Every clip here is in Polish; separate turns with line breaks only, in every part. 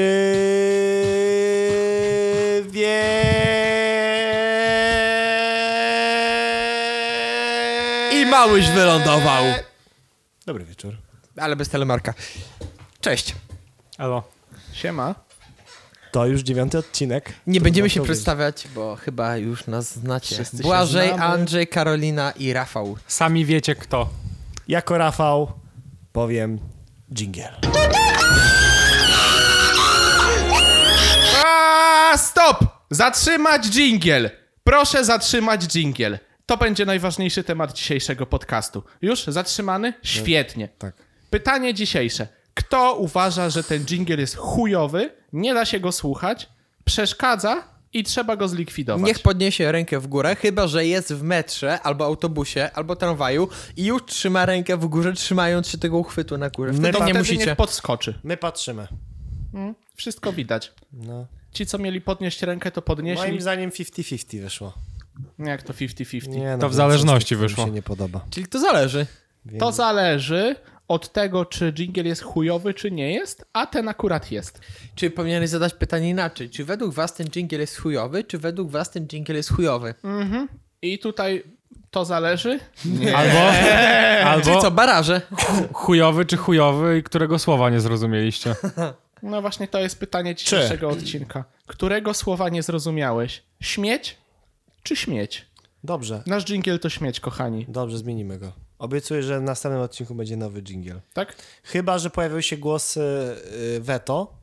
Dobry wieczór.
I małyś wylądował.
Dobry wieczór.
Ale bez telemarka. Cześć.
Alo.
Siema.
To już dziewiąty odcinek.
Nie
Trudno
będziemy się
powiedzieć.
przedstawiać, bo chyba już nas znacie.
Wszyscy się
Błażej,
znamy.
Andrzej, Karolina i Rafał.
Sami wiecie kto.
Jako Rafał powiem dżingiel.
A, stop! Zatrzymać dżingiel! Proszę zatrzymać dżingiel. To będzie najważniejszy temat dzisiejszego podcastu. Już zatrzymany? Świetnie.
Tak.
Pytanie dzisiejsze. Kto uważa, że ten dżingiel jest chujowy, nie da się go słuchać, przeszkadza i trzeba go zlikwidować?
Niech podniesie rękę w górę, chyba że jest w metrze, albo autobusie, albo tramwaju i już trzyma rękę w górze, trzymając się tego uchwytu na górze. Wtedy
to
nie
wtedy
musicie.
niech podskoczy.
My patrzymy.
Wszystko widać.
No.
Ci, co mieli podnieść rękę, to podnieśli.
Moim zdaniem 50-50 wyszło.
Jak to 50-50?
Nie,
To w zależności
coś, co mi
wyszło.
się nie podoba.
Czyli to zależy.
To zależy od tego, czy dżingiel jest chujowy, czy nie jest, a ten akurat jest.
Czy powinieneś zadać pytanie inaczej? Czy według was ten dżingiel jest chujowy, czy według was ten dżingiel jest chujowy?
I tutaj to zależy.
Albo,
Czyli
albo
co, baraże?
chujowy czy chujowy i którego słowa nie zrozumieliście.
No właśnie to jest pytanie dzisiejszego odcinka. Którego słowa nie zrozumiałeś? Śmieć czy śmieć?
Dobrze,
Nasz dżingiel to śmieć, kochani.
dobrze, zmienimy go. Obiecuję, że w następnym odcinku będzie nowy dżingiel.
Tak?
Chyba, że pojawił się głos y, y, veto,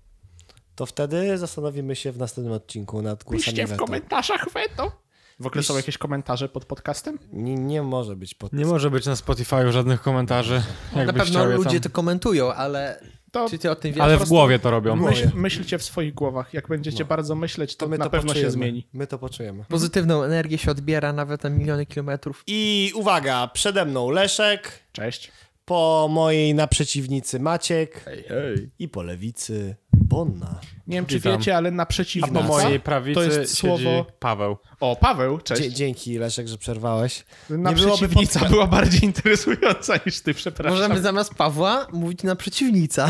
to wtedy zastanowimy się w następnym odcinku nad głosami
Piszcie w
veto.
komentarzach weto. W ogóle są jakieś komentarze pod podcastem?
Nie, nie może być pod...
Nie może być na Spotify żadnych komentarzy.
Na
Jakbyś
pewno
chciał je
ludzie to
tam. No,
komentują, ale
To
czy ty o tym wiesz?
Ale
Po
w
prostu-
głowie to robią.
myśl, myślcie w swoich głowach. Jak będziecie bardzo myśleć, to,
To my
na
to
pewno
poczujemy.
się zmieni.
My to poczujemy.
Pozytywną energię się odbiera nawet na miliony kilometrów.
I uwaga, przede mną Leszek,
Cześć.
po mojej naprzeciwnicy Maciek
Hej, hej.
i po lewicy Bonna.
Nie wiem, czy
Witam.
wiecie, ale na przeciwnicy.
Po mojej prawicy
to jest słowo.
Paweł.
O, Paweł, cześć.
Dzie- dzięki Leszek, że przerwałeś.
Na
Nie byłoby
przeciwnica
podca-
była bardziej interesująca niż ty, przepraszam.
Możemy zamiast Pawła mówić na przeciwnica.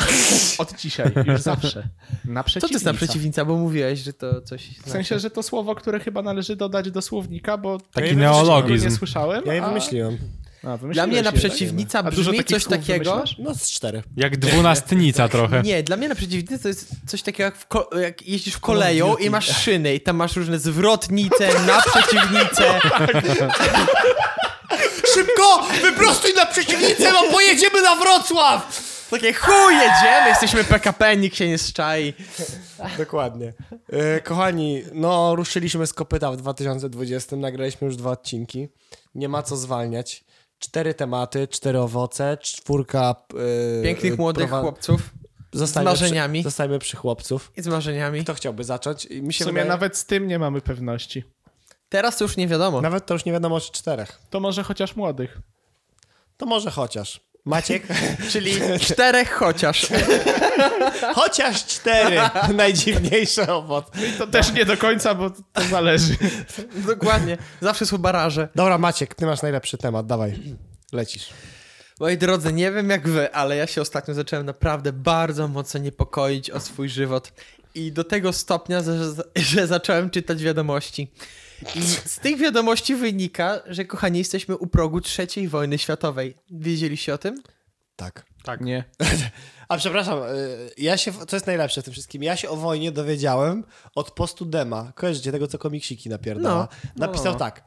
Od dzisiaj, już zawsze. Na
Co to
przeciwnica.
jest na przeciwnica, bo mówiłeś, że to coś.
W sensie, że to słowo, które chyba należy dodać do słownika, bo
Taki
ja
neologizm.
Nie słyszałem.
Ja je
a-
wymyśliłem.
a, wymyśliłeś
Dla mnie na
je.
przeciwnica
A dużo
brzmi
takich
coś
słów
takiego.
wymyślasz?
No z cztery.
Jak dwunastnica trochę.
Nie, dla mnie na przeciwnicy to jest coś takiego, jak, w ko- jak jeździsz koleją i masz szyny i tam masz różne zwrotnice, na przeciwnice.
Szybko! Wyprostuj na przeciwnicę, bo pojedziemy na Wrocław!
Takie chuj jedziemy, jesteśmy PKP, nikt się nie szczai.
Dokładnie. E, kochani, no ruszyliśmy z kopyta w 2020, nagraliśmy już dwa odcinki. Nie ma co zwalniać. Cztery tematy, cztery owoce, czwórka... e, e,
Pięknych młodych
prowa-
chłopców
Zostańmy
z marzeniami.
Przy, zostańmy przy chłopców.
i z marzeniami.
Kto chciałby zacząć? I Mi
W
się
sumie
wydaje, nawet...
nawet z tym nie mamy pewności.
Teraz to już nie
No.
wiadomo.
nawet to już nie wiadomo czy czterech.
To może chociaż młodych.
To może chociaż. Maciek?
Czyli czterech chociaż. Tak.
chociaż cztery! Najdziwniejszy owoc.
To też nie do końca, bo to zależy.
Dokładnie. Zawsze są baraże.
Dobra Maciek, ty masz najlepszy temat, dawaj. Lecisz.
Moi drodzy, nie wiem jak wy, ale ja się ostatnio zacząłem naprawdę bardzo mocno niepokoić o swój żywot. I do tego stopnia, że, że zacząłem czytać wiadomości. I z tych wiadomości wynika, że kochani, jesteśmy u progu III wojny światowej. Wiedzieliście o tym?
Tak.
Tak.
Nie.
A przepraszam, y, ja się, co jest najlepsze w tym wszystkim, ja się o wojnie dowiedziałem od postu Dema, kojarzycie tego, co komiksiki napierdala,
No,
napisał
no.
tak,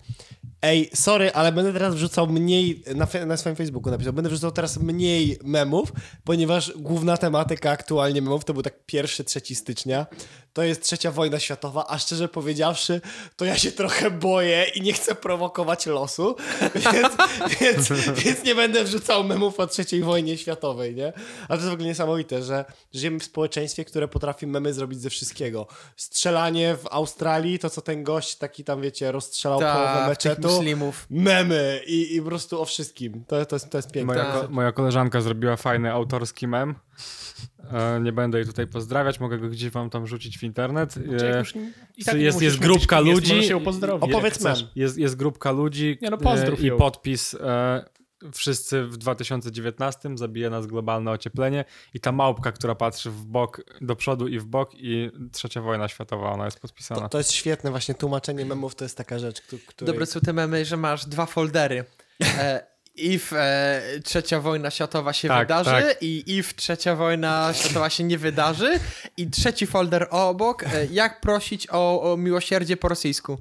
ej, sorry, ale będę teraz wrzucał mniej, na, fe- na swoim Facebooku napisał, będę wrzucał teraz mniej memów, ponieważ główna tematyka aktualnie memów to był tak pierwszy, trzeci stycznia, to jest trzecia wojna światowa, a szczerze powiedziawszy, to ja się trochę boję i nie chcę prowokować losu, więc, więc, więc nie będę wrzucał memów o trzeciej wojnie światowej, nie? Ale to jest w ogóle niesamowite, że żyjemy w społeczeństwie, które potrafi memy zrobić ze wszystkiego. Strzelanie w Australii, to co ten gość taki tam, wiecie, rozstrzelał połowę
Tak, tych
meczetu.
muslimów.
Memy i, i po prostu o wszystkim. To, to, jest, to jest piękne.
Moja,
Tak.
ko- moja koleżanka zrobiła fajny autorski mem. E, nie będę jej tutaj pozdrawiać, mogę go gdzieś wam tam rzucić w internet.
Jak
E,
już nie- i
tak
jest-
nie
jest
musisz
grupka
mówić, kim jest,
ludzi.
Możesz się pozdrowić.
Opowiedz
Jak chcesz.
mem.
jest, jest grupka ludzi
Nie no,
e,
pozdrów
i
ją.
podpis e, wszyscy w 2019 zabije nas globalne ocieplenie i ta małpka, która patrzy w bok, do przodu i w bok i trzecia wojna światowa, ona jest podpisana.
Tak. To, to jest świetne właśnie, tłumaczenie memów to jest taka rzecz, któ- której...
Dobre są te memy, że masz dwa foldery. E, if e, trzecia wojna światowa się
Tak,
wydarzy
tak.
i if trzecia wojna światowa się nie wydarzy i trzeci folder obok, e, jak prosić o, o miłosierdzie po rosyjsku.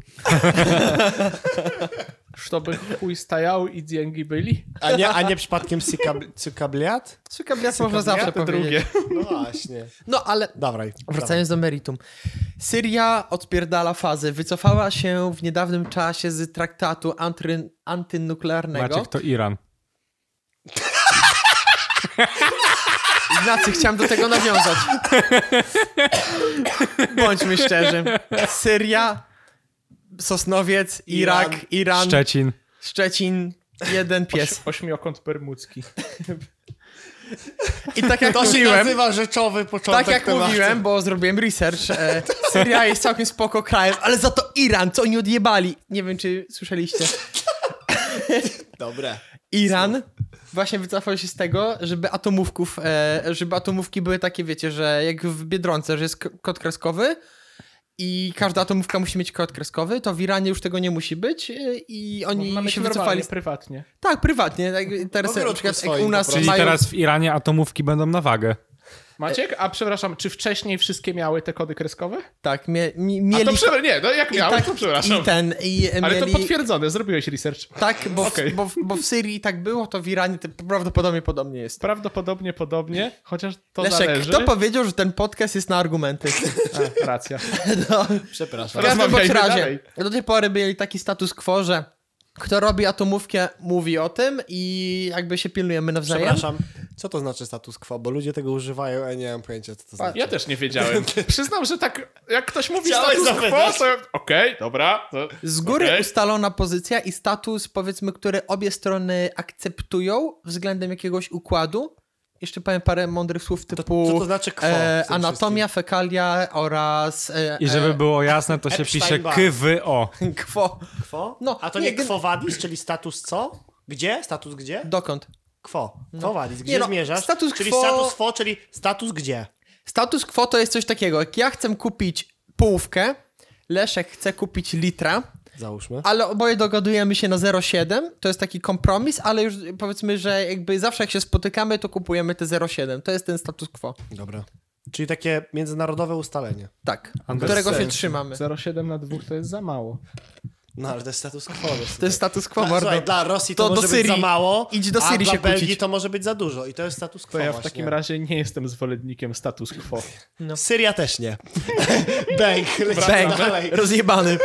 Żeby chuj stajał i dzięki byli.
a, nie, a nie przypadkiem cykab- cykabliat?
Suka bias można
Cykabliat
zawsze powiedzieć.
drugie.
No właśnie.
No ale
Dawaj.
Wracając do meritum. Syria odpierdala fazę. Wycofała się w niedawnym czasie z traktatu antry, antynuklearnego.
Maciek, to Iran.
Ignacy, chciałem do tego nawiązać. Bądźmy szczerzy. Syria, Sosnowiec, Irak,
Iran.
Iran,
Szczecin.
Szczecin, jeden pies.
Ośmiokąt bermudzki.
I tak jak
To się
mówiłem,
nazywa rzeczowy początek
tak jak
tematu.
mówiłem, bo zrobiłem research, e, Syria jest całkiem spoko krajem, ale za to Iran, co oni odjebali. Nie wiem, czy słyszeliście.
Dobre.
Iran właśnie wycofał się z tego, żeby atomówków, e, żeby atomówki były takie, wiecie, że jak w Biedronce, że jest k- kod kreskowy i każda atomówka musi mieć kod kreskowy, to w Iranie już tego nie musi być e, i oni
Mamy
się wycofali. z-
prywatnie.
Tak, prywatnie. Jak, teraz, na
ogródku
przykład, jak
swoim
u nas
po
Czyli
mają...
teraz w Iranie atomówki będą na wagę.
Maciek, a przepraszam, czy wcześniej wszystkie miały te kody kreskowe?
Tak, mie, mi,
A
mieli...
to przepraszam, nie, no jak
i
miały,
tak,
to przepraszam.
I ten, i
Ale
mieli...
to potwierdzone, zrobiłeś research.
Tak, bo,
Okej.
w, bo, w, bo w Syrii tak było, to w Iranie to prawdopodobnie podobnie jest.
Prawdopodobnie podobnie, chociaż to
Leszek,
zależy.
kto powiedział, że ten podcast jest na argumenty?
A, racja.
No.
Przepraszam.
W każdym bądź
Rozmawiajmy
razie,
dalej.
do tej pory mieli taki status quo, że kto robi atomówkę, mówi o tym i jakby się pilnujemy nawzajem.
Przepraszam. Co to znaczy status quo? Bo ludzie tego używają, a ja nie mam pojęcia, co to znaczy.
Ja też nie wiedziałem. Przyznam, że tak, jak ktoś mówi
Chciałeś
status quo,
zapytać.
to... Okej, dobra. To...
Z góry
Okej.
ustalona pozycja i status, powiedzmy, który obie strony akceptują względem jakiegoś układu. Jeszcze powiem parę mądrych słów typu
co to znaczy quo w
e,
tym
anatomia, fekalia oraz e,
I żeby
e,
było jasne, to się
Epstein
pisze
Barr.
KWO.
quo.
Quo?
No,
a to
nie,
nie,
gen-
quo vadis, czyli status co? Gdzie? Status gdzie?
Dokąd?
Quo. Quo vadis. Gdzie
Nie no,
zmierzasz?
status
czyli
quo-
status quo, czyli status gdzie?
Status quo to jest coś takiego, jak ja chcę kupić połówkę, Leszek chce kupić litra,
Załóżmy.
Ale oboje dogadujemy się na 0,7. To jest taki kompromis, ale już powiedzmy, że jakby zawsze jak się spotykamy, to kupujemy te 0,7. To jest ten status quo.
Dobra. Czyli takie międzynarodowe ustalenie.
Tak.
Anders
którego się
Sen.
trzymamy.
0,7 na 2 to jest za mało.
No, ale to jest status quo. dosyć.
To jest status quo,
Dla-
mordo.
No, Słuchaj, dla Rosji to,
To do
może być
Syrii.
za mało,
Idź do
a
Syrii
dla
się kłócić.
Belgii to może być za dużo i to jest status quo
To ja w
właśnie.
takim razie nie jestem zwolennikiem status quo.
no.
Syria też nie. Bang, lecimy
Bang,
dalej.
rozjebany.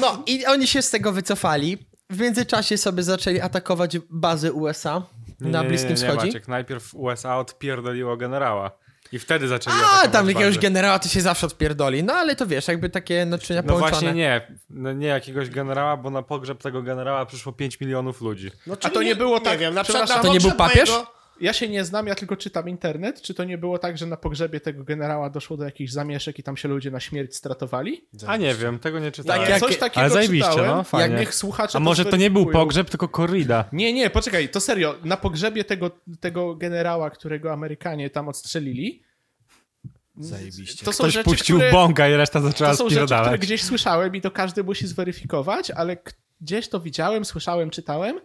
No i oni się z tego wycofali. W międzyczasie sobie zaczęli atakować bazy USA
Nie,
na
nie,
Bliskim
nie, nie,
Wschodzie.
Maciek, najpierw USA odpierdoliło generała. I wtedy zaczęli
A,
atakować
tam jakiegoś
bazy.
generała to się zawsze odpierdoli. No ale to wiesz, jakby takie naczynia
No
połączone.
właśnie nie, no nie jakiegoś generała, bo na pogrzeb tego generała przyszło 5 milionów ludzi.
No,
A
czyli
to nie było tak-
Nie wiem, na przykład
przepraszam,
na
to nie był
pogrzeb
papież?
mojego-
Ja się nie znam, ja tylko czytam internet. Czy to nie było tak, że na pogrzebie tego generała doszło do jakichś zamieszek i tam się ludzie na śmierć stratowali?
A nie wiem, tego nie czytałem.
Tak jak-
Coś takiego
Ale zajebiście,
czytałem.
no, fajnie.
Jak niech słuchacze
A może to nie był
zweryfikują.
pogrzeb, tylko korrida.
Nie, nie, poczekaj, to serio. Na pogrzebie tego, tego generała, którego Amerykanie tam odstrzelili,
Zajebiście.
to są
Ktoś
rzeczy,
puścił
które,
bąka i reszta zaczęła
To są rzeczy, które
spierdalać.
gdzieś słyszałem i to każdy musi zweryfikować, ale k- gdzieś to widziałem, słyszałem, czytałem,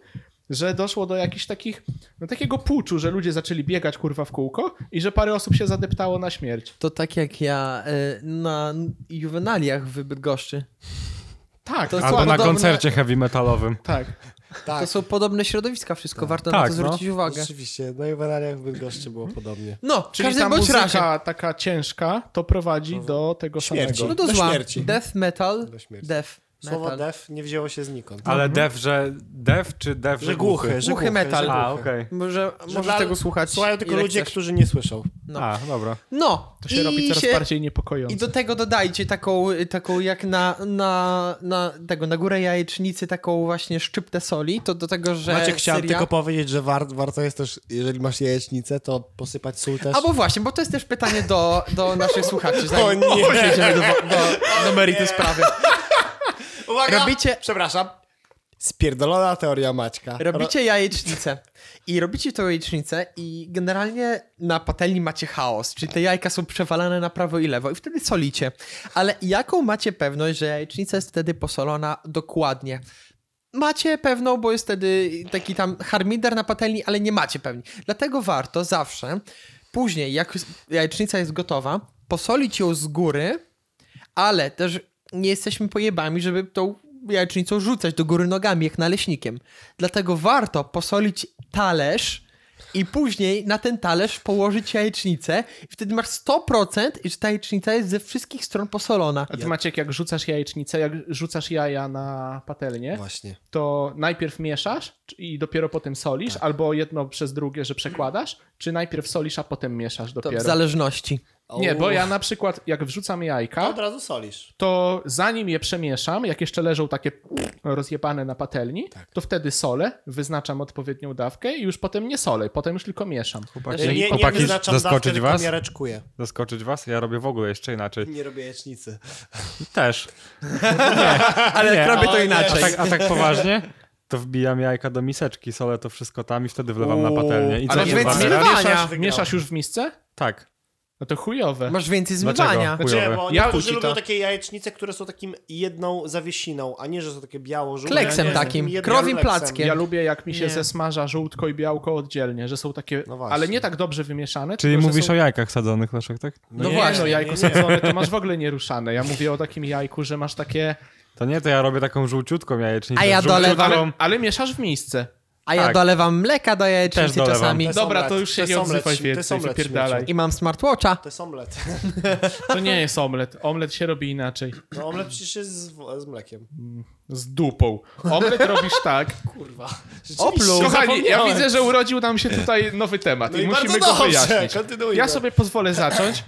że doszło do jakichś takich, no takiego puczu, że ludzie zaczęli biegać kurwa w kółko i że parę osób się zadeptało na śmierć.
To tak jak ja y, na juwenaliach w Bydgoszczy.
Tak,
To-
Albo na
Podobne-
koncercie heavy metalowym.
tak.
To
Tak,
są podobne środowiska, wszystko warto na
Tak,
to
no.
zwrócić uwagę.
oczywiście. No i w Araniach w Bydgoszczy było podobnie.
No, w
Czyli
każdym
ta
bądź
muzyka
razie.
taka ciężka to prowadzi do tego
Śmierci.
No
samego.
do,
do
zła.
śmierci.
Death metal.
Do śmierci.
Death
Słowo
metal.
def nie wzięło się znikąd.
Ale dev, że dev czy dev, że
Że głuchy, że
Głuchy
głuchy
metal.
że głuchy.
A, okej.
Może,
Że
możesz
dla-
tego słuchać.
Słuchają tylko
ile
ludzie,
chcesz.
którzy nie słyszą.
No.
A, dobra.
No,
To się
i
robi coraz
się,
bardziej niepokojące.
I do tego dodajcie taką, taką jak na, na, na tego, na górę jajecznicy, taką właśnie szczyptę soli, to do tego, że
Maciek, chciałem
Syria...
tylko powiedzieć, że war, warto jest też, jeżeli masz jajecznicę, to posypać sól też.
Albo właśnie, bo to jest też pytanie do, do naszych słuchaczy.
O
Zanim
nie!
przejdziemy do, do, do meritum sprawy.
Uwaga!
robicie-
Przepraszam. Spierdolona teoria Maćka. Ro-
Robicie jajecznicę. I robicie tą jajecznicę i generalnie na patelni macie chaos, czyli te jajka są przewalane na prawo i lewo i wtedy solicie. Ale jaką macie pewność, że jajecznica jest wtedy posolona dokładnie? Macie pewną, bo jest wtedy taki tam harmider na patelni, ale nie macie pewni. Dlatego warto zawsze później, jak jajecznica jest gotowa, posolić ją z góry, ale też nie jesteśmy pojebami, żeby tą jajecznicą rzucać do góry nogami, jak naleśnikiem. Dlatego warto posolić talerz i później na ten talerz położyć jajecznicę i wtedy masz 100%, że ta jajecznica jest ze wszystkich stron posolona.
A ty Maciek, jak rzucasz jajecznicę, jak rzucasz jaja na patelnię,
Właśnie.
to najpierw mieszasz czy- i dopiero potem solisz,
Tak.
albo jedno przez drugie, że przekładasz, czy najpierw solisz, a potem mieszasz
To
dopiero.
w zależności.
Nie, bo
Uff.
ja na przykład, jak wrzucam
To No, Od
jajka,
razu solisz.
to zanim je przemieszam, jak jeszcze leżą takie rozjebane na patelni,
Tak.
to wtedy solę, wyznaczam odpowiednią dawkę i już potem nie solę, potem już tylko mieszam.
Chłopaki,
Nie, nie, nie
chłopaki
wyznaczam dawkę,
zaskoczyć
tylko
was?
miareczkuję.
Zaskoczyć was? Ja robię w ogóle jeszcze inaczej.
Nie robię jajecznicy.
Też.
Ale jak robię
O
to
nie.
A
inaczej.
tak, a tak poważnie? To wbijam jajka do miseczki, solę to wszystko tam i wtedy wlewam na patelnię. I co
ale
się
więc
zamiera?
zmywa- Wygrałem.
Mieszasz, mieszasz już w misce?
Tak.
No to chujowe.
Masz więcej
Dlaczego?
zmywania.
Chuj-
Znaczy,
Chujowe.
bo
Ja
niektórzy
kusi
lubią
to.
takie jajecznice, które są takim jedną zawiesiną, a nie, że są takie biało-żółte.
Kleksem
Nie,
takim,
jednym
krowim
kleksem.
plackiem.
Ja lubię, jak mi się
Nie.
zesmaża żółtko i białko oddzielnie, że są takie,
No właśnie.
ale nie tak dobrze wymieszane.
Czyli
tylko, że
mówisz
są...
o jajkach sadzonych, Leszek, tak?
No
nie,
właśnie.
no jajko sadzone to masz w ogóle nieruszane. Ja mówię o takim jajku, że masz takie...
To nie, to ja robię taką żółciutką jajecznicę.
A ja
z żółciutką-
dolewam.
Ale, ale mieszasz w miejsce.
A ja
Tak.
dolewam mleka do jajecznicy
dolewam.
czasami.
To jest
Dobra,
omlet,
to już się
to
nie
jest omlet,
odzywaj
to jest
więcej,
omlet,
wypierdalaj.
śmieciu.
I mam smartwatcha.
To jest omlet.
To nie jest omlet. Omlet się robi inaczej.
No omlet przecież jest z, z mlekiem.
Z dupą. Omlet robisz tak.
Kurwa.
Opluł.
Kochani, ja
zapomniałem.
widzę, że urodził nam się tutaj nowy temat
No
i
i
musimy
bardzo
go
dobrze,
wyjaśnić.
kontynuujmy.
Ja sobie pozwolę zacząć.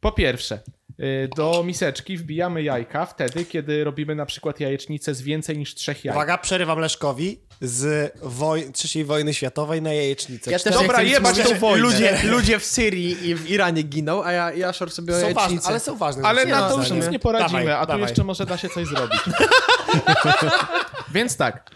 Po pierwsze, y, do miseczki wbijamy jajka wtedy, kiedy robimy na przykład jajecznicę z więcej niż trzech jaj.
Uwaga, przerywam Leszkowi z woj- III wojny światowej na jajecznicę.
Ja też
Cztery-
nie
Dobra,
chcę nic
jebać
mówić.
tą wojnę.
Ludzie, ludzie w Syrii i w Iranie giną, a ja, ja szor sobie
są
o
ważne,
jajecznicę.
ale są ważne.
Ale
rzeczy,
na
moim
to już
zdaniem.
nic nie poradzimy,
Dawaj,
a tu
dawaj.
jeszcze może da się coś zrobić. Więc tak.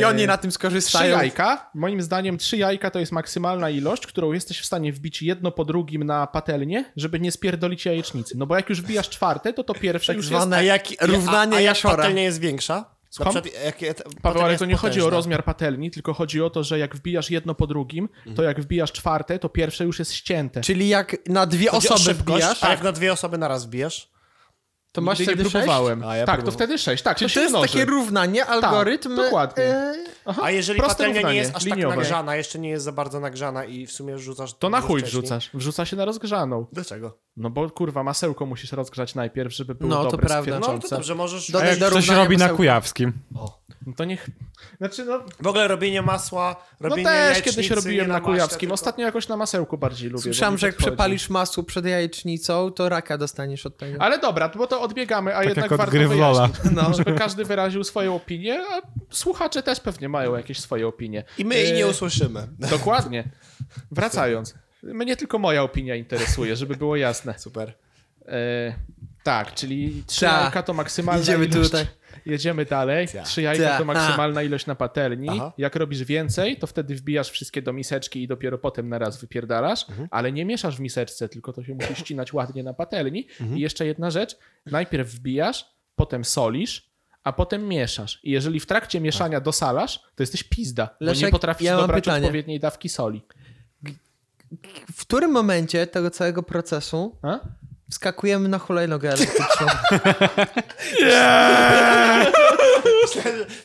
I oni
y,
na tym
Trzy
skorzystają.
jajka, moim zdaniem trzy jajka to jest maksymalna ilość, którą jesteś w stanie wbić jedno po drugim na patelnię, żeby nie spierdolić jajecznicy. No bo jak już wbijasz czwarte, to to pierwsze
Tak
już jest...
zwane
A jak,
równanie
a, a jak
Jaszora.
patelnia jest większa?
Słucham?
Na przykład, jak, jak,
Paweł,
patelnia
ale
jest
to nie chodzi o
potężna.
rozmiar patelni, tylko chodzi o to, że jak wbijasz jedno po drugim, to jak wbijasz czwarte, to pierwsze już jest ścięte.
Czyli jak na dwie
Chodzi o
osoby
szybkość, Tak.
wbijasz, Tak.
a jak na dwie osoby naraz wbijesz?
to masz
Nigdy nie
wtedy sześć?
próbowałem.
A, ja
tak, to
próbowałem.
wtedy sześć. Tak,
Czy
się
to jest
mnoży.
takie równanie, algorytm?
dokładnie.
e,
Aha,
A jeżeli
proste
patelnia nie
równanie,
jest aż
liniowe.
tak nagrzana, jeszcze nie jest za bardzo nagrzana i w sumie rzucasz...
To na
dużo
chuj
wcześniej.
wrzucasz. Wrzuca się na rozgrzaną.
Dlaczego?
No bo kurwa, masełko musisz rozgrzać najpierw, żeby było
No, to
dobre,
prawda.
No to
stwierczące.
dobrze, możesz...
A
Dodaj
jak
do
coś
równania
robi na
masełka.
Kujawskim?
No to niech... Znaczy no,
W ogóle robienie masła,
no
robienie
też
jajecznicy,
kiedyś
nie
robiłem na
maśle,
Kujawskim.
tylko-
Ostatnio jakoś na masełku bardziej lubię. bo
Słyszałem,
mi tak
że jak
podchodzi.
przepalisz masło przed jajecznicą, to raka dostaniesz od tego.
Ale dobra, bo to odbiegamy, a
Tak
jednak
jak od
warto
gry w Lola.
wyjaśnić,
No.
żeby każdy wyraził swoją opinię, a słuchacze też pewnie mają jakieś swoje opinie.
I my jej
E,
nie usłyszymy.
Dokładnie. Wracając. Mnie tylko moja opinia interesuje, żeby było jasne.
Super.
E, tak, czyli trzy
Ta.
jajka to maksymalna
Idziemy
ilość.
tutaj.
Jedziemy dalej.
Ta.
Trzy jajka
Ta.
to maksymalna ilość na patelni.
Aha.
Jak robisz więcej, to wtedy wbijasz wszystkie do miseczki i dopiero potem na raz wypierdalasz,
Mhm.
ale nie mieszasz w miseczce, tylko to się musi ścinać ładnie na patelni.
Mhm.
I jeszcze jedna rzecz. Najpierw wbijasz, potem solisz, a potem mieszasz. I jeżeli w trakcie mieszania dosalasz, to jesteś pizda, bo
Tak. Leszek,
nie potrafisz
ja mam
dobrać
pytanie.
odpowiedniej dawki soli.
W którym momencie tego całego procesu
A?
wskakujemy na hulajnogę elektryczną?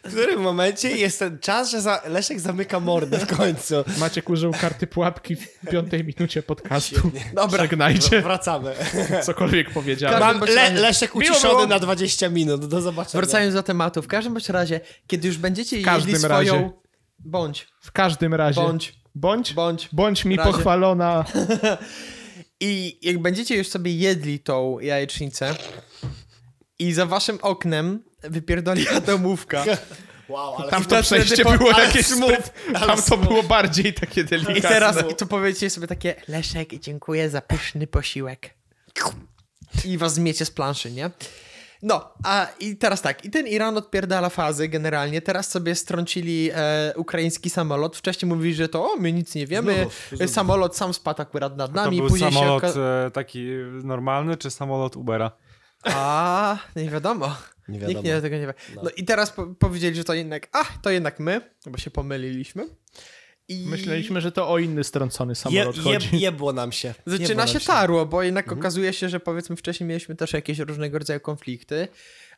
W którym momencie jest ten czas, że za... Leszek zamyka mordę w końcu?
Maciek użył karty pułapki w piątej minucie podcastu.
Dobra.
Żegnajcie,
Wracamy.
cokolwiek powiedziałem.
Każdy-
Mam le Leszek
Miło
uciszony
było.
na 20 minut. Do zobaczenia.
Wracając do tematu, w każdym bądź razie, kiedy już będziecie
każdym
jedli swoją...
razie.
Bądź,
W każdym razie.
bądź,
Bądź,
bądź.
bądź mi
Razie.
pochwalona.
I jak będziecie już sobie jedli tą jajecznicę i za waszym oknem wypierdoli atomówka.
Wow, ale
Tam
wtedy
to przejście
po-
było
ale
jakieś
smut,
zbyt,
ale
Tam to
smut.
było bardziej takie delikatne.
I teraz i to powiecie sobie takie Leszek, dziękuję za pyszny posiłek. I was zmiecie z planszy, nie? No, a i teraz tak, i ten Iran odpierdala fazy generalnie, teraz sobie strącili e, ukraiński samolot, wcześniej mówili, że to o, my nic nie wiemy,
Znowu, znowu.
samolot sam spadł akurat nad
To
nami,
był
No później
samolot
się... oka-
e, taki normalny, czy samolot Ubera?
A, nie wiadomo.
Nie
Nikt
wiadomo.
nie tego nie wie. No, i teraz po powiedzieli, że to jednak, ach, to jednak my, bo się pomyliliśmy. I
Myśleliśmy, że to o inny strącony
Je,
samolot
je,
chodzi.
jebło nam się. Jebło
Zaczyna
nam
się tarło, bo jednak okazuje się, że powiedzmy wcześniej mieliśmy też jakieś różnego rodzaju konflikty,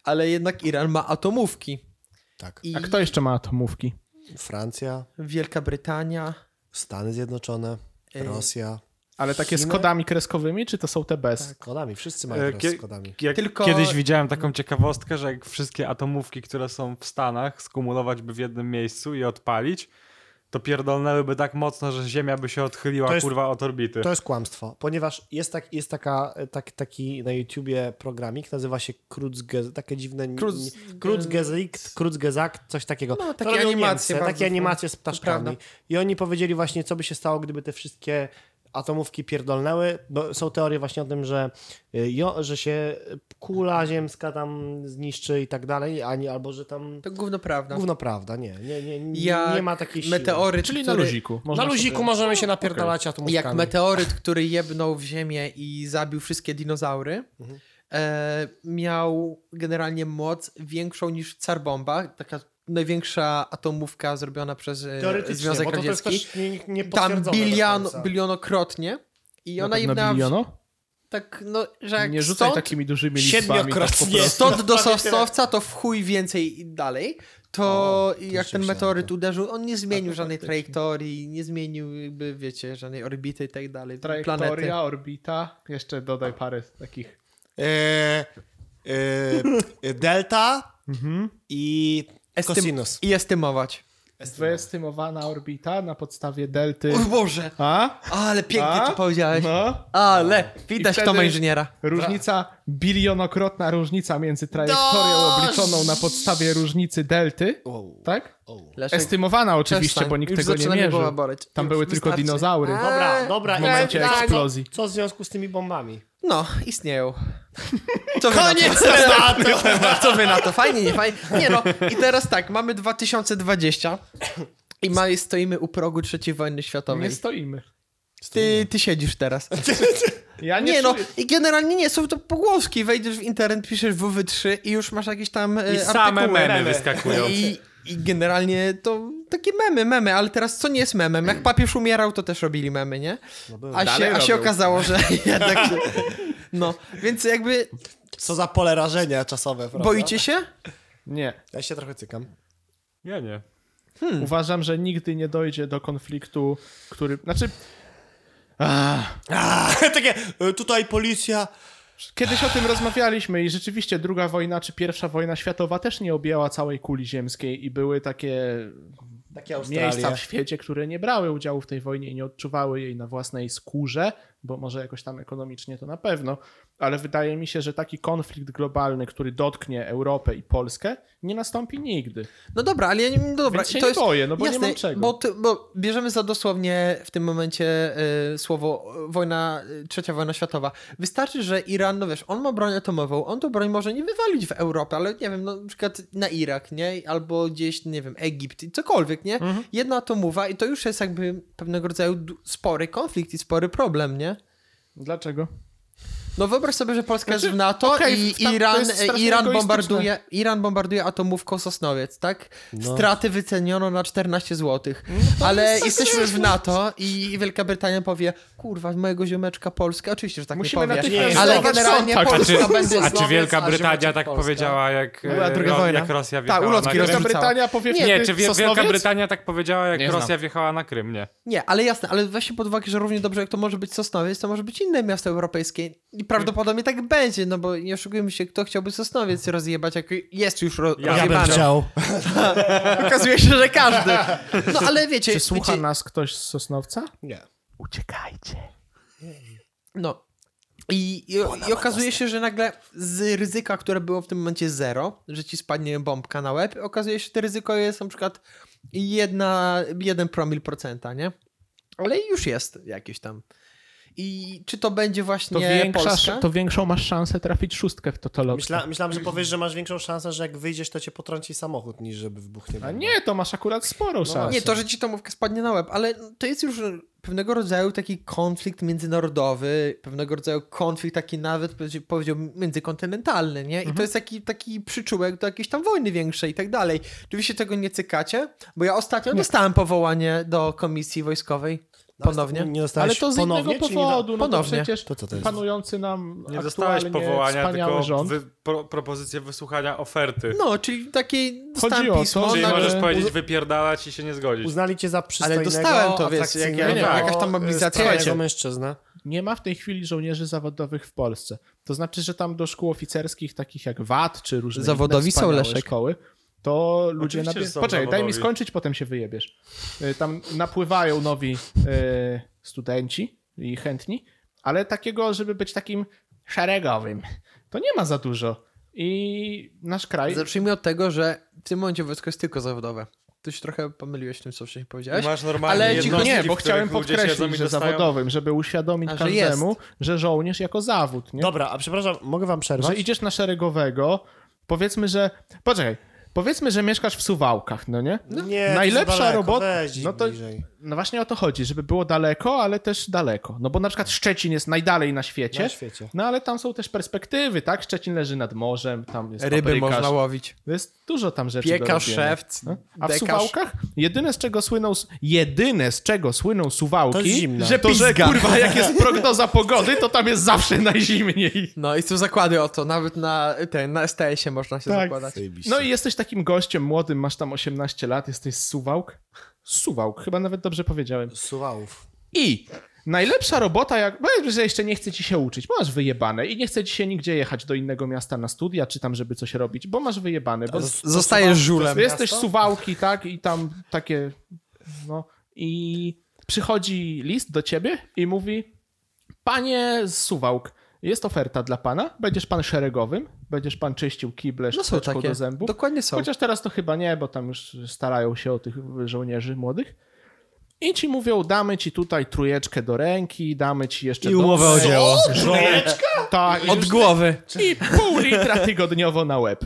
ale jednak Iran ma atomówki.
Tak.
I
A kto jeszcze ma atomówki?
Francja,
Wielka Brytania.
Stany Zjednoczone,
Ej.
Rosja.
Ale takie z
Chiny?
kodami kreskowymi, czy to są te
Tak.
bez?
Z kodami, wszyscy mają
E,
teraz
kie-
z kodami.
Jak
Tylko-
Kiedyś widziałem taką ciekawostkę, że jak wszystkie atomówki, które są w Stanach, skumulować by w jednym miejscu i odpalić, to pierdolnęłyby tak mocno, że Ziemia by się odchyliła
To jest-
kurwa od orbity.
To jest kłamstwo, ponieważ jest, tak, jest taka, tak, taki na YouTubie programik, nazywa się Krutzge, takie dziwne...
Kruz-
Krutzgesicht, Krutzgesagt, coś takiego.
No,
To
takie
robią
animacje
Niemcy,
bardzo
Takie
są.
animacje z ptaszkami.
prawda.
I oni powiedzieli właśnie, co by się stało, gdyby te wszystkie atomówki pierdolnęły, bo są teorie właśnie o tym, że, y, jo, że się kula ziemska tam zniszczy i tak dalej, ani, albo że tam...
To gówno prawda.
Gówno prawda, nie. Nie, nie, nie,
Jak
nie ma takiej siły.
meteoryt,
Czyli na
który, No,
luziku.
Na
Można
luziku
sobie-
możemy się napierdalać atomówkami.
Jak meteoryt, który jebnął w ziemię i zabił wszystkie dinozaury,
Mhm.
e, miał generalnie moc większą niż car bomba, taka największa atomówka zrobiona przez e,
Teoretycznie,
Związek
bo to, to jest
Radziecki.
też nie, nie
Tam
potwierdzone do
bilion,
końca.
bilionokrotnie. I
Na
ona
pewno
jebnęła w-
biliono?
tak, no, że jak
Nie rzucaj
stąd,
takimi dużymi liczbami. Tak po
Siedmiokrotnie.
prostu.
stąd do
Prawie tyle.
sosnowca, to w chuj więcej i dalej. To
O, to
jak ten
rzeczywiście
meteoryt
tak.
uderzył, on nie zmienił żadnej
faktycznie.
trajektorii, nie zmienił jakby, wiecie, żadnej orbity i tak dalej. Planety.
Trajektoria, orbita. Jeszcze dodaj parę takich.
E, e, delta Mhm. i
Estym-
cosinus.
I estymować.
Wyestymowana orbita na podstawie delty.
O Boże,
A?
ale pięknie
A?
to powiedziałeś.
No.
Ale, widać
I
to ma
wtedy-
inżyniera.
Różnica, bilionokrotna różnica między trajektorią
Dość!
obliczoną na podstawie różnicy delty.
Wow.
Tak?
O.
Leszek,
Estymowana oczywiście,
przestań.
bo nikt
Już
tego nie
zaczyna mnie
mierzył.
głowa boleć.
Tam
Już
były tylko
wystarczy.
dinozaury.
A,
Dobra, dobra.
W momencie
Eee,
eksplozji.
Co, co w związku z tymi bombami?
No, istnieją. Co wy Koniec na to? Co wy na to? Fajnie, nie fajnie? Nie no, i teraz tak, mamy 2020 i ma, stoimy u progu III wojny światowej.
Nie stoimy.
Ty, ty siedzisz teraz.
Ja nie,
Nie no,
czuję.
i generalnie nie, są to pogłoski. Wejdziesz w internet, piszesz WW3 i już masz jakieś tam e,
I same
artykuły.
memy wyskakują.
I, I generalnie to takie memy, memy, ale teraz co nie jest memem? Jak papież umierał, to też robili memy, nie?
były.
A
Dalej
się, a się
robią.
okazało, że jednak się... No, więc jakby
Co za pole rażenia czasowe, prawda?
boicie się?
Nie.
Ja się trochę cykam.
Ja nie.
Hmm.
Uważam, że nigdy nie dojdzie do konfliktu, który... Znaczy,
A, takie, e, tutaj policja.
Kiedyś o tym rozmawialiśmy i rzeczywiście druga wojna czy pierwsza wojna światowa też nie objęła całej kuli ziemskiej i były takie
Takie
miejsca
Australia.
w świecie, które nie brały udziału w tej wojnie i nie odczuwały jej na własnej skórze, bo może jakoś tam ekonomicznie to na pewno, ale wydaje mi się, że taki konflikt globalny, który dotknie Europę i Polskę, nie nastąpi nigdy.
No dobra, ale ja nie, no dobra,
Więc się
to
nie
jest,
boję, no bo nie
jasne,
mam czego.
Bo, ty, bo bierzemy za dosłownie w tym momencie y, słowo y, wojna, y, trzecia wojna światowa. Wystarczy, że Iran, no wiesz, on ma broń atomową, on tą broń może nie wywalić w Europę, ale nie wiem, no na przykład na Irak, nie? Albo gdzieś, nie wiem, Egipt, i cokolwiek, nie?
Mhm.
Jedna atomowa i to już jest jakby pewnego rodzaju du- spory konflikt i spory problem, nie?
Dlaczego?
No wyobraź sobie, że Polska
Znaczy,
jest w NATO
okej,
i
w tam- to
Iran,
jest strasznie
Iran,
egoistyczne.
bombarduje, Iran bombarduje atomówką Sosnowiec, tak? Straty wyceniono na 14 zł.
No
Ale jesteśmy w NATO i Wielka Brytania powie, kurwa, mojego ziomeczka Polska, oczywiście, że tak
Musimy
nie powie,
natychmiast
ale
zdobyć
generalnie
sąd.
A czy,
Polska będzie
Tak, znaczy- a czy
Słowiec,
Wielka
a
Brytania
Ziemeczek
tak
Polska.
powiedziała, jak, e,
Była druga
Ro-
wojna.
jak Rosja
Ta,
wjechała
Tak, ulotki
na Krym?
Wielka
rozrzucała.
Brytania powie
Nie,
wtedy
Nie, czy Wie- Wielka
Sosnowiec?
Brytania tak powiedziała, jak
Nie
Rosja
znam.
wjechała na Krym? Nie.
Nie, ale jasne, ale weź pod uwagę, że równie dobrze jak to może być Sosnowiec, to może być inne miasto europejskie. I prawdopodobnie tak będzie, no bo nie oszukujmy się, kto chciałby Sosnowiec rozjebać, jak jest już ro-
Ja bym
Ja bym
rozjebany.
chciał.
Okazuje się, że każdy. No ale wiecie,
Czy słucha
wiecie
nas ktoś z Sosnowca?
Nie.
no. I, i, I okazuje się, że nagle z ryzyka, które było w tym momencie zero, że ci spadnie bombka na łeb, okazuje się, że to ryzyko jest na przykład jedna, jeden promil procenta, nie? Ale już jest jakieś tam. I czy to będzie właśnie
To, większa,
Polska?
to większą masz szansę trafić szóstkę w totologii.
Myśla, myślałem, że powiesz, że masz większą szansę, że jak wyjdziesz, to cię potrąci samochód, niż żeby wybuchnie
A
bomba.
nie, to masz akurat
No
sporą szansę.
Nie, to, że ci to mówka spadnie na łeb, ale to jest już pewnego rodzaju taki konflikt międzynarodowy, pewnego rodzaju konflikt taki nawet, powiedz- powiedziałbym, międzykontynentalny, nie? I to jest taki, taki przyczółek do jakiejś tam wojny większej i tak dalej. Czy wy się tego nie cykacie? Bo ja ostatnio dostałem powołanie do komisji wojskowej
No, ale
ponownie.
Nie dostałeś
Ale to z
ponownie,
innego
czy nie da-
powodu. No to
Ponownie.
przecież
To co to jest?
panujący nam
Nie dostałeś
aktualnie
powołania,
wspaniały
tylko
rząd.
wy, pro, propozycję wysłuchania oferty.
No, czyli takiej dostałem
o to,
pismo.
Czyli
ona-
możesz
że-
powiedzieć wypierdalać i się nie zgodzić.
Uznali cię za
Ale
przystojnego,
dostałem to, wiesz, jak ja,
atrakcyjnego,
nie,
tak.
jakaś tam mobilizacja.
sprawnego
Słuchajcie,
mężczyznę.
Nie ma w tej chwili żołnierzy zawodowych w Polsce. To znaczy, że tam do szkół oficerskich, takich jak WAT czy różne
Zawodowi
inne
są,
wspaniałe
Leszek.
szkoły, to ludzie...
Oczywiście, że są
Poczekaj, daj mi
zawodowi.
skończyć, potem się wyjebiesz. Y, Tam napływają nowi y, studenci i chętni, ale takiego, żeby być takim szeregowym, to nie ma za dużo. I nasz kraj...
Zacznijmy od tego, że w tym momencie wojsko jest tylko zawodowe. Ty się trochę pomyliłeś w tym, co wcześniej powiedziałeś.
Masz normalnie
Ale
ale
ci-
jednostki,
nie, bo
w których
chciałem
ludzie siedzą
podkreślić,
i
że
dostają-
zawodowym, żeby uświadomić
A, że
każdemu, że żołnierz jako zawód, nie?
Dobra, a przepraszam, mogę wam przerwać?
że idziesz na szeregowego, powiedzmy, że. Poczekaj, powiedzmy, że mieszkasz w suwałkach, no nie?
Nie,
Najlepsza
to daleko,
robota.
Weź,
No
no
to no właśnie o to chodzi, żeby było daleko, ale też daleko. No bo na przykład Szczecin jest najdalej na świecie.
Na świecie.
No ale tam są też perspektywy, tak? Szczecin leży nad morzem, tam jest
Ryby
paprykarz.
można łowić.
To Jest dużo tam rzeczy. do
Piekarz,
robienia.
szewc,
No? A w
dekarz.
Suwałkach jedyne z czego słyną, s- jedyne z czego słyną Suwałki,
To jest zimno.
że to, że
pizga.
kurwa jak jest prognoza pogody, to tam jest zawsze najzimniej.
No i są zakłady o to, nawet na, ten, na STS-ie można się
Tak.
zakładać.
No i jesteś takim gościem młodym, masz tam 18 lat, jesteś z Suwałk. Z Suwałk, chyba nawet dobrze powiedziałem.
Suwałów.
I najlepsza robota, jak powiedzmy, że jeszcze nie chce ci się uczyć, bo masz wyjebane i nie chce ci się nigdzie jechać do innego miasta na studia, czy tam, żeby coś robić, bo masz wyjebane, bo
Z-
Zostajesz żulem.
jesteś
miasto?
Suwałki, tak, i tam takie, no i przychodzi list do ciebie i mówi, panie z Suwałk, jest oferta dla pana, będziesz pan szeregowym, będziesz pan czyścił kible
No są
szczoteczką
takie.
do zębów.
Dokładnie są.
Chociaż teraz to chyba nie, bo tam już starają się o tych żołnierzy młodych. I ci mówią, damy ci tutaj trójeczkę do ręki, damy ci jeszcze...
I umowę o dzieło.
Tak, i,
Od głowy.
i pół litra tygodniowo na łeb.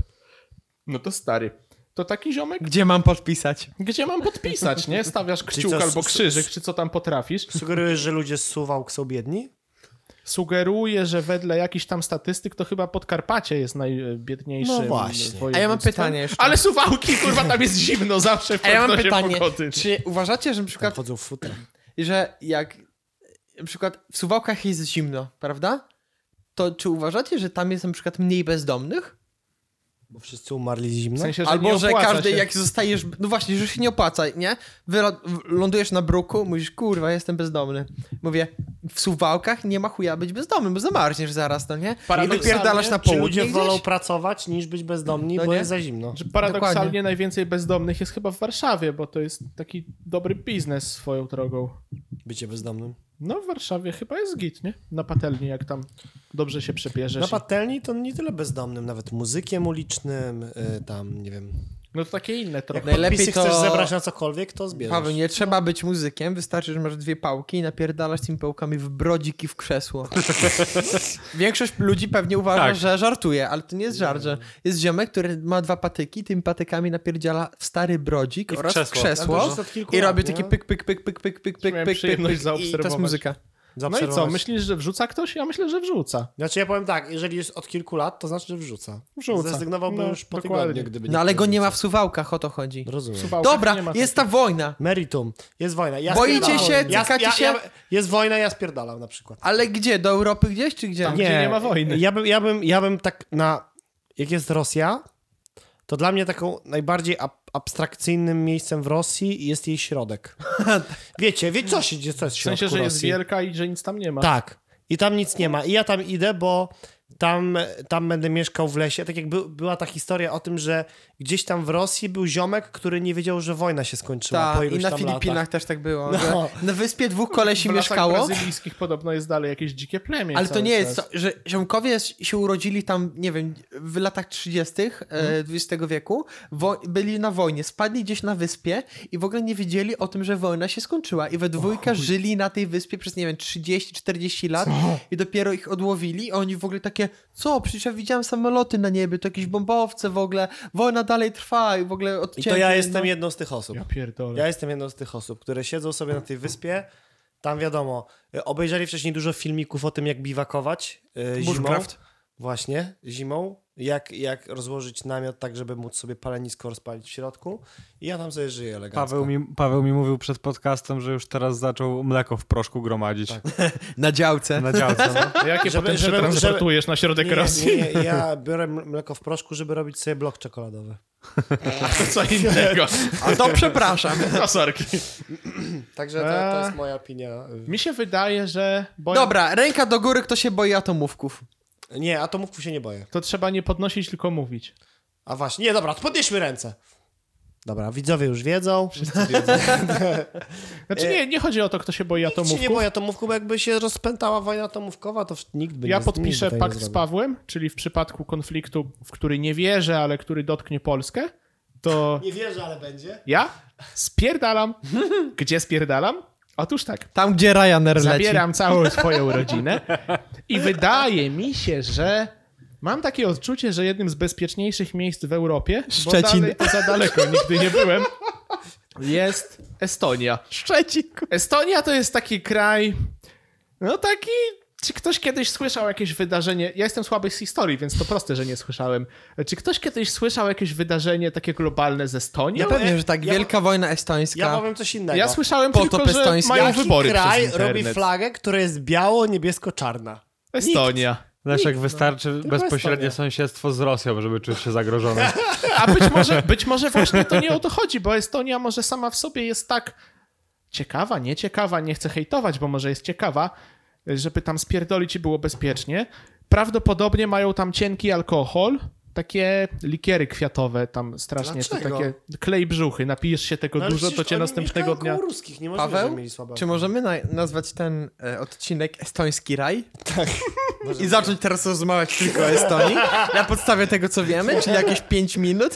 No to stary. To taki ziomek,
Gdzie mam podpisać?
gdzie mam podpisać, nie? Stawiasz kciuk
co, s-
albo
s-
krzyżyk, czy co tam potrafisz.
Sugerujesz, że ludzie z Suwałk są biedni?
Sugeruję, że wedle jakichś tam statystyk to chyba Podkarpacie jest najbiedniejszym
No właśnie.
województwem.
A ja mam pytanie jeszcze.
Ale Suwałki, kurwa, tam jest zimno zawsze w
A ja mam
prognozie
pytanie,
pogody.
czy uważacie, że na
Tam
przykład,
tak chodzą w futra.
że jak na przykład w Suwałkach jest zimno, prawda? To czy uważacie, że tam jest na przykład mniej bezdomnych?
Bo wszyscy umarli zimno.
W sensie, że nie
Albo, że
opłaca
każdy,
się.
jak zostajesz, no właśnie, że się nie opłaca, nie? Wyla- w- lądujesz na bruku, mówisz, kurwa, jestem bezdomny. Mówię, w Suwałkach nie ma chuja być bezdomnym, bo zamarzniesz zaraz, no nie? I
Paradoksalnie,
wypierdalasz na
Czy
południe
ludzie
gdzieś?
wolą pracować, niż być bezdomni,
No
bo
nie?
jest za zimno.
Że paradoksalnie
Dokładnie.
najwięcej bezdomnych jest chyba w Warszawie, bo to jest taki dobry biznes swoją drogą.
Bycie bezdomnym.
No w Warszawie chyba jest git, nie? Na patelni, jak tam dobrze się przebierzesz.
Na patelni to nie tyle bezdomnym, nawet muzykiem ulicznym, y, tam, nie wiem.
No to takie inne
Jak
trochę.
Najlepiej
podpisy
to-
chcesz zebrać na cokolwiek, to zbierzesz.
Paweł, nie trzeba być muzykiem, wystarczy, że masz dwie pałki i napierdalasz tymi pałkami w brodzik i w krzesło. Większość ludzi pewnie uważa,
Tak.
że żartuje, ale to nie jest żart, że jest ziomek, który ma dwa patyki, tymi patykami napierdziala w stary brodzik
I w
oraz w
krzesło.
krzesło
Ale to już od kilku
i
lat, nie?
robi taki pyk, pyk, pyk, pyk, pyk, pyk, pyk,
Miałem
pyk, pyk,
przyjemność
pyk i to jest
zaobserwować.
muzyka.
No i
Zaobserwować.
co, myślisz, że wrzuca ktoś? Ja myślę, że wrzuca.
Znaczy ja powiem tak, jeżeli jest od kilku lat, to znaczy, że wrzuca.
Wrzuca.
Zrezygnowałby
No,
już po
dokładnie.
tygodniu, gdyby
No ale go nie
wrzucał.
ma w suwałkach, o to chodzi.
Rozumiem.
W Suwałkach
Dobra,
nie ma
jest tak. ta wojna,
Meritum. Jest wojna. Ja
Boicie
spierdalam.
się, cykacie
Ja,
się?
ja, jest wojna, ja spierdalam na przykład.
ale gdzie? Do Europy gdzieś czy gdzie?
Tam, gdzie nie ma wojny.
Ja bym, ja bym, ja bym tak na... Jak jest Rosja, to dla mnie taką najbardziej ab abstrakcyjnym miejscem w Rosji jest jej środek. Wiecie, wiecie co się dzieje, co jest w
W
środku
sensie, że jest
Rosji?
Tak,
wielka i że nic tam nie ma.
Tak. I tam nic nie ma. I ja tam idę, bo tam, tam będę mieszkał w lesie. Tak jak by, była ta historia o tym, że gdzieś tam w Rosji był ziomek, który nie wiedział, że wojna się skończyła po
Tak, i
iluś
na
tam
Filipinach
latach.
też tak było.
No.
że Na wyspie dwóch kolesi
w lasach
mieszkało.
brazylijskich podobno jest dalej jakieś dzikie plemię.
Ale to
cały
nie jest,
czas.
to, że ziomkowie s- się urodzili tam, nie wiem, w latach 30. e, XX wieku, wo- byli na wojnie, spadli gdzieś na wyspie i w ogóle nie wiedzieli o tym, że wojna się skończyła. I we dwójka żyli na tej wyspie przez, nie wiem, 30-40 lat i dopiero ich odłowili. A oni w ogóle takie, co, przecież ja widziałem samoloty na niebie, to jakieś bombowce w ogóle, wojna dalej trwa i w ogóle
I
odcięli.
to ja
no.
jestem jedną z tych osób.
Ja pierdolę.
Ja jestem jedną z tych osób, które siedzą sobie na tej wyspie. Tam wiadomo, y, obejrzeli wcześniej dużo filmików o tym, jak biwakować y, zimą.
Bushcraft.
Właśnie, zimą. Jak, jak rozłożyć namiot tak, żeby móc sobie palenisko rozpalić w środku. I ja tam sobie żyję elegancko.
Paweł mi, Paweł mi mówił przed podcastem, że już teraz zaczął mleko w proszku gromadzić
Na działce.
na działce. No.
Jakie
Żeby-
potem
żeby-
przetransportujesz na środek Rosji?
nie, nie, ja biorę m- mleko w proszku, żeby robić sobie blok czekoladowy.
To co innego.
A to przepraszam.
No sorki.
Także to, to
Eee.
jest moja opinia.
Mi się wydaje, że... Bo
Dobra, ręka do góry, kto się boi atomówków.
Nie, atomówków się nie boję.
To trzeba nie podnosić, tylko mówić.
A właśnie, nie, dobra, to podnieśmy ręce. Dobra, widzowie już wiedzą.
Znaczy nie, nie chodzi o to, kto się boi
Nikt E, się
atomówków.
nie boi atomówków, bo jakby się rozpętała wojna atomówkowa, to w- nikt by
Ja
nie
podpiszę
nikt by tego nie
pakt z
zrobił.
Pawłem, czyli w przypadku konfliktu, w który nie wierzę, ale który dotknie Polskę, to
Nie wierzę, ale będzie.
ja spierdalam. Gdzie spierdalam? Otóż tak,
Tam, gdzie Ryanair leci.
zabieram całą swoją rodzinę i wydaje mi się, że mam takie odczucie, że jednym z bezpieczniejszych miejsc w Europie,
Szczecin.
bo dalej to za daleko nigdy nie byłem, jest Estonia.
Szczecin.
Estonia to jest taki kraj, no taki, czy ktoś kiedyś słyszał jakieś wydarzenie, ja jestem słaby z historii, więc to proste, że nie słyszałem. Czy ktoś kiedyś słyszał jakieś wydarzenie takie globalne z Estonią?
Ja pewnie, że tak.
ja-
Wielka wojna estońska.
Ja powiem coś innego.
Ja słyszałem
Potop
tylko, że
estoński.
mają
Jaki
wybory
kraj
przez
robi
internet.
flagę, która jest biało-niebiesko-czarna?
Estonia.
Leszek,
no.
wystarczy
Estonia.
bezpośrednie sąsiedztwo z Rosją, żeby czuć się zagrożony.
A być może, być może właśnie to nie o to chodzi, bo Estonia może sama w sobie jest tak ciekawa, nieciekawa, nie chcę hejtować, bo może jest ciekawa, żeby tam spierdolić i było bezpiecznie. Prawdopodobnie mają tam cienki alkohol, takie likiery kwiatowe tam strasznie, to
Dlaczego?
takie klej brzuchy, napijesz się tego
No, ale
dużo, to
przecież
cię
oni
następnego
mieszkają
dnia...
koło ruskich, nie możemy, żeby
Paweł,
mieli słabe.
czy możemy na- nazwać ten e, odcinek Estoński Raj?
Tak.
I zacząć teraz rozmawiać tylko o Estonii? Na podstawie tego, co wiemy? Czyli jakieś 5 minut?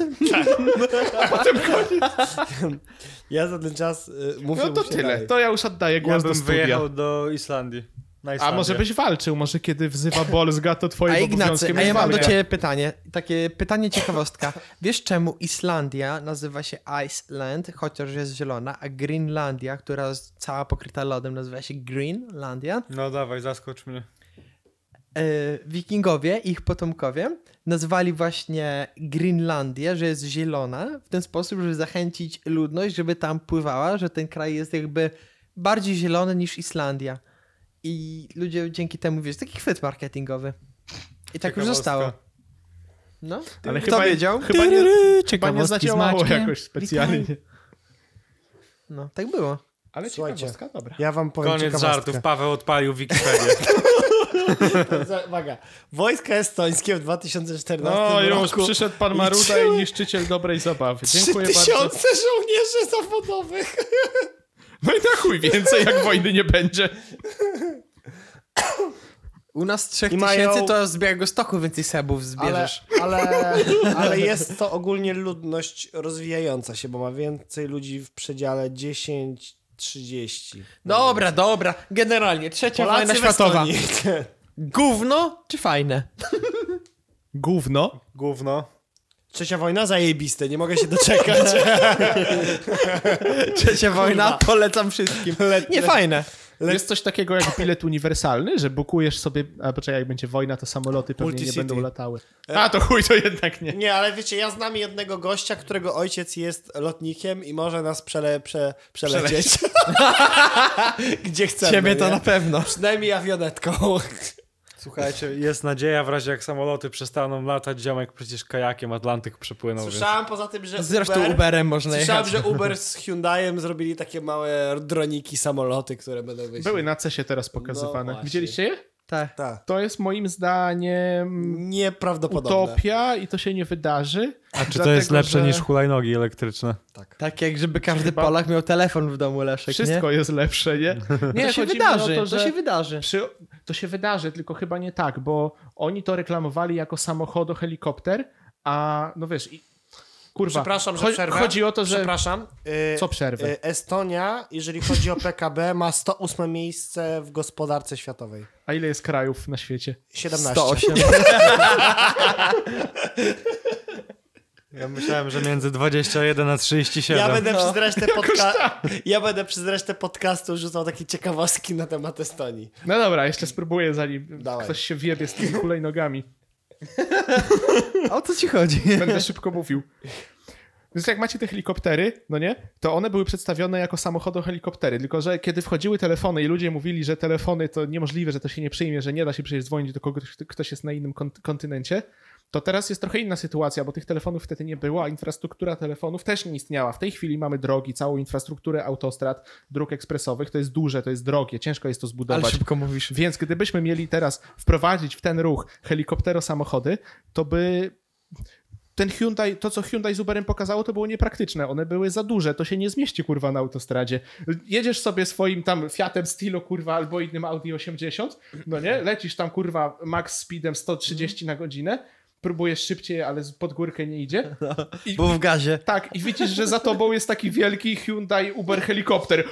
Ja za ten czas y, mówię
No to
mu się
tyle,
dalej.
to ja już oddaję
Ja
głos do
bym
studia.
wyjechał do Islandii. Na
A
Islandię.
może byś walczył, może kiedy wzywa Bolzga, to twoim
A Ignacy,
obowiązkiem
a
jest
ja mam do
walka.
ciebie pytanie. Takie pytanie ciekawostka. Wiesz czemu Islandia nazywa się Iceland, chociaż jest zielona, a Greenlandia, która jest cała pokryta lodem, nazywa się Greenlandia?
No dawaj, zaskocz mnie.
e, wikingowie, ich potomkowie, nazwali właśnie Greenlandię, że jest zielona, w ten sposób, żeby zachęcić ludność, żeby tam pływała, że ten kraj jest jakby bardziej zielony niż Islandia. I ludzie dzięki temu, wiesz, taki chwyt marketingowy. I tak już
Ciekawostka.
zostało. No,
Ale
kto
chyba-
wiedział?
chyba nie- Chyba nie
Ciekawostki z
zadziałało
Maćkiem.
jakoś specjalnie.
No, tak było.
Ale
Słuchajcie.
ciekawostka, dobra.
Ja wam powiem
Koniec
ciekawostkę.
żartów, Paweł odpalił Wikipedię.
Za- Uwaga. Wojska estońskie w 2014
No
roku.
już przyszedł pan Maruda i niszczyciel dobrej zabawy. Dziękuję bardzo.
3000 żołnierzy zawodowych.
No i na chuj więcej, jak wojny nie będzie.
U nas trzech
I
tysięcy
mają-
to z Białego Stoku więcej sebów
Ale,
zbierzesz.
ale, ale jest to ogólnie ludność rozwijająca się, bo ma więcej ludzi w przedziale 10-30.
No,
Dobra, dobra. Generalnie, trzecia
Polacy
wojna
w
światowa.
Estonii.
Gówno czy fajne?
Gówno.
Gówno.
Trzecia wojna zajebiste, nie mogę się doczekać.
Trzecia wojna, polecam wszystkim. Nie, fajne.
Jest coś takiego jak bilet uniwersalny, że bukujesz sobie... A poczekaj, jak będzie wojna, to samoloty pewnie
Multicity.
nie będą latały. A to chuj, to jednak nie.
Nie, ale wiecie, ja znam jednego gościa, którego ojciec jest lotnikiem i może nas przele, prze, przelecieć. Gdzie chcemy.
Ciebie to
nie?
na pewno.
Przynajmniej awionetką.
Słuchajcie, jest nadzieja w razie jak samoloty przestaną latać, ziomek przecież kajakiem Atlantyk przepłynął. Więc...
Słyszałem poza tym, że
Zresztą
Uber,
Uberem można
Słyszałem,
jechać.
że Uber z Hyundaiem zrobili takie małe droniki, samoloty, które będą wyjść.
Były na cesie teraz
No
pokazywane.
właśnie.
Widzieliście je?
Tak.
Tak.
To jest moim zdaniem
Nieprawdopodobne.
utopia i to się nie wydarzy.
A czy to
dlatego,
jest lepsze
że
niż hulajnogi elektryczne?
Tak jak żeby każdy
Chyba-
Polak miał telefon w domu, Leszek,
Wszystko jest lepsze, nie?
nie? Tak to
Nie,
się
chodzi mi
wydarzy,
o
to,
to, że
się wydarzy.
Przy... To się wydarzy, tylko chyba nie tak, bo oni to reklamowali jako samochodo helikopter, a no wiesz, i... kurwa.
Przepraszam, że
cho-
przerwę.
Chodzi o to, że
Przepraszam. Y,
Co przerwę?
E-
y, Estonia, jeżeli chodzi o PKB, ma 108 miejsce w gospodarce światowej.
A ile jest krajów na świecie?
17.
108.
Ja myślałem, że między 21 a 37.
Ja będę,
No.
przez resztę podca-
tak.
ja będę przez resztę podcastu rzucał takie ciekawostki na temat Estonii.
No dobra, jeszcze spróbuję, zanim
Dawaj.
ktoś się wiebie z tymi hulajnogami.
O co ci chodzi?
Będę szybko mówił. Więc jak macie te helikoptery, no nie, to one były przedstawione jako samochodo helikoptery, tylko że kiedy wchodziły telefony i ludzie mówili, że telefony to niemożliwe, że to się nie przyjmie, że nie da się przecież dzwonić do kogoś, kto- ktoś jest na innym kont- kontynencie, to teraz jest trochę inna sytuacja, bo tych telefonów wtedy nie było, a infrastruktura telefonów też nie istniała. W tej chwili mamy drogi, całą infrastrukturę autostrad, dróg ekspresowych, to jest duże, to jest drogie, ciężko jest to
Ale
zbudować.
szybko mówisz.
Więc gdybyśmy mieli teraz wprowadzić w ten ruch helikoptero-samochody, to by ten Hyundai, to co Hyundai z Uberem pokazało, to było niepraktyczne. One były za duże, to się nie zmieści kurwa na autostradzie. Jedziesz sobie swoim tam Fiatem Stilo kurwa albo innym Audi 80, no nie? Lecisz tam kurwa max speedem 130 na godzinę, próbujesz szybciej, ale z- pod górkę nie idzie. I,
Bo w gazie.
tak, i widzisz, że za tobą jest taki wielki Hyundai Uber helikopter.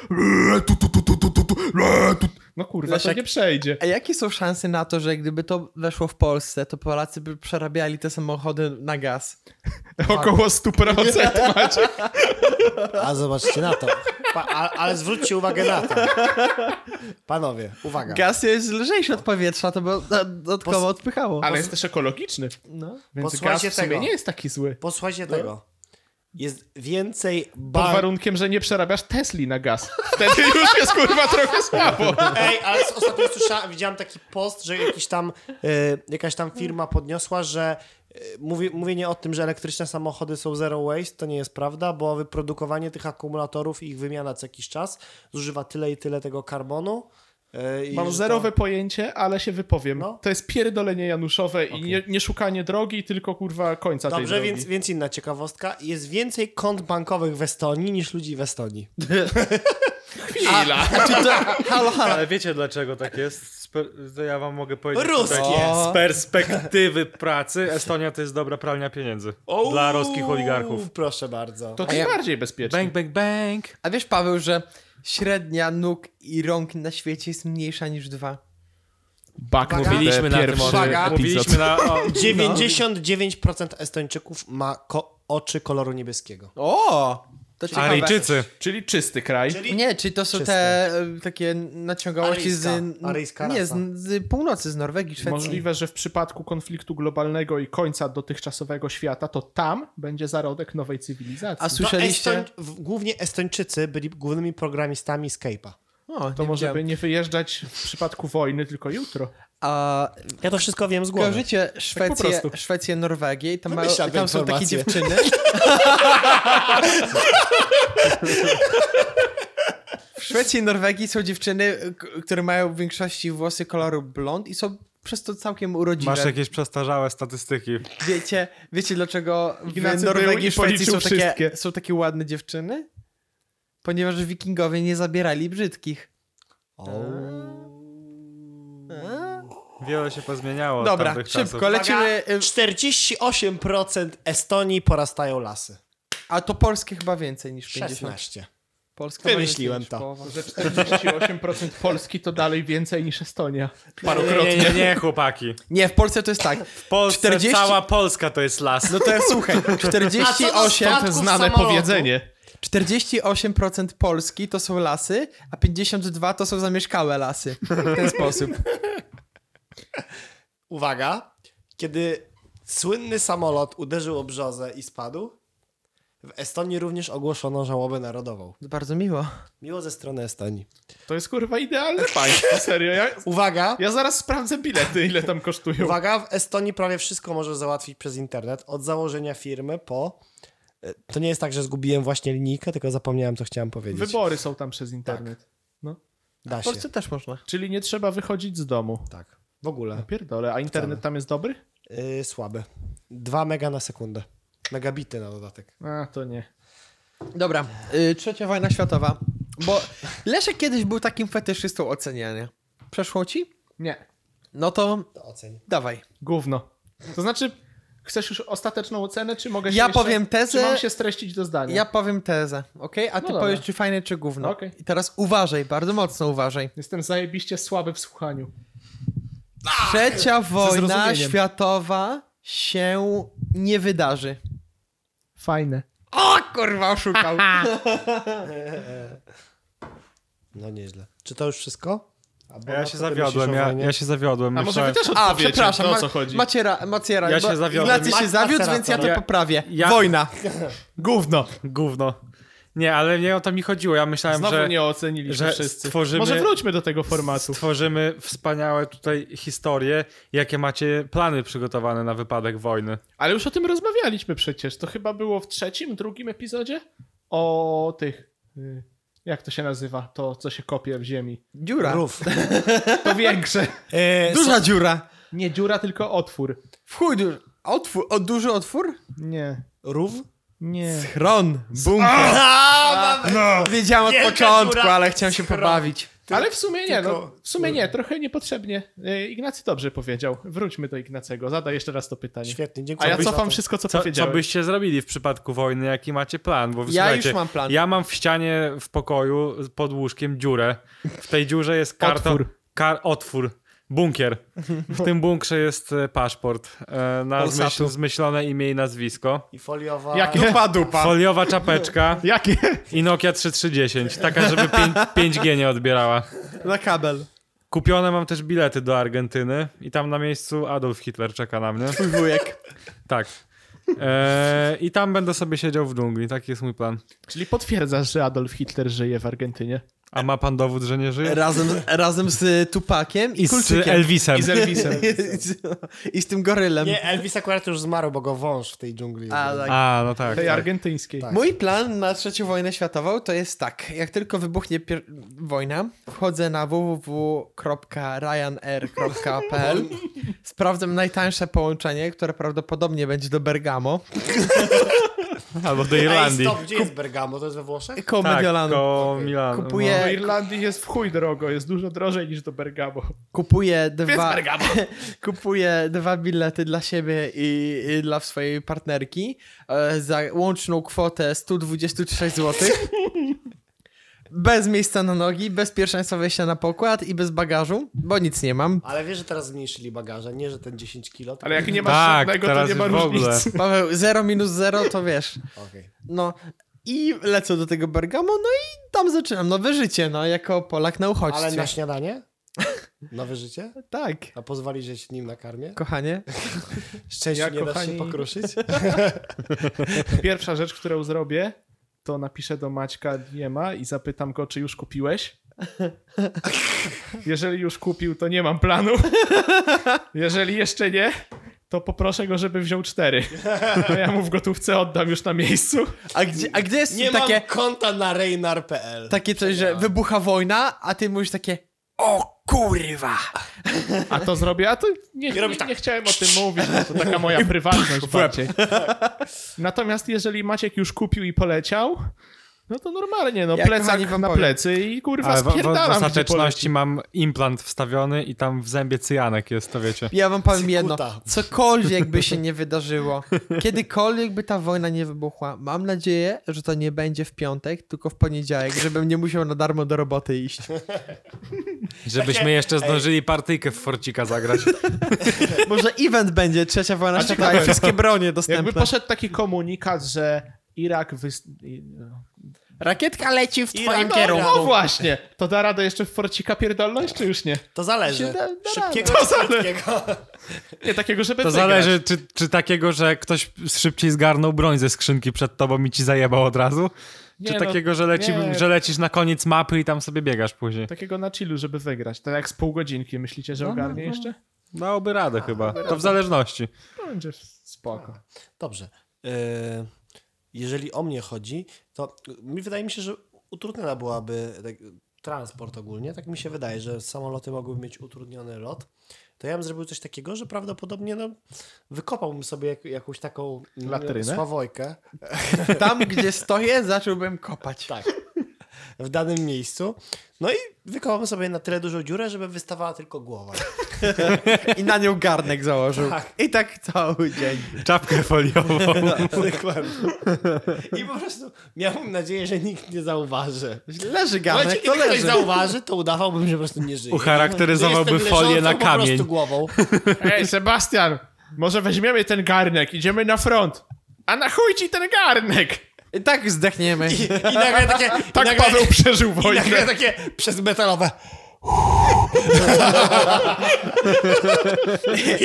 No kurwa, to
Leszek,
nie przejdzie.
A jakie są szanse na to, że gdyby to weszło w Polsce, to Polacy by przerabiali te samochody na gaz?
Około 100% macie.
A zobaczcie na to. Pa- a, ale zwróćcie uwagę na to. Panowie, uwaga.
Gaz jest lżejszy od powietrza, to by do- dodatkowo odpychało.
Ale jest też ekologiczny,
No.
więc gaz
Posłuchajcie
w sumie
tego.
nie jest taki zły.
Posłuchajcie tego. Jest więcej
Pod
bar...
warunkiem, że nie przerabiasz Tesli na gaz. Wtedy już jest kurwa trochę słabo.
Ej, ale ostatnio słyszałem, widziałem taki post, że jakiś tam, y, jakaś tam firma podniosła, że y, mówi, mówienie o tym, że elektryczne samochody są zero waste, to nie jest prawda, bo wyprodukowanie tych akumulatorów i ich wymiana co jakiś czas zużywa tyle i tyle tego karbonu. y, i
Mam
że to-
zerowe pojęcie, ale się wypowiem.
No.
To jest pierdolenie Januszowe i nie, nie szukanie drogi, tylko kurwa końca
Dobrze,
tej drogi.
więc, więc inna ciekawostka. Jest więcej kont bankowych w Estonii niż ludzi w Estonii.
Chwila.
Czy Znaczy to, halo, halo.
Ale wiecie dlaczego tak jest? Spe... To ja wam mogę powiedzieć.
Ruskie!
tutaj.
O.
Z perspektywy pracy Estonia to jest dobra pralnia pieniędzy. Dla ruskich oligarchów.
Proszę bardzo.
To
A
tym
ja-
bardziej bezpieczne.
Bang, bang, bang!
A wiesz, Paweł, że średnia nóg i rąk na świecie jest mniejsza niż dwa.
Bak
Uwaga.
mówiliśmy na
tym
pierwszy
Uwaga.
epizod.
Mówiliśmy na... O,
No.
99% Estończyków ma ko- oczy koloru niebieskiego.
No.
O! To ciekawe.
Aryjczycy.
Czyli czysty kraj.
Czyli
Nie, czy to są
Czyste.
te e, takie naciągałości z...
Aryjska, aryjska
nie,
rasa.
z, z północy, z Norwegii, Szwecji.
Możliwe, że w przypadku konfliktu globalnego i końca dotychczasowego świata, to tam będzie zarodek nowej cywilizacji.
A słyszeliście...
No, Estoń... w- Głównie Estończycy byli głównymi programistami Skype'a.
O,
To
nie
może
wiedziałem.
by nie wyjeżdżać w przypadku wojny, tylko jutro.
A
Ja to wszystko wiem z głowy.
kojarzycie Szwecję,
prostu.
Szwecję, Norwegię i
No
tam, ma,
Wymyślam
i tam są takie
informacje.
dziewczyny. w Szwecji i Norwegii są dziewczyny, k- które mają w większości włosy koloru blond i są przez to całkiem urodziwe.
Masz jakieś przestarzałe statystyki.
Wiecie, wiecie dlaczego w
Ignacy był
Norwegii
i
i Szwecji są
policzył
takie,
wszystkie.
są takie ładne dziewczyny? Ponieważ wikingowie nie zabierali brzydkich.
O.
Wiele się pozmieniało od
Dobra,
tamtych
szybko,
czasów.
lecimy.
Uwaga, 48% Estonii porastają lasy.
A to polskie chyba więcej niż 50.
16.
Polska ma
Wymyśliłem
więcej niż
to.
połowa.
Że 48% Polski to dalej więcej niż Estonia.
Nie, nie, nie, nie, chłopaki.
Nie, w Polsce to jest tak.
W Polsce
40
cała Polska to jest las.
No to ja słuchaj,
A co
48,
do
To
Statków
znane
samolotu.
No, powiedzenie.
48% Polski to są lasy, a 52 to są zamieszkałe lasy. W ten sposób.
Uwaga, kiedy słynny samolot uderzył o brzozę i spadł, w Estonii również ogłoszono żałobę narodową.
To bardzo miło.
Miło ze strony Estonii.
To jest kurwa idealne państwo, serio. Ja,
Uwaga,
ja zaraz sprawdzę bilety, ile tam kosztują.
uwaga, w Estonii prawie wszystko może załatwić przez internet. Od założenia firmy po... E, To nie jest tak, że zgubiłem właśnie linijkę, tylko zapomniałem, co chciałem powiedzieć.
Wybory są tam przez internet.
Da
W
się.
Polsce też można.
Czyli nie trzeba wychodzić z domu.
Tak. W ogóle.
Pierdolę, a internet
Tak.
tam jest dobry?
Yy, słabe. 2 mega na sekundę. Megabity na dodatek.
A, to nie.
Dobra, y, trzecia wojna światowa. Bo Leszek kiedyś był takim fetyszystą oceniania. Przeszło ci?
Nie.
No to
To oceń.
dawaj.
Gówno. To znaczy, chcesz już ostateczną ocenę, czy mogę się
Ja
jeszcze,
powiem tezę-
Czy mam się streścić do zdania?
Ja powiem tezę, okej? A
No
ty
dobra.
powiesz, czy fajne, czy gówno.
Okej.
I teraz uważaj, bardzo mocno uważaj.
Jestem zajebiście słaby w słuchaniu.
Trzecia wojna
zrozumieniem.
światowa się nie wydarzy.
Fajne.
O kurwa, oszukał.
No nieźle. Czy to już wszystko? Albo
Ja
na co ty
się
No
zawiodłem,
myślisz o
ja,
wojnie?
ja się zawiodłem.
A może wy
myślałem-
też
A,
odpowiecie,
przepraszam,
to,
ma,
o co chodzi?
macie, ra, macie ra,
Ja
bo
się zawiodłem.
Ignacy się
Ma-
zawiódł,
macerator.
więc ja to
Ja-
poprawię.
ja-
Wojna.
Gówno.
Gówno. Nie, ale nie o to mi chodziło. Ja myślałem,
Znowu
że,
nie oceniliśmy
że
wszyscy.
stworzymy-
Może wróćmy do tego formatu.
stworzymy wspaniałe tutaj historie, jakie macie plany przygotowane na wypadek wojny.
Ale już o tym rozmawialiśmy przecież. To chyba było w trzecim, drugim epizodzie? O tych... y, Jak to się nazywa? To, co się kopie w ziemi.
Dziura.
Rów.
To większe.
E,
Duża dziura.
Nie dziura, tylko otwór.
W chuj duży. Otwór, o, duży otwór?
Nie.
Rów?
Nie.
Chron. Bunker.
No.
Wiedziałem od
Wielka
początku,
dziura.
ale chciałem się
Schron.
pobawić.
Ale w sumie nie, no,
tylko-
w sumie nie, trochę niepotrzebnie. Y, Ignacy dobrze powiedział. Wróćmy do Ignacego, zadaj jeszcze raz to pytanie.
Świetnie,
A
dziękuję.
ja
za
cofam
to.
wszystko, co,
Co, co
powiedziałem.
byście zrobili w przypadku wojny? Jaki macie plan? Bo
Ja
słuchajcie,
już mam plan.
Ja mam w ścianie w pokoju pod łóżkiem dziurę. W tej dziurze jest karton.
Otwór.
Kar, otwór. Bunkier. W tym bunkrze jest e, paszport. E, na
Polsatu.
zmyśl, zmyślone imię i nazwisko.
I foliowa...
Jakie?
Dupa, dupa.
Foliowa czapeczka
Jakie?
i Nokia 3310. Taka, żeby pię- 5G nie odbierała.
Na kabel.
Kupione mam też bilety do Argentyny i tam na miejscu Adolf Hitler czeka na mnie.
Twój wujek.
Tak. E, I tam będę sobie siedział w dżungli. Taki jest mój plan.
Czyli potwierdzasz, że Adolf Hitler żyje w Argentynie.
A ma pan dowód, że nie żyje?
Razem, z- razem z Tupakiem i,
I z
Kulczykiem.
Elvisem.
I z Elvisem.
I z- I z tym gorylem.
Nie, Elvis akurat już zmarł, bo go wąż w tej dżungli.
A, tak.
A, no tak.
Tej
tak.
argentyńskiej.
Tak.
Mój plan na trzecią wojnę światową to jest tak. Jak tylko wybuchnie pier- wojna, wchodzę na www.ryanair.pl sprawdzam najtańsze połączenie, które prawdopodobnie będzie do Bergamo.
Albo do
Ej,
Irlandii.
stop, gdzie jest Bergamo? To jest we Włoszech?
Koło
Tak,
Mediolanu.
koło Milanu. no.
Kupuję-
Do Irlandii jest w chuj drogo, jest dużo drożej niż do Bergamo.
Kupuję dwa, kupuję dwa bilety dla siebie i, i dla swojej partnerki e, za łączną kwotę 126 zł. Bez miejsca na nogi, bez pierwszeństwa wejścia na pokład i bez bagażu, bo nic nie mam.
Ale wiesz, że teraz zmniejszyli bagaże, nie, że ten 10 kilo. tylko-
Ale jak nie masz
Tak,
żadnego, to
teraz
nie ma
w ogóle.
różnicy.
Paweł, 0 minus 0 to wiesz.
Okej.
No i lecę do tego Bergamo, no i tam zaczynam nowe życie, no jako Polak na uchodźstwie.
Ale na śniadanie? Nowe życie?
Tak,
A pozwoli, że się nim nakarmię?
kochanie.
Szczęściu
Ja,
nie da się
kochani-
pokruszyć?
Pierwsza rzecz, którą zrobię, to napiszę do Maćka Diema i zapytam go, czy już kupiłeś. Jeżeli już kupił, to nie mam planu. Jeżeli jeszcze nie, to poproszę go, żeby wziął cztery. To ja mu w gotówce oddam już na miejscu.
A gdzie, a gdzie jest
Nie
takie...
mam konta na rejnar.pl.
Tak,
Takie coś, że wybucha wojna, a ty mówisz takie O kurwa!
A to zrobię, a to nie,
I
nie,
robisz tak.
nie chciałem o tym mówić, bo to taka moja prywatność bardziej. Natomiast jeżeli Maciek już kupił i poleciał, no to normalnie, no
Ja, kochani,
plecak
wam
na
powiem.
plecy i kurwa
Ale w, w, w
spierdalam, gdzie poleci.
ostateczności mam implant wstawiony i tam w zębie cyjanek jest, to wiecie.
Ja wam powiem jedno,
Cykuta.
cokolwiek by się nie wydarzyło, kiedykolwiek by ta wojna nie wybuchła, mam nadzieję, że to nie będzie w piątek, tylko w poniedziałek, żebym nie musiał na darmo do roboty iść.
Żebyśmy jeszcze zdążyli partyjkę w Forcika zagrać.
Może event będzie, trzecia wojna światowa i wszystkie bronie
Jakby
dostępne.
poszedł taki komunikat, że Irak wys... i- no.
Rakietka leci w twoim
Irak-
kierunku.
No właśnie, to da radę jeszcze w Forcika pierdolność, czy już nie?
To zależy.
da- da
Szybkiego
radę.
czy krótkiego?
Nie takiego, żeby
To
wygrać.
zależy, czy, czy takiego, że ktoś szybciej zgarnął broń ze skrzynki przed tobą i ci zajebał od razu?
Nie,
Czy
no,
takiego, że, leci,
nie.
że lecisz na koniec mapy i tam sobie biegasz później?
Takiego na chillu, żeby wygrać. Tak jak z pół godzinki, myślicie,
No,
że ogarnie jeszcze?
Dałoby radę chyba. To w zależności.
Będzie spoko.
Dobrze. Y, Jeżeli o mnie chodzi, to mi wydaje mi się, że utrudniona byłaby tak, transport ogólnie, tak mi się wydaje, że samoloty mogłyby mieć utrudniony lot, to ja bym zrobił coś takiego, że prawdopodobnie no, wykopałbym sobie jak, jakąś taką mm,
Latrynę?
sławojkę
Tam, gdzie stoję, zacząłbym kopać.
tak, w danym miejscu. No i wykopałbym sobie na tyle dużą dziurę, żeby wystawała tylko głowa.
I na nią garnek założył.
Tak.
I tak cały dzień.
Czapkę foliową.
Dokładnie. I po prostu miałbym nadzieję, że nikt nie zauważy.
Leży
Ale
garnek,
kiedy
to
ktoś
leży.
zauważy, to udawałbym, że po prostu nie żyje.
Ucharakteryzowałby
Jestem leżącą
folię na
po
kamień.
prostu głową.
Ej, Sebastian, może weźmiemy ten garnek, idziemy na front. A na chuj ci ten garnek!
I tak zdechniemy.
I, i nagle takie...
Tak
i nagle,
Paweł przeżył
I nagle
wojnę.
takie przez metalowe...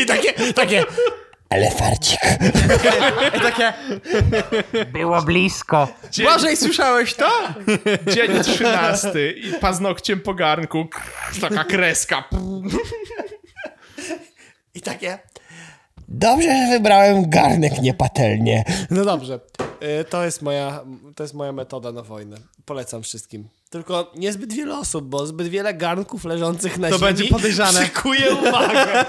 I takie, takie...
I takie... Było blisko. Błażej, słyszałeś to?
Dzień 13 i paznokciem po garnku. Krrr, Taka kreska.
I takie... Dobrze, że wybrałem garnek, nie patelnię. No dobrze. Y, To jest, moja, to jest moja metoda na wojnę. Polecam wszystkim. Tylko niezbyt wiele osób, bo zbyt wiele garnków leżących na
To
ziemi
będzie podejrzane.
Szykuje uwagę.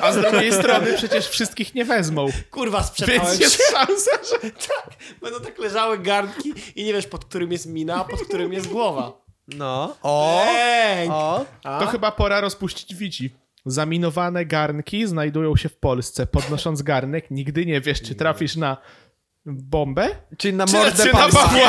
A z drugiej strony przecież wszystkich nie wezmą.
Kurwa, sprzedałem
Więc
się.
jest szansa, że...
Tak, będą tak leżały garnki i nie wiesz, pod którym jest mina, a pod którym jest głowa.
No. O!
Ej!
O!
To chyba pora rozpuścić widzi. Zaminowane garnki znajdują się w Polsce. Podnosząc garnek, nigdy nie wiesz, czy trafisz na bombę,
Czyli na
czy,
mordę
czy na
palca.
Pawła.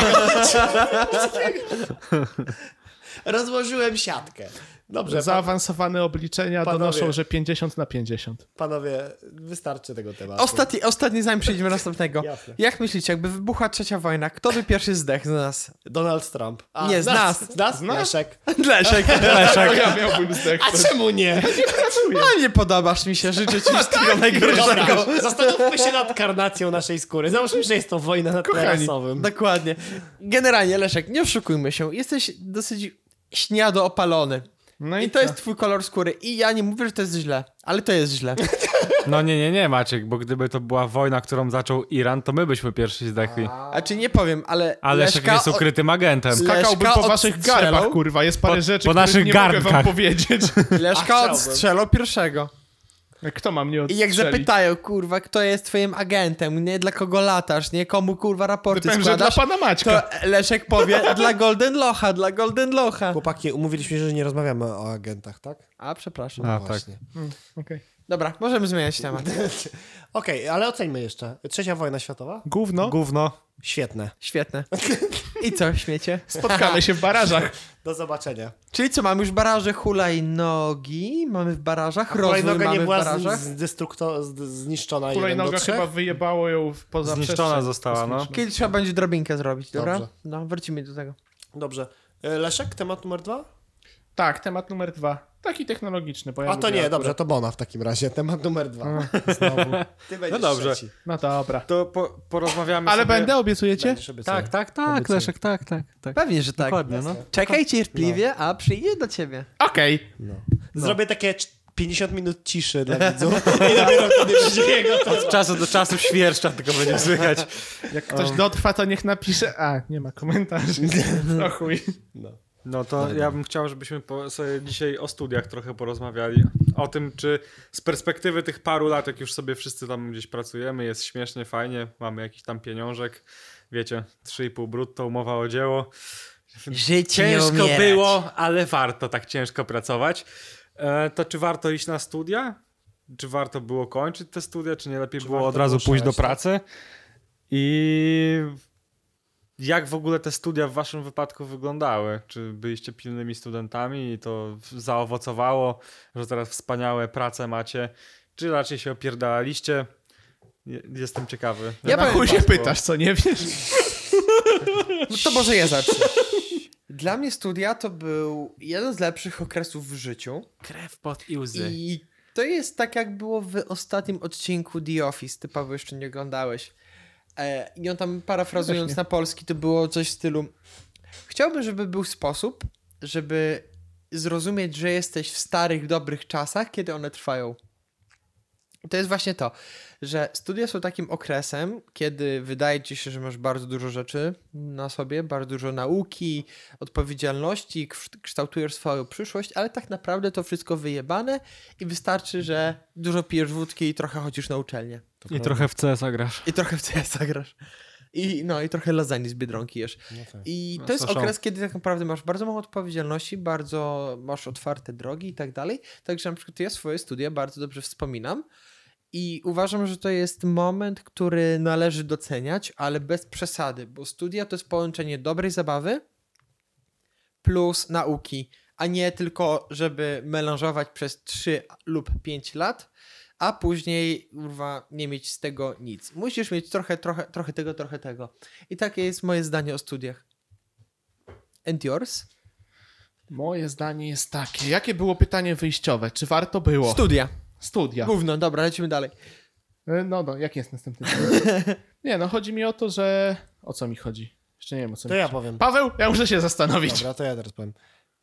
Rozłożyłem siatkę. Dobrze, pa
Zaawansowane obliczenia
Panowie.
donoszą, że 50 na 50.
panowie, wystarczy tego tematu.
Ostatni, ostatni zanim przejdziemy do następnego.
Jasne.
Jak myślicie, jakby wybuchła trzecia wojna, kto by pierwszy zdechł z nas?
Donald Trump. A,
Nie, z nas.
Z nas? Leszek.
Leszek.
Tak. Ja miałbym
A
zdechnąć.
czemu nie?
A nie podobasz mi się, życzę ci wszystkiego
Dobra,
najgorszego.
zastanówmy się nad karnacją naszej skóry. Załóżmy, że jest to wojna nad
Kochani,
rasowym.
Dokładnie. Generalnie, Leszek, nie oszukujmy się, jesteś dosyć śniado opalony.
No
I to jest twój kolor skóry. I ja nie mówię, że to jest źle, ale to jest źle.
No nie, nie, nie, Maciek, bo gdyby to była wojna, którą zaczął Iran, to my byśmy pierwsi zdechli.
A czy Znaczy, nie powiem, ale.
A Leszek
Leszka
jest ukrytym agentem.
Leszka
Skakałbym po
odstrzelał-
waszych garbach, kurwa. Jest parę
Po-
rzeczy,
po
których
naszych
nie mogę wam
garnkach.
powiedzieć.
Od,
A,
Leszka
chciałbym.
odstrzelał pierwszego.
Kto ma mnie
I
odstrzelić?
jak zapytają, kurwa, kto jest twoim agentem, nie dla kogo latasz, nie komu kurwa raporty
Powiem, że dla
składasz,
pana Maćka.
to Leszek powie dla Golden Locha, dla Golden Locha.
Chłopaki, umówiliśmy się, że nie rozmawiamy o agentach, tak?
A, przepraszam.
A, tak.
Właśnie.
Okej.
Dobra, możemy zmieniać temat.
Okej, ale oceńmy jeszcze. Trzecia wojna światowa?
Gówno.
Gówno.
Świetne.
Świetne. I co, śmiecie?
Spotkamy się w barażach.
Do zobaczenia.
Czyli co, mamy już baraże hulajnogi, mamy w barażach, rozwój
Kolejnoga
mamy
nie
w
była
barażach.
z- zdestrukto- z- zniszczona jeden do
Kolejnoga
trzech.
chyba wyjebało ją w- poza
Zniszczona
przestrzeń
została, no.
kosmiczną.
Kiedyś trzeba będzie drobinkę zrobić, dobra?
Dobrze.
No, wrócimy do tego.
Dobrze. E, Leszek, temat numer dwa?
Tak, temat numer dwa. Taki technologiczny, bo ja
A to
lubię
nie,
akurat.
dobrze, to Bona w takim razie. Temat numer dwa. Znowu. Ty będziesz
No dobrze.
trzeci.
No dobra.
To po, porozmawiamy
Ale
sobie...
będę, obiecujecie?
Będziesz obiecuję.
Tak, tak, tak,
Obiecuję.
Leszek, tak, tak, tak.
Pewnie, że tak.
Dokładnie, no.
Czekaj cierpliwie, a przyjdzie do ciebie.
Okej.
Zrobię takie cz- 50 minut ciszy dla widzów i dopiero wtedy będzie jego to.
Od czasu do czasu świerszcza tylko będzie słychać.
Jak ktoś dotrwa, to niech napisze. A, nie ma komentarzy. No chuj.
No.
No to ja bym chciał, żebyśmy po, sobie dzisiaj o studiach trochę porozmawiali. O tym, czy z perspektywy tych paru lat, jak już sobie wszyscy tam gdzieś pracujemy, jest śmiesznie, fajnie, mamy jakiś tam pieniążek, wiecie, 3,5 brutto, umowa o dzieło.
Żyć
Ciężko było, ale warto tak ciężko pracować. E, to czy warto iść na studia? Czy warto było kończyć te studia? Czy nie lepiej było
warto
od razu
było
pójść do
szaleć, tak?
pracy? I jak w ogóle te studia w waszym wypadku wyglądały? Czy byliście pilnymi studentami i to zaowocowało, że teraz wspaniałe prace macie? Czy raczej się opierdalaliście? Je- Jestem ciekawy.
Ja
Na
powiem
chuj się
wam, bo-
pytasz, co nie wiesz?
No to może ja zacznę. Dla mnie studia to był jeden z lepszych okresów w życiu.
Krew pod i łzy.
I to jest tak, jak było w ostatnim odcinku The Office. Ty, Paweł, jeszcze nie oglądałeś. E, I on tam, parafrazując na polski, to było coś w stylu chciałbym, żeby był sposób, żeby zrozumieć, że jesteś w starych, dobrych czasach, kiedy one trwają. To jest właśnie to, że studia są takim okresem, kiedy wydaje ci się, że masz bardzo dużo rzeczy na sobie, bardzo dużo nauki, odpowiedzialności, kszt- kształtujesz swoją przyszłość, ale tak naprawdę to wszystko wyjebane i wystarczy, że dużo pijesz wódki i trochę chodzisz na uczelnię.
I trochę w CS grasz.
I trochę w CS grasz. I, no, I trochę lasagne z Biedronki jesz.
tak.
I
No,
to jest
słyszałem.
okres, kiedy tak naprawdę masz bardzo mało odpowiedzialności, bardzo masz otwarte drogi i tak dalej. Także na przykład ja swoje studia bardzo dobrze wspominam i uważam, że to jest moment, który należy doceniać, ale bez przesady, bo studia to jest połączenie dobrej zabawy plus nauki, a nie tylko, żeby melanżować przez 3 lub 5 lat, a później kurwa, nie mieć z tego nic. Musisz mieć trochę, trochę, trochę tego, trochę tego. I takie jest moje zdanie o studiach. And yours?
Moje zdanie jest takie. Jakie było pytanie wyjściowe? Czy warto było?
Studia.
Studia.
Gówno, dobra, lecimy dalej.
Y, No, no, jaki jest następny temat? Nie, no chodzi mi o to, że... O co mi chodzi? Jeszcze nie wiem, o co
To
mi
ja
chodzi.
powiem.
Paweł, ja muszę się zastanowić.
Dobra, to ja teraz powiem.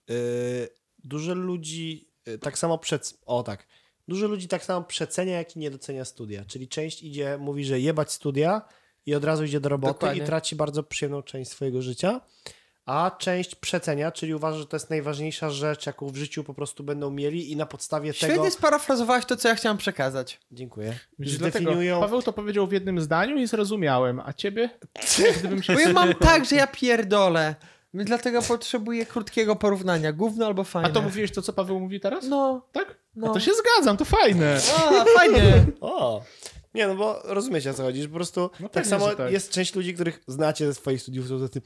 Yy, dużo ludzi yy, tak samo przed... O tak. Dużo ludzi tak samo przecenia, jak i nie docenia studia. Czyli część idzie, mówi, że jebać studia i od razu idzie do roboty
Dokładnie.
i traci bardzo przyjemną część swojego życia. A część przecenia, czyli uważa, że to jest najważniejsza rzecz, jaką w życiu po prostu będą mieli i na podstawie tego...
Świetnie sparafrazowałeś to, co ja chciałem przekazać.
Dziękuję.
Widzisz,
Zdefiniują...
Paweł to powiedział w jednym zdaniu i zrozumiałem, a ciebie? Gdybym się...
Bo ja mam tak, że ja pierdolę. Więc Dlatego potrzebuję krótkiego porównania. Gówno albo
A
fajne.
to mówiłeś to, co Paweł mówi teraz?
No,
Tak?
no.
A to się zgadzam, to fajne.
A, fajnie.
O! Nie, no bo rozumiecie o co chodzi, że po prostu
No
tak
pewnie,
samo
że tak.
jest część ludzi, których znacie ze swoich studiów, są tacy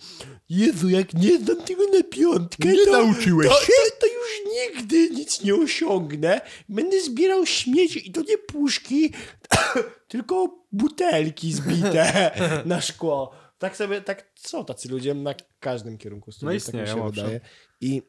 Jezu, jak nie znam tego na piątkę,
Nie
to,
nauczyłeś
to, to, to już nigdy nic nie osiągnę. Będę zbierał śmieci i to nie puszki, tylko butelki zbite na szkło. Tak sobie, tak są tacy ludzie na każdym kierunku studiów,
No istnieją,
tak mi się
owszem.
wydaje. I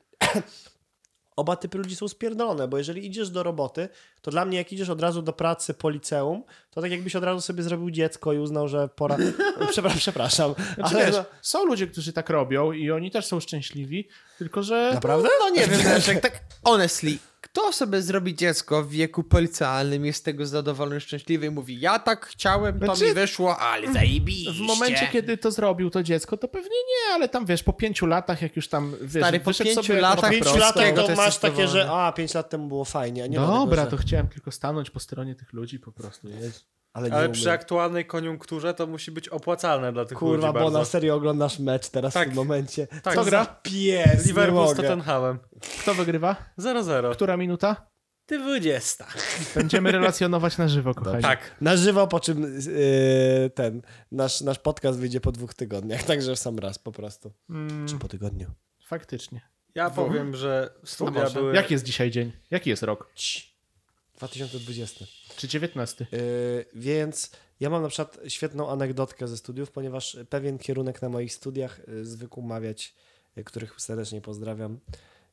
oba typy ludzi są spierdolone, bo jeżeli idziesz do roboty, to dla mnie jak idziesz od razu do pracy po liceum, to tak jakbyś od razu sobie zrobił dziecko i uznał, że pora... Przepraszam, przepraszam.
Znaczy,
ale
wiesz,
no,
są ludzie, którzy tak robią i oni też są szczęśliwi, tylko że...
Naprawdę?
No nie wiem, Leszek, tak honestly. Kto sobie zrobi dziecko w wieku policjalnym, jest z tego zadowolony, szczęśliwy i mówi ja tak chciałem, to
Znaczy,
mi wyszło, ale zajebiście.
W momencie, kiedy to zrobił to dziecko, to pewnie nie, ale tam wiesz, po pięciu latach, jak już tam wiesz,
Stary, po
wyszedł
pięciu
sobie
latach-
po
tak
pięciu
prosto.
latach
Tego to
to
jest
masz takie, że
zdecydowanie.
a, pięć lat temu było fajnie, a nie ma
Dobra,
tego, że...
to chciałem tylko stanąć po stronie tych ludzi po prostu. Jest.
Ale, nie
Ale
umiem.
przy aktualnej koniunkturze to musi być opłacalne dla tych
Kurwa,
ludzi
bo na
bardzo.
serio oglądasz mecz teraz w
Tak.
tym momencie.
Tak.
Co
Kto
gra?
gra?
Pies,
Liverpool z
nie mogę.
Tottenhamem.
Kto wygrywa?
0-0.
Która minuta?
Ty 20.
Będziemy relacjonować na żywo, kochani.
Tak.
Na żywo, po czym yy, ten, nasz, nasz podcast wyjdzie po dwóch tygodniach, także w sam raz po prostu.
Mm,
Czy po tygodniu.
faktycznie.
Ja powiem, że
No
studia
może.
były...
Jaki jest dzisiaj dzień? Jaki jest rok?
Cii. 2020.
Czy 19?
Yy, więc ja mam na przykład świetną anegdotkę ze studiów, ponieważ pewien kierunek na moich studiach yy, zwykł mawiać, yy, których serdecznie pozdrawiam.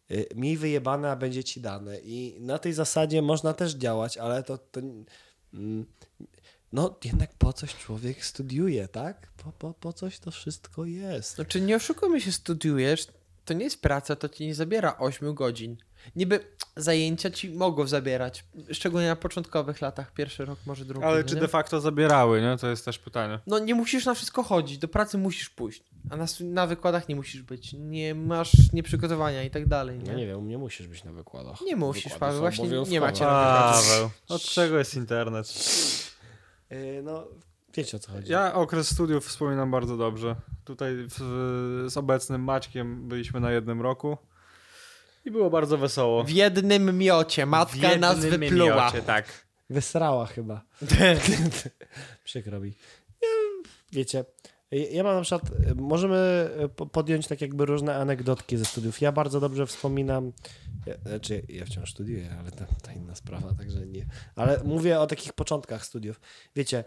Yy, Miej wyjebane, a będzie ci dane. I na tej zasadzie można też działać, ale to. to mm, no, jednak po coś człowiek studiuje, tak? Po, po, po coś to wszystko jest.
Znaczy, nie oszukujmy się, studiujesz, to nie jest praca, to ci nie zabiera 8 godzin. Niby zajęcia ci mogą zabierać, szczególnie na początkowych latach, pierwszy rok, może drugi.
Ale
no
czy
nie?
de facto zabierały, nie? To jest też pytanie.
No nie musisz na wszystko chodzić, do pracy musisz pójść, a na, stu- na wykładach nie musisz być, nie masz nieprzygotowania i tak dalej, nie?
No nie wiem, nie musisz być na wykładach.
Nie musisz,
Wykłady
Paweł,
są
właśnie nie
obowiązkowe.
macie
Paweł, od czego jest internet?
Yy, No, wiecie o co chodzi.
Ja okres studiów wspominam bardzo dobrze. Tutaj w, z obecnym Maćkiem byliśmy na jednym roku i było bardzo wesoło.
W jednym miocie, matka nas
jednym
wypluła.
miocie, tak.
Wysrała chyba. Przykro mi. Nie, Wiecie, ja- ja mam na przykład, y, możemy y, po- podjąć tak jakby różne anegdotki ze studiów. Ja bardzo dobrze wspominam, ja, znaczy ja wciąż studiuję, ale to, to inna sprawa, także nie. Ale mówię o takich początkach studiów. Wiecie,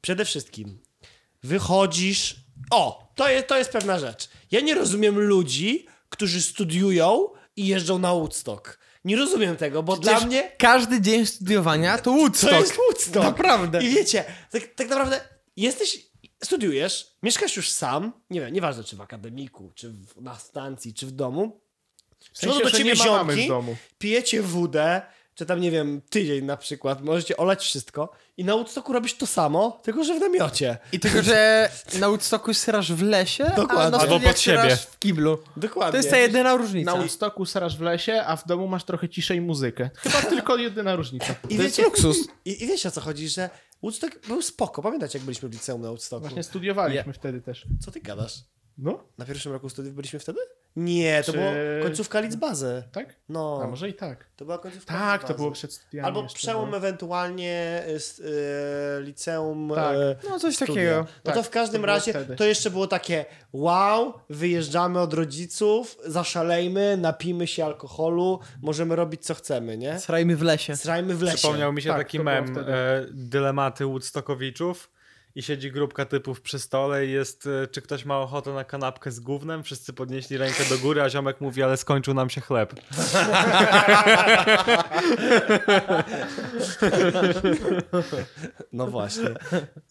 przede wszystkim wychodzisz. O, to jest, to jest pewna rzecz. Ja nie rozumiem ludzi, którzy studiują i jeżdżą na Woodstock. Nie rozumiem tego, bo dla
Przecież
mnie
Każdy dzień studiowania to
to
Woodstock.
jest Woodstock.
Naprawdę.
I wiecie, tak, tak naprawdę jesteś, studiujesz, mieszkasz już sam, nie wiem, nieważne czy w akademiku, czy w, na stacji, czy w domu,
W sensie,
do
że
ciebie
nie ma No mamy
ziomki?
w domu.
pijecie wódę, czy tam, nie wiem, tydzień na przykład, możecie olać wszystko i na Woodstocku robisz to samo, tylko że w namiocie.
I tylko, że na Woodstocku syrasz w lesie,
Dokładnie.
a na
Albo
studiach
pod siebie.
syrasz w kiblu.
Dokładnie.
To jest ta jedyna różnica.
Na Woodstocku sarasz w lesie, a w domu masz trochę ciszej muzykę. Chyba tylko jedyna różnica.
I
To jest luksus.
I, I wiecie o co chodzi, że Woodstock był spoko. Pamiętacie, jak byliśmy w liceum na Woodstocku?
Właśnie studiowaliśmy wtedy też.
Co ty gadasz?
No,
Na pierwszym roku studiów byliśmy wtedy? Nie, to
Czy-
była końcówka Litzbazy.
tak?
No,
A może i tak.
to była końcówka
Tak, to
Litzbazy.
było przed studiami.
Albo
jeszcze,
przełom
no.
ewentualnie y, s- y, liceum.
Tak.
y,
No coś
studia.
takiego.
No to
Tak,
w każdym
to było
razie
wtedy.
to jeszcze było takie wow, wyjeżdżamy od rodziców, zaszalejmy, napijmy się alkoholu, możemy robić co chcemy, nie?
Srajmy w lesie.
Srajmy w lesie.
Przypomniał mi się
Tak,
taki
to było
mem
wtedy.
e, dylematy Woodstockowiczów i siedzi grupka typów przy stole i jest, e, czy ktoś ma ochotę na kanapkę z gównem? Wszyscy podnieśli rękę do góry, a ziomek mówi, ale skończył nam się chleb.
No właśnie.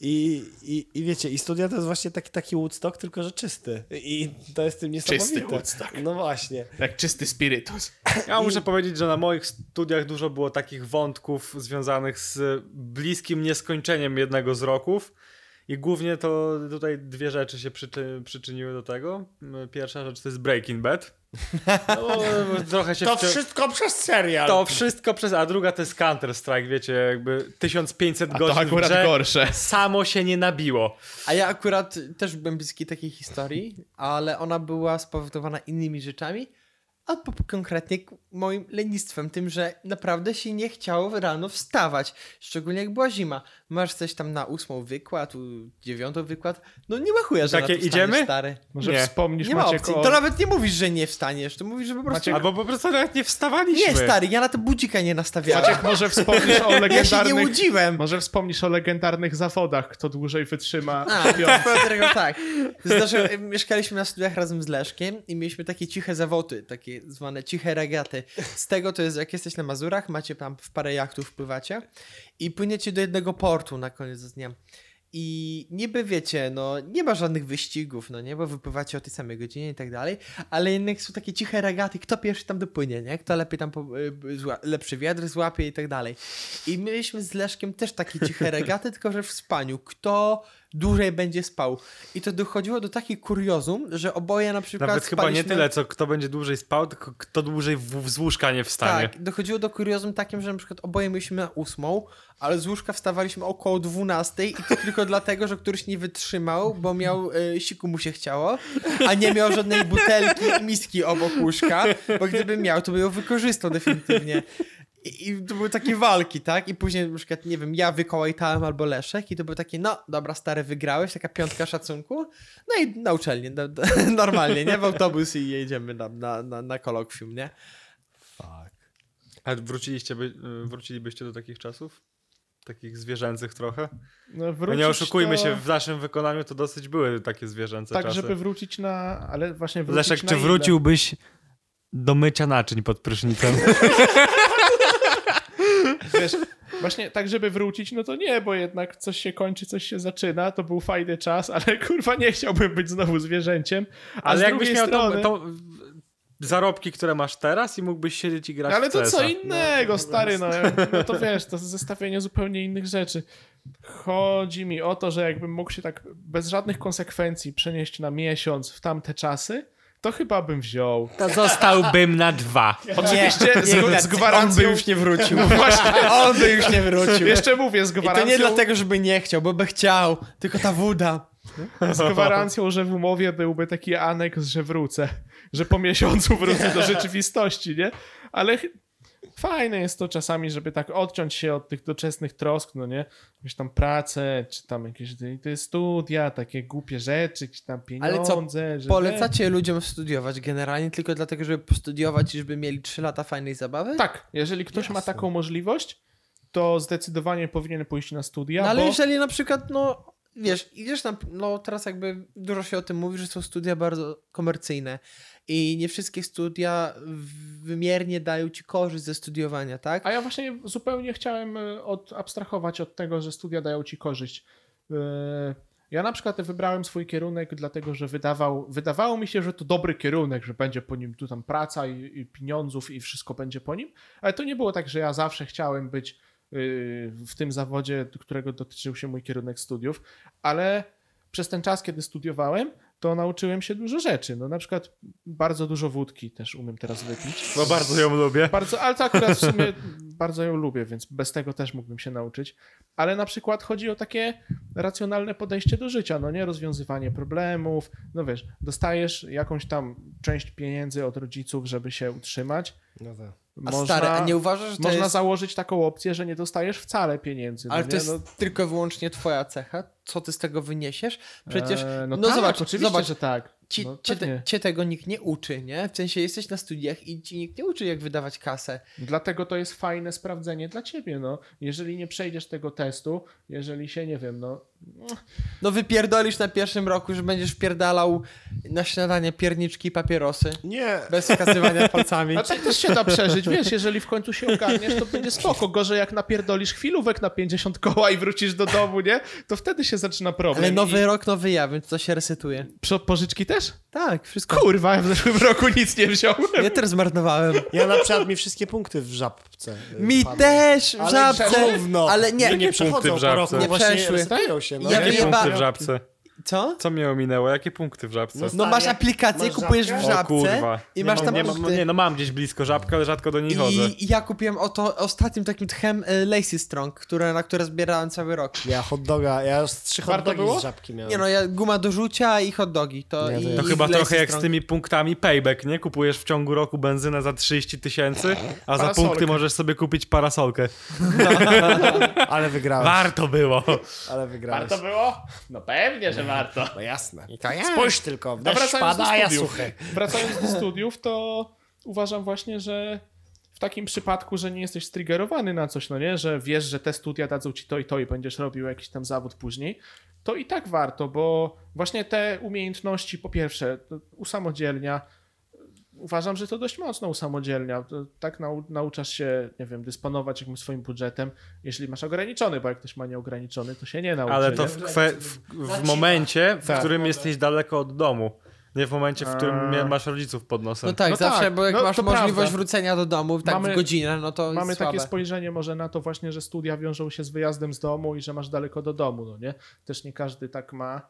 I, i, I wiecie, i studia to jest właśnie taki, taki Woodstock, tylko że czysty. I to jest tym niesamowite.
Czysty Woodstock.
No właśnie.
Jak czysty spirytus.
Ja muszę powiedzieć, że na moich studiach dużo było takich wątków związanych z bliskim nieskończeniem jednego z roków. I głównie to tutaj dwie rzeczy się przyczy- przyczyniły do tego. Pierwsza rzecz to jest Breaking Bad. No, trochę się
To
wcią-
wszystko przez serial.
To wszystko przez. A druga to jest Counter-Strike, wiecie, jakby 1500
A
godzin.
to akurat
w grze
gorsze.
Samo się nie nabiło.
A ja akurat też byłem bliski takiej historii, ale ona była spowodowana innymi rzeczami, a po- konkretnie k- moim lenistwem, tym, że naprawdę się nie chciało rano wstawać, szczególnie jak była zima. Masz coś tam na ósmą wykład, u- dziewiątą wykład, no nie ma chuja, że
Takie
na to wstaniesz,
idziemy?
stary.
Może
Nie.
wspomnisz,
Nie ma
Maciek,
opcji.
o...
To nawet nie mówisz, że nie wstaniesz, to mówisz, że po prostu...
Maciek-
Albo po prostu nawet nie wstawaliśmy.
Nie, stary, ja na to budzika nie nastawiałem.
Maciek, może wspomnisz o
ja się nie
legendarnych...
łudziłem.
Może wspomnisz o legendarnych zawodach, kto dłużej wytrzyma.
A, tego tak. Zdarzyło, mieszkaliśmy na studiach razem z Leszkiem i mieliśmy takie ciche zawody, takie zwane ciche regaty. Z tego to jest, jak jesteś na Mazurach, macie tam w parę jachtów wpływacie i płyniecie do jednego portu na koniec dnia. I niby wiecie, no nie ma żadnych wyścigów, no nie, bo wypływacie o tej samej godzinie i tak dalej, ale jednak są takie ciche regaty, kto pierwszy tam dopłynie, nie? Kto lepiej tam, po, y, zła, lepszy wiatr złapie i tak dalej. I mieliśmy z Leszkiem też takie ciche regaty, tylko że w spaniu. Kto dłużej będzie spał? I to dochodziło do takich kuriozum, że oboje na przykład
Nawet chyba nie
spaliśmy-
tyle, co kto będzie dłużej spał, tylko kto dłużej w, z łóżka nie wstanie.
Tak, dochodziło do kuriozum takim, że na przykład oboje mieliśmy na ósmą, ale z łóżka wstawaliśmy około dwunastej i to tylko dlatego, że któryś nie wytrzymał, bo miał, y, siku mu się chciało, a nie miał żadnej butelki i miski obok łóżka, bo gdyby miał, to by ją wykorzystał definitywnie. I, I to były takie walki, tak? I później na przykład, nie wiem, ja wykołajtałem albo Leszek i to było takie, no dobra, stary, wygrałeś, taka piątka szacunku. No i na uczelnię, do, do, normalnie, nie? W autobus i jedziemy tam na, na, na kolokwium, nie?
A wróciliście by, y, wrócilibyście do takich czasów? Takich zwierzęcych trochę?
No,
No
wrócić
nie oszukujmy
to-
się, w naszym wykonaniu to dosyć były takie zwierzęce
Tak,
czasy.
żeby wrócić na... Ale właśnie wrócić
Leszek,
na
czy
ile?
wróciłbyś do mycia naczyń pod prysznicem?
Wiesz, właśnie tak, żeby wrócić, no to nie, bo jednak coś się kończy, coś się zaczyna, to był fajny czas, ale kurwa nie chciałbym być znowu zwierzęciem. A
Ale
z
jakbyś
drugiej
miał
strony...
tą, tą zarobki, które masz teraz i mógłbyś siedzieć i grać
Ale
w
to co
CS-a.
innego, stary, no, no to wiesz, to zestawienie zupełnie innych rzeczy. Chodzi mi o to, że jakbym mógł się tak bez żadnych konsekwencji przenieść na miesiąc w tamte czasy, to chyba bym wziął.
To zostałbym na dwa.
Oczywiście z,
nie,
z gwarancją... No
On by już nie wrócił.
Właśnie,
On by już nie wrócił.
jeszcze mówię, z
I to
gwarancją...
nie dlatego, żeby nie chciał, bo by chciał, tylko ta woda.
Z gwarancją, że w umowie byłby taki aneks, że wrócę. Że po miesiącu wrócę do rzeczywistości, nie? Ale ch- fajne jest to czasami, żeby tak odciąć się od tych doczesnych trosk, no nie? Jakieś tam pracę, czy tam jakieś te studia, takie głupie rzeczy, jakieś tam
Ale co,
pieniądze. że
Polecacie ludziom studiować generalnie tylko dlatego, żeby postudiować i żeby mieli 3 lata fajnej zabawy?
Tak, jeżeli ktoś ma taką możliwość, to zdecydowanie powinien pójść na studia,
No, ale
bo...
jeżeli na przykład, no wiesz, idziesz na, no teraz jakby dużo się o tym mówi, że są studia bardzo komercyjne i nie wszystkie studia w- wymiernie dają ci korzyść ze studiowania, tak?
A ja właśnie e, zupełnie chciałem y, od, abstrahować od tego, że studia dają ci korzyść. Yy, Ja na przykład wybrałem swój kierunek, dlatego że wydawał, wydawało mi się, że to dobry kierunek, że będzie po nim tu tam praca i, i pieniądzów i wszystko będzie po nim, ale to nie było tak, że ja zawsze chciałem być yy, w tym zawodzie, którego dotyczył się mój kierunek studiów, ale przez ten czas, kiedy studiowałem, to nauczyłem się dużo rzeczy. No na przykład bardzo dużo wódki też umiem teraz wypić.
No bardzo ją lubię.
Bardzo, ale to akurat w sumie bardzo ją lubię, więc bez tego też mógłbym się nauczyć. Ale na przykład chodzi o takie racjonalne podejście do życia, no nie rozwiązywanie problemów. No wiesz, dostajesz jakąś tam część pieniędzy od rodziców, żeby się utrzymać.
No tak.
A stary, a nie uważasz, że to
można
jest,
założyć taką opcję, że nie dostajesz wcale pieniędzy.
ale
no
to
nie?
jest
no,
tylko i wyłącznie twoja cecha? Co ty z tego wyniesiesz? Przecież,
Eee,
no,
tak,
zobacz,
oczywiście,
zobacz,
że tak.
Ci,
no,
cię, te,
pewnie.
cię tego nikt nie uczy, nie? W sensie jesteś na studiach i ci nikt nie uczy, jak wydawać kasę.
Dlatego to jest fajne sprawdzenie dla ciebie, no. Jeżeli nie przejdziesz tego testu, jeżeli się, nie wiem, no...
No wypierdolisz na pierwszym roku, że będziesz pierdalał na śniadanie pierniczki i papierosy.
Nie,
Bez wskazywania palcami.
A tak też się da przeżyć, wiesz, jeżeli w końcu się ogarniesz, to będzie spoko. Gorzej jak napierdolisz chwilówek na 50 koła i wrócisz do domu, nie? To wtedy się zaczyna problem.
Ale nowy
I...
rok, nowy ja, więc to się resetuje.
Przo- Pożyczki też?
Tak, wszystko.
Kurwa, ja w zeszłym roku nic nie wziąłem.
Ja też zmarnowałem.
ja na przykład mi wszystkie punkty w żabce. y,
Mi
padły.
też w
Ale
żabce.
gówno.
Ale nie,
Nie, nie. punkty w
przechodzą po
żabce.
roku,
Nie
właśnie
przeszły.
rozstają się. No.
Ja
Jakie
wyjeba-
punkty w żabce?
Co?
Co mnie ominęło? Jakie punkty w żabce?
No,
No masz
Stary,
aplikację,
masz
kupujesz w
żabkę?
o
żabce
kurwa.
i
nie,
masz
mam-
tam
nie, mam-
punkty.
nie, no mam gdzieś blisko żabkę, ale rzadko do niej chodzę.
I ja kupiłem oto ostatnim takim tchem e, Lacy Strong, które, na które zbierałem cały
Tak.
rok.
Ja hot doga, ja już trzy hot
Warto
dogi
było?
z żabki miałem.
Nie no, ja guma do rzucia i hot dogi. To,
Nie,
i,
to ja-
To
i
chyba
Lacy
trochę jak z
Strong.
tymi punktami payback, nie? Kupujesz w ciągu roku benzynę za 30 tysięcy, a za
Parasolkę.
punkty możesz sobie kupić parasolkę.
Ale wygrałeś.
Warto było.
Ale wygrałeś.
było? No pewnie, że warto.
No jasne.
To ja.
Spójrz tylko,
No,
deszcz
wracając,
pada,
do
a ja
studiów,
suchy.
wracając do studiów, to uważam właśnie, że w takim przypadku, że nie jesteś striggerowany na coś, no nie, że wiesz, że te studia dadzą ci to i to i będziesz robił jakiś tam zawód później, to i tak warto, bo właśnie te umiejętności, po pierwsze, to usamodzielnia, uważam, że to dość mocno usamodzielnia. To Tak nau nauczasz się, nie wiem, dysponować jakimś swoim budżetem, jeśli masz ograniczony, bo jak ktoś ma nieograniczony, to się nie nauczy.
Ale to
nie?
w, kwe, w, w momencie, w
Tak.
którym jesteś daleko od domu. Nie w momencie, w którym
Eee.
masz rodziców pod nosem.
No tak,
No
zawsze,
tak,
bo jak
no
masz
to
możliwość
prawda.
wrócenia do domu tak
Mamy-
w godzinę, no to
Mamy
jest słabe.
takie spojrzenie może na to właśnie, że studia wiążą się z wyjazdem z domu i że masz daleko do domu, no nie? Też nie każdy tak ma,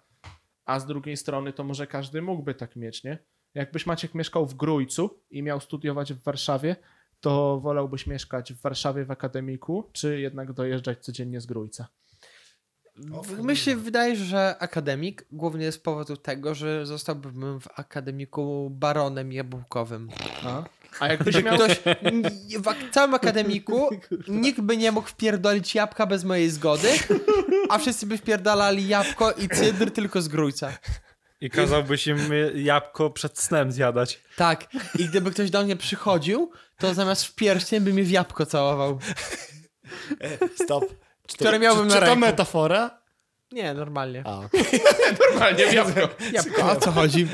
a z drugiej strony to może każdy mógłby tak mieć, nie? Jakbyś Maciek mieszkał w Grójcu i miał studiować w Warszawie, to wolałbyś mieszkać w Warszawie w akademiku, czy jednak dojeżdżać codziennie z Grójca?
W- My się wydaje, że akademik głównie z powodu tego, że zostałbym w akademiku baronem jabłkowym.
A, a jakbyś
Że
miał...
ktoś n- w ak- całym akademiku nikt by nie mógł wpierdolić jabłka bez mojej zgody, a wszyscy by wpierdalali jabłko i cydr tylko z grójca.
I kazałbyś im y, jabłko przed snem zjadać.
Tak. I gdyby ktoś do mnie przychodził, to zamiast w pierścień by mnie w jabłko całował.
Stop. Czy to,
Które miałbym
czy,
na
czy to
ręku.
metafora?
Nie, normalnie.
A,
Normalnie, wiadomo.
Jabłko, o co chodzi?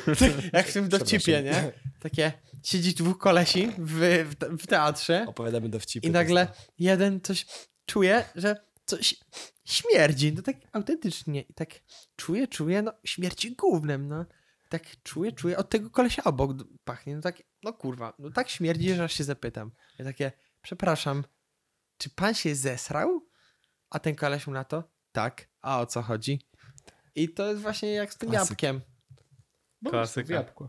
Jak w tym dowcipie,
Przepraszam.
nie? Takie, siedzi dwóch kolesi w, w, te- w teatrze
opowiadamy dowcipy.
i nagle
tak?
jeden coś czuje, że coś śmierdzi. No tak autentycznie. I tak czuje, czuje, no śmierci gównem, no. Tak czuje, czuje, od tego kolesia obok d- pachnie. No tak, no kurwa, no tak śmierdzi, że aż się zapytam. Ja takie, przepraszam, czy pan się zesrał? A ten koleś mu na to, tak, a o co chodzi? I to jest właśnie jak z tym
Klasyk.
jabłkiem.
Bo
Klasyka.
jabłko.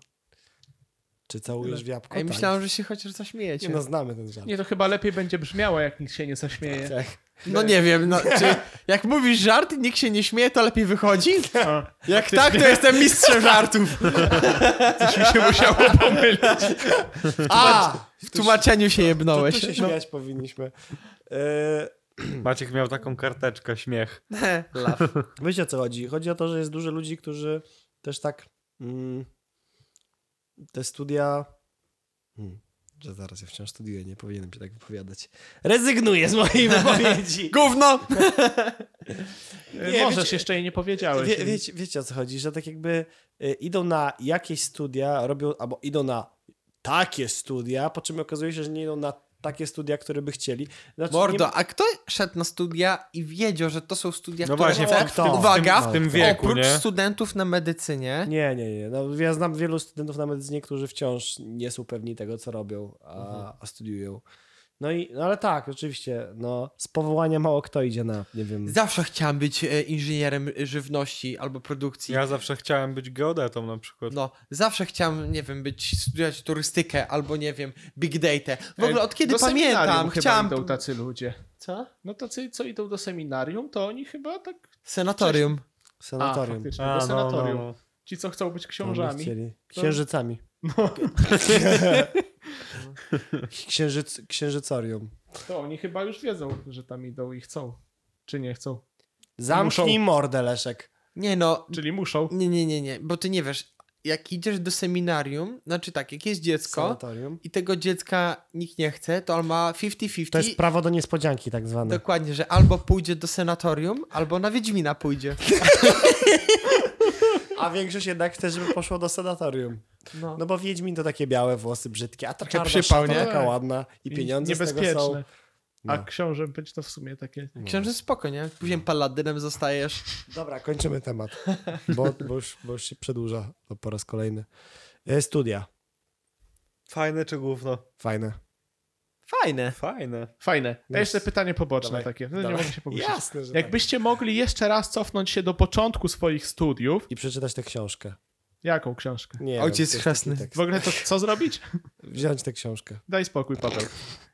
Czy całujesz w jabłko?
Ej,
Tak.
myślałem, że się choć zaśmiejecie.
Nie no, znamy ten żart.
Nie, to chyba lepiej będzie brzmiało, jak nikt się nie zaśmieje.
Tak.
No nie wiem, no, czy jak mówisz żart i nikt się nie śmieje, to lepiej wychodzi? Jak tak, to jestem mistrzem żartów.
Coś mi się musiało pomylić.
A, w tłumaczeniu się
Tu, tu
jebnąłeś.
się śmiać powinniśmy. Yy,
Maciek miał taką karteczkę, śmiech.
Laugh.
Wiecie o co chodzi? Chodzi o to, że jest dużo ludzi, którzy też tak mm, te studia. Hmm, że zaraz ja wciąż studiuję, nie powinienem się tak wypowiadać. Rezygnuję z mojej wypowiedzi.
Gówno!
Nie,
Możesz,
wiecie-
jeszcze jej nie powiedziałeś.
Wie, wiecie, wiecie o co chodzi? Że tak jakby y, idą na jakieś studia, robią albo idą na takie studia, po czym okazuje się, że nie idą na takie studia, które by chcieli. Znaczy,
Mordo, a kto szedł na studia i wiedział, że to są studia,
No
które
właśnie,
w
chce?
tym- w tym-
Uwaga,
w tym
wieku,
oprócz
nie?
studentów na medycynie,
Nie, nie, nie. No, ja znam wielu studentów na medycynie, którzy wciąż nie są pewni tego, co robią, a,
Mhm.
a studiują. No i, no ale tak, oczywiście, no z powołania mało kto idzie na, nie wiem...
zawsze chciałem być e, inżynierem żywności albo produkcji.
Ja zawsze chciałem być geodetą na przykład.
No, zawsze chciałem, nie wiem, być, studiować turystykę albo, nie wiem, big data. W ogóle od kiedy
do seminarium
pamiętam,
chyba
chciałem...
idą tacy ludzie.
Co?
No tacy, co idą do seminarium, to oni chyba tak...
Senatorium.
A,
Sanatorium.
faktycznie,
A,
do
no,
senatorium.
no, no.
Ci, co chcą być
No, nie
książami. No.
chcieli. Księżycami. Księżyc, księżycorium.
To oni chyba już wiedzą, że tam idą i chcą. Czy nie chcą.
Zamknij mordę, Leszek.
Nie no,
Czyli muszą.
nie, nie, nie, nie, bo ty nie wiesz, jak idziesz do seminarium, znaczy tak, jak jest dziecko
Sanatorium.
i tego dziecka nikt nie chce, to on ma 50-50.
To jest prawo do niespodzianki tak zwane.
Dokładnie, że albo pójdzie do senatorium, albo na Wiedźmina pójdzie.
A większość jednak chce, żeby poszło do sanatorium.
No.
No bo Wiedźmin to takie białe włosy brzydkie, a ta
Taka
czarna
przypał,
szata
nie?
taka ładna i pieniądze z tego
Niebezpieczne.
są.
A
No.
książę być to w sumie takie...
Książę spoko, nie? Później paladynem zostajesz.
Dobra, kończymy temat, bo, bo, już, bo już się przedłuża to po raz kolejny. E, Studia.
Fajne czy gówno?
Fajne.
Fajne.
Fajne.
Fajne. A
Yes.
jeszcze pytanie poboczne
Dawaj,
takie. No, nie
dawaj.
mogę się pokusić.
Jasne, że tak.
Jakbyście mogli jeszcze raz cofnąć się do początku swoich studiów,
I przeczytać tę książkę.
jaką książkę?
Nie
Ojciec
wiem, to jest
chrzestny.
taki
W
tekst.
ogóle to co zrobić?
Wziąć tę książkę.
Daj spokój, Paweł.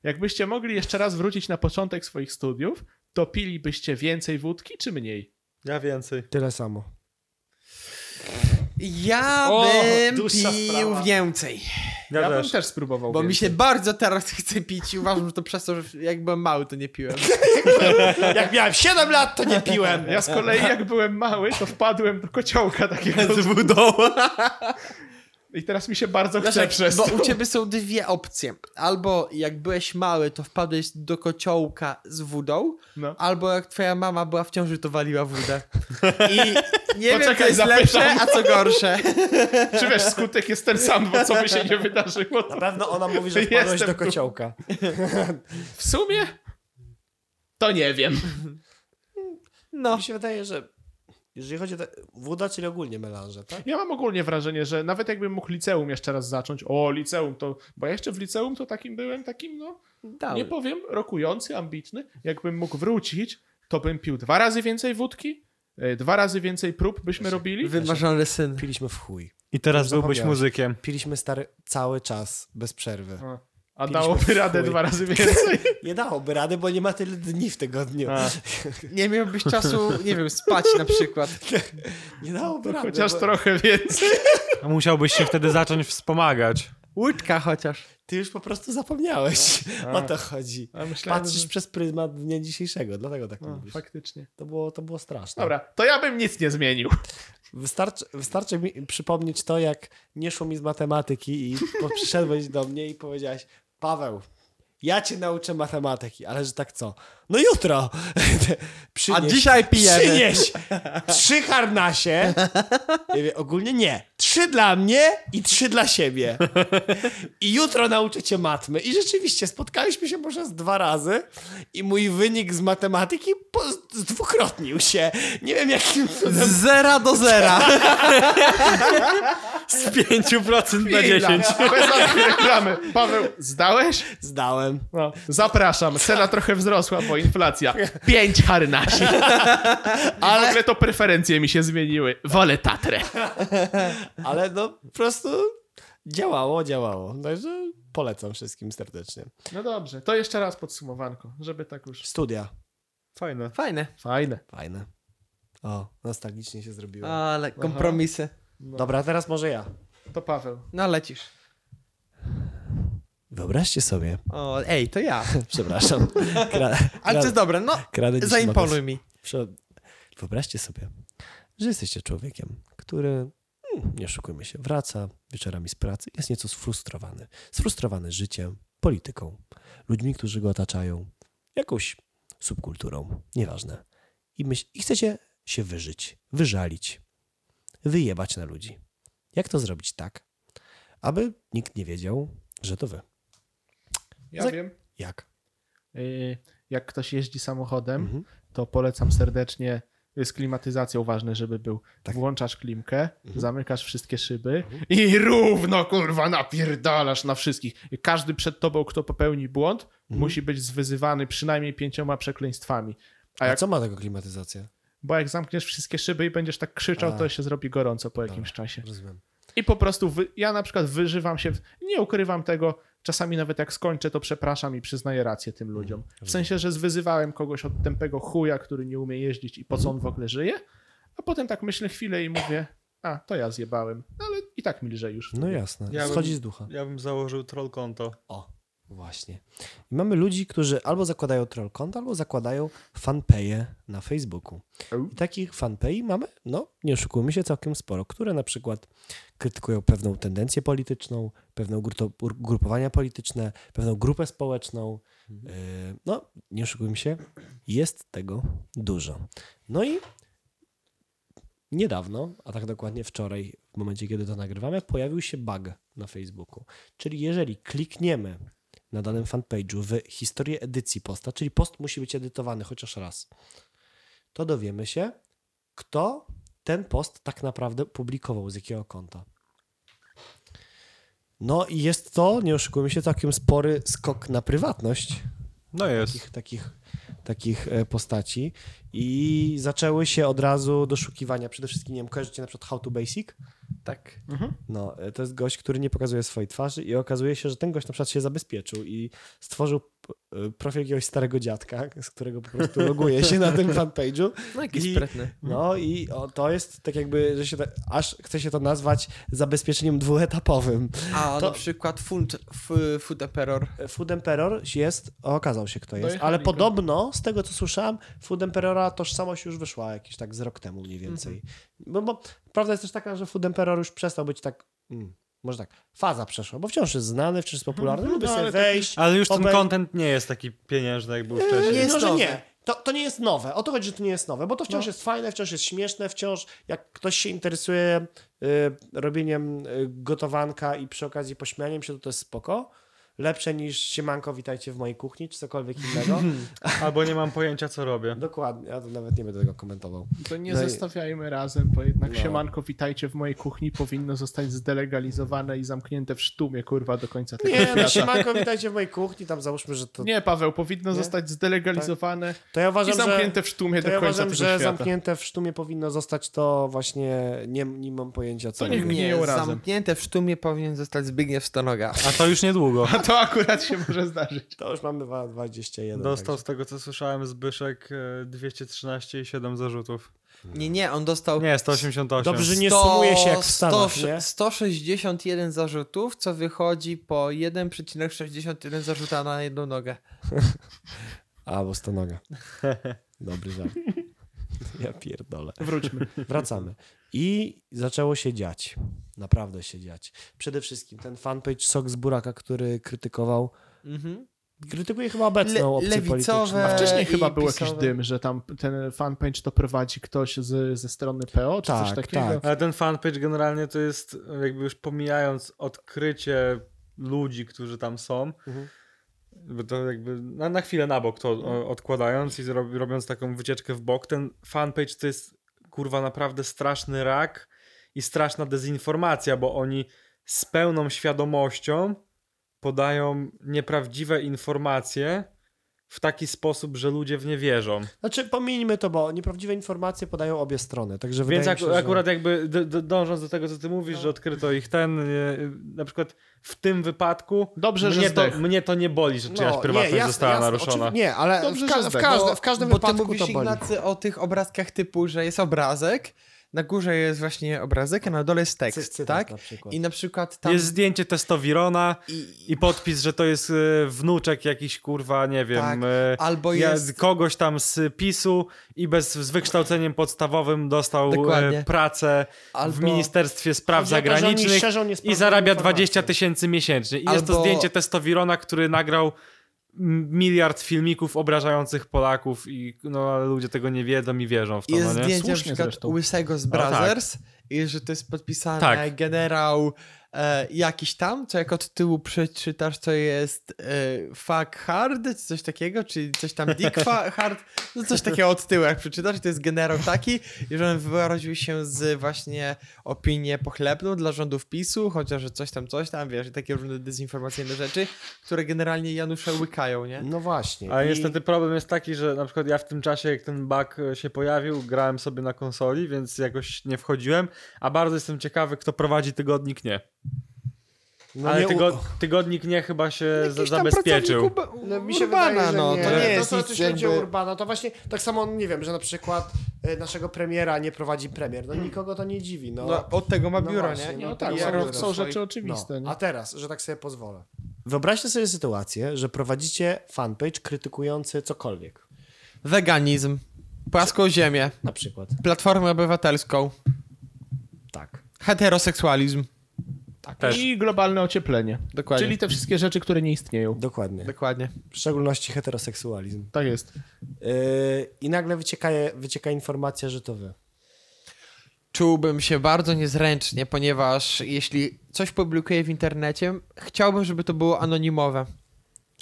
Jakbyście mogli jeszcze raz wrócić na początek swoich studiów, to pilibyście więcej wódki czy mniej?
Ja więcej.
Tyle samo.
Ja
O,
bym pił
dłuższa sprawa.
więcej.
Ja,
ja
też.
bym też spróbował
Bo mi
więcej.
się bardzo teraz chce pić i uważam, że to przez to, że jak byłem mały, to nie piłem.
Jak miałem 7 lat, to nie piłem.
Ja z kolei jak byłem mały, to wpadłem do kociołka takiego i teraz mi się bardzo chce
Leszek,
przez
Znaczy, bo
to.
u ciebie są dwie opcje. Albo jak byłeś mały, to wpadłeś do kociołka z wódą,
No.
albo jak twoja mama była w ciąży, to waliła wódę. I nie wiem, co
Poczekaj,
jest
zapytam.
lepsze, a co gorsze.
Czy wiesz, skutek jest ten sam, bo co by się nie wydarzyło.
Na
To...
pewno ona mówi, że wpadłeś
Jestem
do
tu.
kociołka.
W sumie to nie wiem.
No.
Mi się wydaje, że jeżeli chodzi o te... woda, czyli ogólnie melanże, tak?
Ja mam ogólnie wrażenie, że nawet jakbym mógł liceum jeszcze raz zacząć, o liceum to, bo ja jeszcze w liceum to takim byłem, takim no,
Dałem.
nie powiem, rokujący, ambitny. Jakbym mógł wrócić, to bym pił dwa razy więcej wódki, e, dwa razy więcej prób byśmy robili.
Wymarzony syn.
Piliśmy w chuj.
I teraz byłbyś
Zapomniałem.
muzykiem.
Piliśmy stary cały czas, bez przerwy.
A, A
Piliśmy
dałoby
w
radę
chuj.
dwa razy więcej.
Nie dałoby rady, bo nie ma tyle dni w tygodniu.
A.
Nie miałbyś czasu, nie wiem, spać na przykład.
Nie dałoby rady.
Chociaż
bo...
trochę więcej.
Musiałbyś się wtedy zacząć wspomagać.
Łódka chociaż.
Ty już po prostu zapomniałeś. O to chodzi.
A myślałem,
Patrzysz
że...
przez pryzmat dnia dzisiejszego, dlatego tak
no,
mówisz.
faktycznie.
To było, to było straszne.
Dobra, to ja bym nic nie zmienił.
Wystarczy, wystarczy mi przypomnieć to, jak nie szło mi z matematyki i po- przyszedłeś do mnie i powiedziałeś, Paweł, ja cię nauczę matematyki, ale że tak co? No jutro!
A
Przynieś-
dzisiaj pijemy.
Przynieś trzy harnasie. Ja mówię, ogólnie nie. Trzy dla mnie i trzy dla siebie. I jutro nauczę cię matmy. I rzeczywiście spotkaliśmy się może z dwa razy i mój wynik z matematyki po, zdwukrotnił się. Nie wiem jakim
Z
cudem.
zera do zera.
Z 5% na 10.
Bez żadnej reklamy. Paweł, zdałeś?
Zdałem.
No. Zapraszam, cena trochę wzrosła, bo inflacja. Pięć harnasi. Ale w ogóle to preferencje mi się zmieniły. Wolę Tatrę.
Ale no po prostu działało, działało. Także polecam wszystkim serdecznie.
No dobrze, to jeszcze raz podsumowanko, żeby tak już...
Studia.
Fajne.
Fajne.
Fajne.
Fajne. O, nostalgicznie się zrobiło.
Ale kompromisy.
Dobra, teraz może ja.
To Paweł.
No lecisz.
Wyobraźcie sobie.
O, ej, to ja.
Przepraszam. Kra-
Ale
kra-
to jest dobre, no.
kradę dziś
Zaimponuj
mogę-
mi.
Prze- Wyobraźcie sobie, że jesteście człowiekiem, który, mm, nie oszukujmy się, wraca wieczorami z pracy, jest nieco sfrustrowany. Sfrustrowany życiem, polityką, ludźmi, którzy go otaczają, jakąś subkulturą, nieważne. I, myśl- I chcecie się wyżyć, wyżalić, wyjebać na ludzi. Jak to zrobić tak, aby nikt nie wiedział, że to wy?
Ja
Za-
wiem.
Jak?
Yy, Jak ktoś jeździ samochodem,
Mhm.
to polecam serdecznie. y, Z klimatyzacją ważne, żeby był.
Tak. Mhm.
Włączasz klimkę, zamykasz wszystkie szyby i równo kurwa napierdalasz na wszystkich. I Każdy przed tobą, kto popełni błąd,
Mhm.
musi być zwyzywany przynajmniej pięcioma przekleństwami.
A,
A jak,
co ma tego klimatyzacja?
bo jak zamkniesz wszystkie szyby i będziesz tak krzyczał,
A.
to się zrobi gorąco po jakimś
Dobra.
czasie.
Rozumiem.
I po prostu wy, ja na przykład wyżywam się, w, nie ukrywam tego, czasami nawet jak skończę, to przepraszam i przyznaję rację tym
Mhm,
ludziom. W sensie, że zwyzywałem kogoś od tępego chuja, który nie umie jeździć i po co on w ogóle żyje, a potem tak myślę chwilę i mówię, a to ja zjebałem, ale i tak mi lżej już.
No jasne,
Ja bym-
schodzi z ducha.
Ja bym założył troll konto.
O, właśnie. I mamy ludzi, którzy albo zakładają troll kont, albo zakładają fanpage'e na Facebooku.
Au.
I takich fanpage'i mamy, no nie oszukujmy się, całkiem sporo, które na przykład krytykują pewną tendencję polityczną, pewne ugruto- ugrupowania polityczne, pewną grupę społeczną. Y, No, nie oszukujmy się, jest tego dużo. No i niedawno, a tak dokładnie wczoraj, w momencie kiedy to nagrywamy, pojawił się bug na Facebooku. Czyli jeżeli klikniemy na danym fanpage'u w historię edycji posta, czyli post musi być edytowany chociaż raz, to dowiemy się, kto ten post tak naprawdę publikował, z jakiego konta. No i jest to, nie oszukujmy się, całkiem spory skok na prywatność
No jest.
takich, takich, takich e, postaci i zaczęły się od razu doszukiwania. Przede wszystkim, nie wiem, kojarzycie na przykład How to Basic?
Tak.
No, e, to jest gość, który nie pokazuje swojej twarzy i okazuje się, że ten gość na przykład się zabezpieczył i stworzył p- e, profil jakiegoś starego dziadka, z którego po prostu loguje się na tym fanpage'u.
No jakiś
I-
sprytny.
No i o, to jest tak jakby, że się tak- aż chce się to nazwać zabezpieczeniem dwuetapowym.
A
To-
na przykład Food, f- food Emperor.
Food Emperor jest, okazał się kto jest,
Dojechali
ale
go.
podobno, z tego co słyszałem, Food Emperora tożsamość już wyszła jakiś tak z rok temu mniej więcej.
Mhm.
Bo, bo prawda jest też taka, że Food Emperor już przestał być tak, mm, może tak, faza przeszła, bo wciąż jest znany, wciąż jest popularny, lubi
no,
sobie
ale taki-
wejść.
Ale już ten
obej-
content nie jest taki pieniężny, jak był
Nie,
wcześniej.
no,
jest
że
nowy.
nie. To, to nie jest nowe. O to chodzi, że to nie jest nowe, bo to wciąż jest fajne, wciąż jest śmieszne, wciąż jak ktoś się interesuje y, robieniem y, gotowanka i przy okazji pośmianiem się, to to jest spoko. Lepsze niż siemanko, witajcie w mojej kuchni, czy cokolwiek innego.
Albo nie mam pojęcia, co robię.
Dokładnie, ja to nawet nie będę tego komentował.
To nie
No i-
zostawiajmy razem, bo jednak
No.
siemanko, witajcie w mojej kuchni powinno zostać zdelegalizowane i zamknięte w sztumie, kurwa, do końca tego
Nie, no
świata.
siemanko, witajcie w mojej kuchni, tam załóżmy, że to...
Nie, Paweł, powinno
Nie?
zostać zdelegalizowane
To ja
i
uważam, że...
zamknięte w sztumie
To
do
ja
końca
uważam,
tego
że
świata.
zamknięte w sztumie powinno zostać to właśnie, nie, nie mam pojęcia co
To niech
robię.
mi-
Nie,
Gniją razem.
zamknięte w sztumie powinien zostać Zbigniew Stonoga.
A to już niedługo.
A to akurat się może zdarzyć.
To już mamy wa- 21.
Dostał
także.
z tego, co słyszałem, Zbyszek e, 213 i 7 zarzutów.
Nie, nie, on dostał...
Nie, 188.
Dobrze, że nie
Sto-
sumuje się jak w Stanach,
sto-
nie?
161 zarzutów, co wychodzi po 1,61 zarzuta na jedną nogę.
A, bo stonoga. Dobry żart. Ja pierdolę.
Wróćmy.
Wracamy. I zaczęło się dziać. Naprawdę się dziać. Przede wszystkim ten fanpage Sok z Buraka, który krytykował,
Mhm.
krytykuje chyba obecną
Le-
opcję
lewicowe-
polityczną.
A wcześniej
I
chyba był
pisowe.
jakiś dym, że tam ten fanpage to prowadzi ktoś z, ze strony PO, czy
Tak,
coś takiego.
tak.
Ale ten fanpage generalnie to jest, e, jakby już pomijając odkrycie ludzi, którzy tam są,
Mhm.
bo to jakby na, na chwilę na bok to o, odkładając i zrob, robiąc taką wycieczkę w bok, ten fanpage to jest kurwa naprawdę straszny rak i straszna dezinformacja, bo oni z pełną świadomością podają nieprawdziwe informacje w taki sposób, że ludzie w nie wierzą.
Znaczy, pomijmy to, bo nieprawdziwe informacje podają obie strony, także
Więc
wydaje
ak-
mi się, że...
akurat jakby d- d- dążąc do tego, co ty mówisz, że odkryto ich ten, e, na przykład w tym wypadku
Dobrze, że
mnie, to,
zdech.
mnie to nie boli, że czyjaś
No, nie,
prywatność
jasne,
została
jasne,
naruszona.
oczywi- Nie, ale
Dobrze,
w, ka-
że
w,
zdech.
każde, tak, w każdym
tak, bo ty
wypadku
mówisz,
to boli.
Ignacy, o tych obrazkach typu, że jest obrazek, na górze jest właśnie obrazek, a na dole jest tekst,
Cytat
tak?
na przykład.
I na przykład tam...
Jest zdjęcie testowirona
I...
i podpis, że to jest e, wnuczek jakiś, kurwa, nie wiem,
Tak,
e,
Albo
ja-
jest...
kogoś tam z PiSu i bez, z wykształceniem podstawowym dostał
Dokładnie.
e, pracę
Albo...
w Ministerstwie Spraw
Chodzi o to, że oni
Zagranicznych
szerzą
i
niesprawdzone
zarabia
informacje.
20 tysięcy miesięcznie. I jest to
Albo-
zdjęcie Testowirona, który nagrał m- miliard filmików obrażających Polaków i no ale ludzie tego nie wiedzą i wierzą w to,
Jest
no nie?
zdjęcie na
Słusznie
przykład
zresztą.
Łysego z
tak.
Brothers i że to jest podpisane
Tak.
generał e, jakiś tam, co jak od tyłu przeczytasz, co jest e, fuck hard, czy coś takiego, czy coś tam dick fa- hard, no coś takiego od tyłu jak przeczytasz, i to jest generał taki, i że on wyrodził się z właśnie opinię pochlebną dla rządów PiSu, chociaż że coś tam, coś tam, wiesz, i takie różne dezinformacyjne rzeczy, które generalnie Janusze łykają, nie?
No właśnie.
A
I-
niestety problem jest taki, że na przykład ja w tym czasie, jak ten bug e, się pojawił, grałem sobie na konsoli, więc jakoś nie wchodziłem, a bardzo jestem ciekawy, kto prowadzi tygodnik nie.
no
Ale
nie u-
tygo- tygodnik nie chyba się za-
Jakiś tam
zabezpieczył.
pracownik Uba-
No mi się
Urbana,
wydaje, że
no,
nie.
to
To
nie jest
to,
nic
co jeśli chodzi o
jakby-
Urbana, to właśnie tak samo, nie wiem, że na przykład y, naszego premiera nie prowadzi premier. No nikogo to nie dziwi, no.
No, od tego ma
No
biuro,
właśnie,
nie?
no
No
tak,
tak,
ja
są,
robię
są
swoich-
rzeczy
no.
oczywiste. nie?
A teraz, że tak sobie pozwolę. Wyobraźcie sobie sytuację, że prowadzicie fanpage krytykujący cokolwiek.
Weganizm, płaską ziemię,
Na przykład.
platformę obywatelską,
Tak.
heteroseksualizm.
Też.
I globalne ocieplenie.
Tak. Dokładnie.
Czyli te wszystkie rzeczy, które nie istnieją.
Dokładnie.
Dokładnie.
W szczególności heteroseksualizm.
Tak jest.
Yy, I nagle wycieka, wycieka informacja, że to wy.
Czułbym się bardzo niezręcznie, ponieważ jeśli coś publikuję w internecie, chciałbym, żeby to było anonimowe.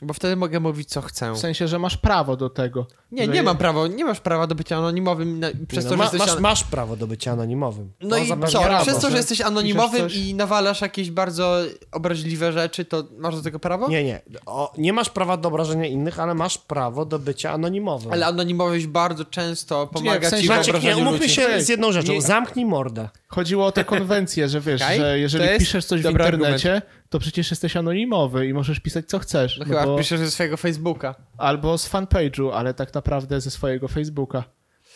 Bo wtedy mogę mówić, co chcę.
W sensie, No że masz prawo do tego.
No. Nie,
że
nie mam prawa, nie masz prawa do bycia anonimowym na, przez
Nie,
to,
no, ma,
że jesteś...
masz,
an-
masz prawo do bycia anonimowym.
No
To
i
zapewnia
co,
prawo.
przez to, że jesteś anonimowym
coś-
i nawalasz jakieś bardzo obraźliwe rzeczy, to masz do tego prawo?
Nie, nie. O, nie masz prawa do obrażenia innych, ale masz prawo do bycia anonimowym.
Ale anonimowość bardzo często pomaga
w sensie-
ci w
Maciek,
Maciek, nie,
obrażaniu
umówmy
ludzi.
się z jedną rzeczą.
Nie-
Zamknij mordę.
Chodziło o te konwencje, że wiesz,
Okej,
że jeżeli
to jest
piszesz coś w
dobry
internecie, to przecież jesteś anonimowy i możesz pisać co chcesz.
No
No
chyba
bo,
piszesz ze swojego Facebooka.
Albo z fanpage'u, ale tak naprawdę ze swojego Facebooka.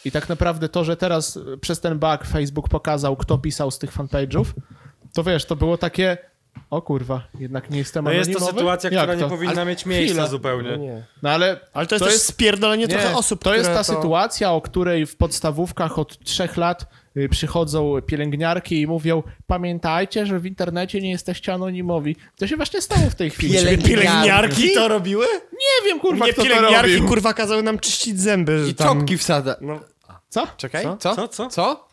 I tak naprawdę to, że teraz y, przez ten bug Facebook pokazał, kto pisał z tych fanpage'ów, to wiesz, to było takie, o kurwa, jednak nie jestem
No jest
anonimowy.
to sytuacja,
Jak
która nie
to?
powinna mieć
chwila.
miejsca zupełnie.
Nie.
No ale
Ale to jest
To
też
jest-
spierdolenie trochę osób,
To jest
które
ta sytuacja, o której w podstawówkach od trzech lat y, przychodzą pielęgniarki i mówią: Pamiętajcie, że w internecie nie jesteście anonimowi. To się właśnie stało w tej chwili.
Pielęg-
Pielęgniarki to robiły?
Nie wiem, kurwa,
Nie,
kto to
pielęgniarki,
robił.
kurwa, kazały nam czyścić zęby. Że
I
tam...
czopki wsada.
No,
Co?
Czekaj,
Co?
co?
Co, co?
Co?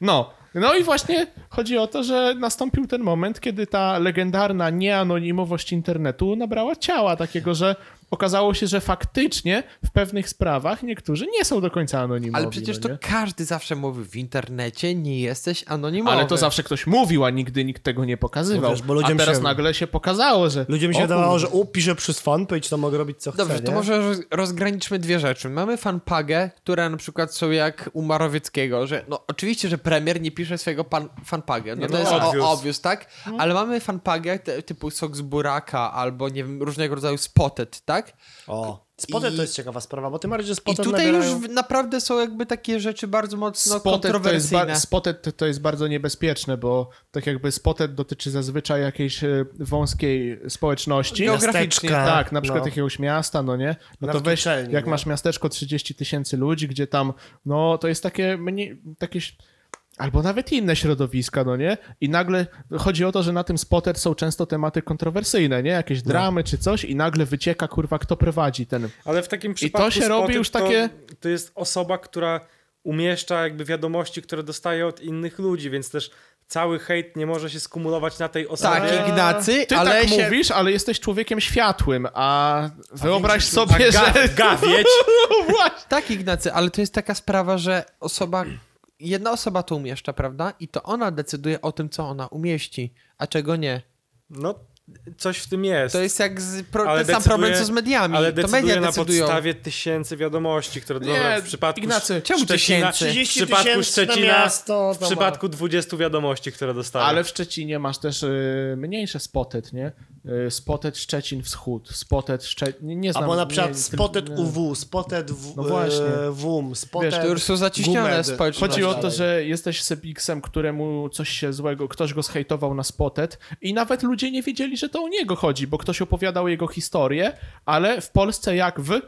No. No i właśnie chodzi o to, że nastąpił ten moment, kiedy ta legendarna nieanonimowość internetu nabrała ciała takiego, że okazało się, że faktycznie w pewnych sprawach niektórzy nie są do końca anonimowi.
Ale przecież
no
to
nie?
każdy zawsze mówi w internecie, nie jesteś anonimowy.
Ale to zawsze ktoś mówił, a nigdy nikt tego nie pokazywał.
No wiesz, bo ludziom
a teraz
się-
nagle się pokazało, że.
ludziom
o
się wydawało,
kurwa.
że u, piszę przez fanpage, to mogę robić co chcę.
Dobrze, to
nie?
może roz- rozgraniczmy dwie rzeczy. Mamy fanpagę, które na przykład są jak u Marowieckiego, że no oczywiście, że premier nie pisze swojego pan, fanpagę, no to
no
jest
obvious.
obvious, obvious tak? Ale mamy fanpagę te- typu sok z buraka albo nie wiem, różnego rodzaju spotted, tak?
O, spotem
I-
to jest ciekawa sprawa, bo ty Mariusz, że
I
spotem
tutaj
nabierają...
już w- naprawdę są jakby takie rzeczy bardzo mocno
Spotted to, jest
no, kontrowersyjne.
ba- spotted to- to jest bardzo niebezpieczne, bo tak jakby spotted dotyczy zazwyczaj jakiejś e, wąskiej społeczności.
Geograf-
Miasteczka,
Tak, na przykład
no.
jakiegoś miasta, no nie? No
Nawet
to weź,
uczelni,
jak
nie?
masz miasteczko 30 tysięcy ludzi, gdzie tam, no to jest takie, mniej, takie, ś- albo nawet inne środowiska, no nie? I nagle chodzi o to, że na tym spotter są często tematy kontrowersyjne, nie? Jakieś
No.
dramy czy coś i nagle wycieka, kurwa, kto prowadzi ten
Ale w takim
to
przypadku
się robi
spotyk
już
to-
takie-
To jest osoba, która umieszcza jakby wiadomości, które dostaje od innych ludzi, więc też cały hejt nie może się skumulować na tej osobie.
Tak, Ignacy,
Eee. Ty
ale
tak
się...
mówisz, ale jesteś człowiekiem światłym, a wyobraź
większość-
sobie,
Ga,
że...
gawieć.
No właśnie.
Tak, Ignacy, ale to jest taka sprawa, że osoba, jedna osoba to umieszcza, prawda? I to ona decyduje o tym, co ona umieści, a czego nie.
No, coś w tym jest.
To jest jak z pro, ten
Ale
sam
decyduje-
problem, co z mediami.
Ale
to
decyduje
media
na
decydują.
podstawie tysięcy wiadomości, które dobra,
Nie,
w przypadku
Ignacy,
Czemu
Szczecina-
tysięcy?
30
w przypadku
tysięcy na
Szczecina,
miasto,
w
to ma-
przypadku 20 wiadomości, które dostaję.
Ale w Szczecinie masz też y, mniejsze spotet, nie? Y, spotet Szczecin Wschód, spotet Szczecin... Nie, nie znam...
Albo na przykład
nie,
spotet
nie.
UW, spotet w,
No właśnie.
e, WUM, spotet...
Wiesz,
To już są zaciśnione
Gumed.
społeczności.
Chodzi o to,
dalej.
że jesteś sepiksem, któremu coś się złego, ktoś go zhejtował na spotet i nawet ludzie nie wiedzieli, że to o niego chodzi, bo ktoś opowiadał jego historię, ale w Polsce jak w...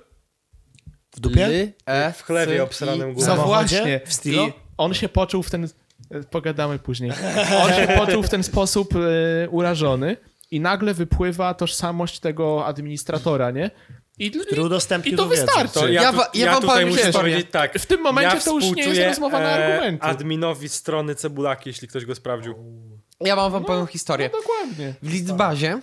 W dupie?
L, E,
W chlewie
C,
obsranym
I-
gównem.
No
samochodzie?
właśnie.
W Stilo?
I on się poczuł w ten... e, Pogadamy później. On się poczuł w ten sposób e, urażony i nagle wypływa tożsamość tego administratora, nie? I,
Który udostępnił
i to
tą wiedzę.
wystarczy.
To ja,
Ja
tu,
wa- ja wam
tutaj
powiem
muszę
historię.
powiedzieć tak.
W tym momencie
ja
to już nie jest
współczuję, e,
rozmowa na argumenty.
adminowi strony Cebulaki, jeśli ktoś go sprawdził.
Ja mam wam pewną historię.
No dokładnie.
W Lidzbazie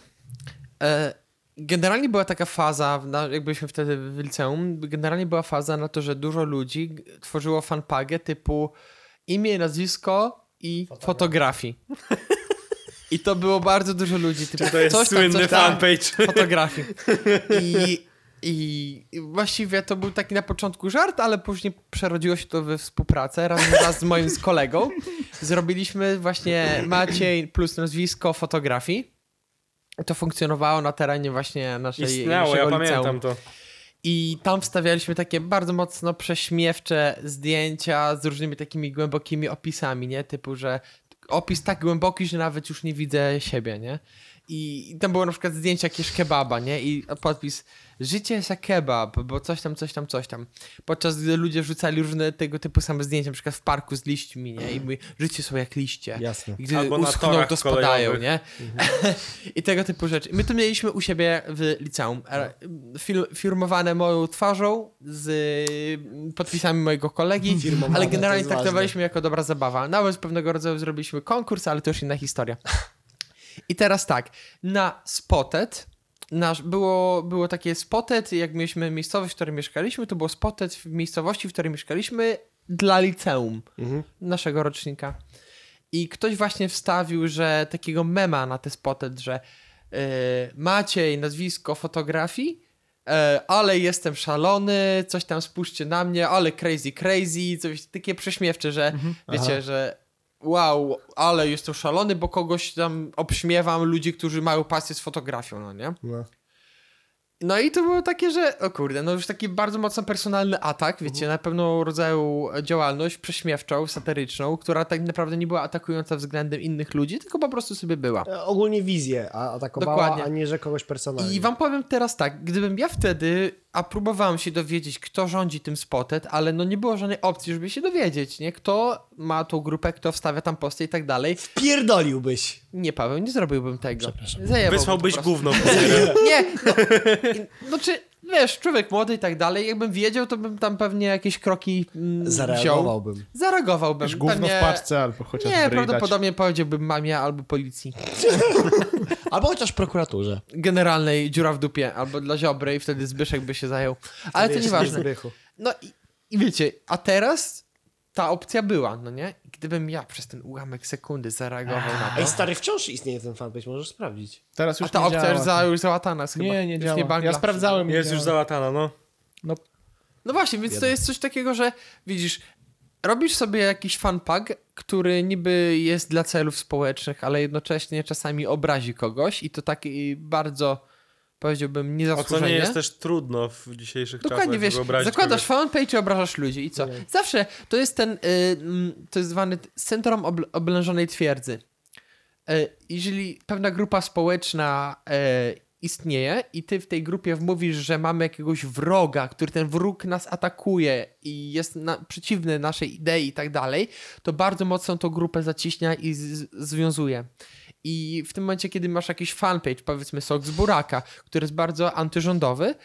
e, generalnie była taka faza, w na- jak byliśmy wtedy w liceum, generalnie była faza na to, że dużo ludzi g- tworzyło fanpagę typu imię, nazwisko i fotografii. I to było bardzo dużo ludzi. Typu,
To jest
coś tam,
słynny
coś tam,
fanpage.
fotografii. I, i, I właściwie to był taki na początku żart, ale później przerodziło się to we współpracę. Razem wraz z moim z kolegą zrobiliśmy właśnie Maciej plus nazwisko fotografii. To funkcjonowało na terenie właśnie naszej
Istniało, ja
naszego liceum.
pamiętam to.
I tam wstawialiśmy takie bardzo mocno prześmiewcze zdjęcia z różnymi takimi głębokimi opisami, nie? Typu, że opis tak głęboki, że nawet już nie widzę siebie, nie? I, i tam było na przykład zdjęcie jakieś kebaba, nie? I podpis życie jest jak kebab, bo coś tam, coś tam, coś tam. Podczas gdy ludzie rzucali różne tego typu same zdjęcia, na przykład w parku z liśćmi, nie? I mówi, życie są jak liście.
Jasne.
I Gdy
Albo
Albo
na
uschną,
torach
to spadają,
kolejowych.
nie? I tego typu rzeczy. My to mieliśmy u siebie w liceum. E, Fil firmowane moją twarzą z y, podpisami mojego kolegi,
Firmowane,
ale
to
generalnie
jest
traktowaliśmy jako dobra zabawa. Nawet pewnego rodzaju zrobiliśmy konkurs, ale to już inna historia. I teraz tak, na Spotted nasz, było, było takie Spotted, jak mieliśmy miejscowość, w której mieszkaliśmy, to było Spotted w miejscowości, w której mieszkaliśmy dla liceum
Mhm.
naszego rocznika. I ktoś właśnie wstawił, że takiego mema na te Spotted, że yy, Maciej, nazwisko fotografii, yy, ale jestem szalony, coś tam spójrzcie na mnie, ale crazy, crazy, coś takie prześmiewcze, że wiecie, że wow, ale jestem szalony, bo kogoś tam obśmiewam, ludzi, którzy mają pasję z fotografią, no nie?
No.
No i to było takie, że o kurde, no już taki bardzo mocno personalny atak, wiecie, na pewną rodzaju działalność prześmiewczą, satyryczną, która tak naprawdę nie była atakująca względem innych ludzi, tylko po prostu sobie była.
E, Ogólnie wizję a- atakowała,
Dokładnie.
a nie, że kogoś personalnie.
I wam powiem teraz tak, gdybym ja wtedy, a próbowałem się dowiedzieć, kto rządzi tym spotet, ale no nie było żadnej opcji, żeby się dowiedzieć, nie? Kto ma tą grupę, kto wstawia tam posty i tak dalej.
Pierdoliłbyś.
Nie, Paweł, nie zrobiłbym tego.
Przepraszam.
Zajebałbym po
Wysłałbyś
prostu.
gówno.
Nie, no, i- no czy, wiesz, człowiek młody i tak dalej, jakbym wiedział, to bym tam pewnie jakieś kroki mm, wziął.
Zareagowałbym.
Zareagowałbym.
Już gówno
pewnie...
w paczce albo chociaż
Nie,
w ryj dać.
prawdopodobnie powiedziałbym mamie albo policji.
Albo chociaż prokuraturze.
Generalnej dziura w dupie, albo dla Ziobry i wtedy Zbyszek by się zajął. Ale to
Wiesz,
nieważne.
Zbychu.
No i, i wiecie, a teraz ta opcja była, no nie? Gdybym ja przez ten ułamek sekundy zareagował na
Ej,
to,
stary, wciąż istnieje ten fanpage, możesz sprawdzić.
Teraz
a
już
ta
nie
opcja
działa.
już, za, już załatana jest chyba.
Nie, nie
Już
działa.
bangla.
ja sprawdzałem. nie
Jest już
działa.
załatana, no.
No,
No właśnie, więc to jest coś takiego, że widzisz, robisz sobie jakiś fanpag, który niby jest dla celów społecznych, ale jednocześnie czasami obrazi kogoś i to tak i bardzo, powiedziałbym,
O co nie
niezasłużenie.
jest też trudno w dzisiejszych
Dokładnie,
czasach
wiesz,
wyobrazić
zakładasz
kogoś.
fanpage i obrażasz ludzi i co? Zawsze to jest ten, y, mm, to jest zwany t- syndrom obl- oblężonej twierdzy. Y, jeżeli pewna grupa społeczna y, istnieje i ty w tej grupie wmówisz, że mamy jakiegoś wroga, który ten wróg nas atakuje i jest na, przeciwny naszej idei i tak dalej, to bardzo mocno tą grupę zaciśnia i z- z- związuje. I w tym momencie, kiedy masz jakiś fanpage, powiedzmy Sok z Buraka, który jest bardzo antyrządowy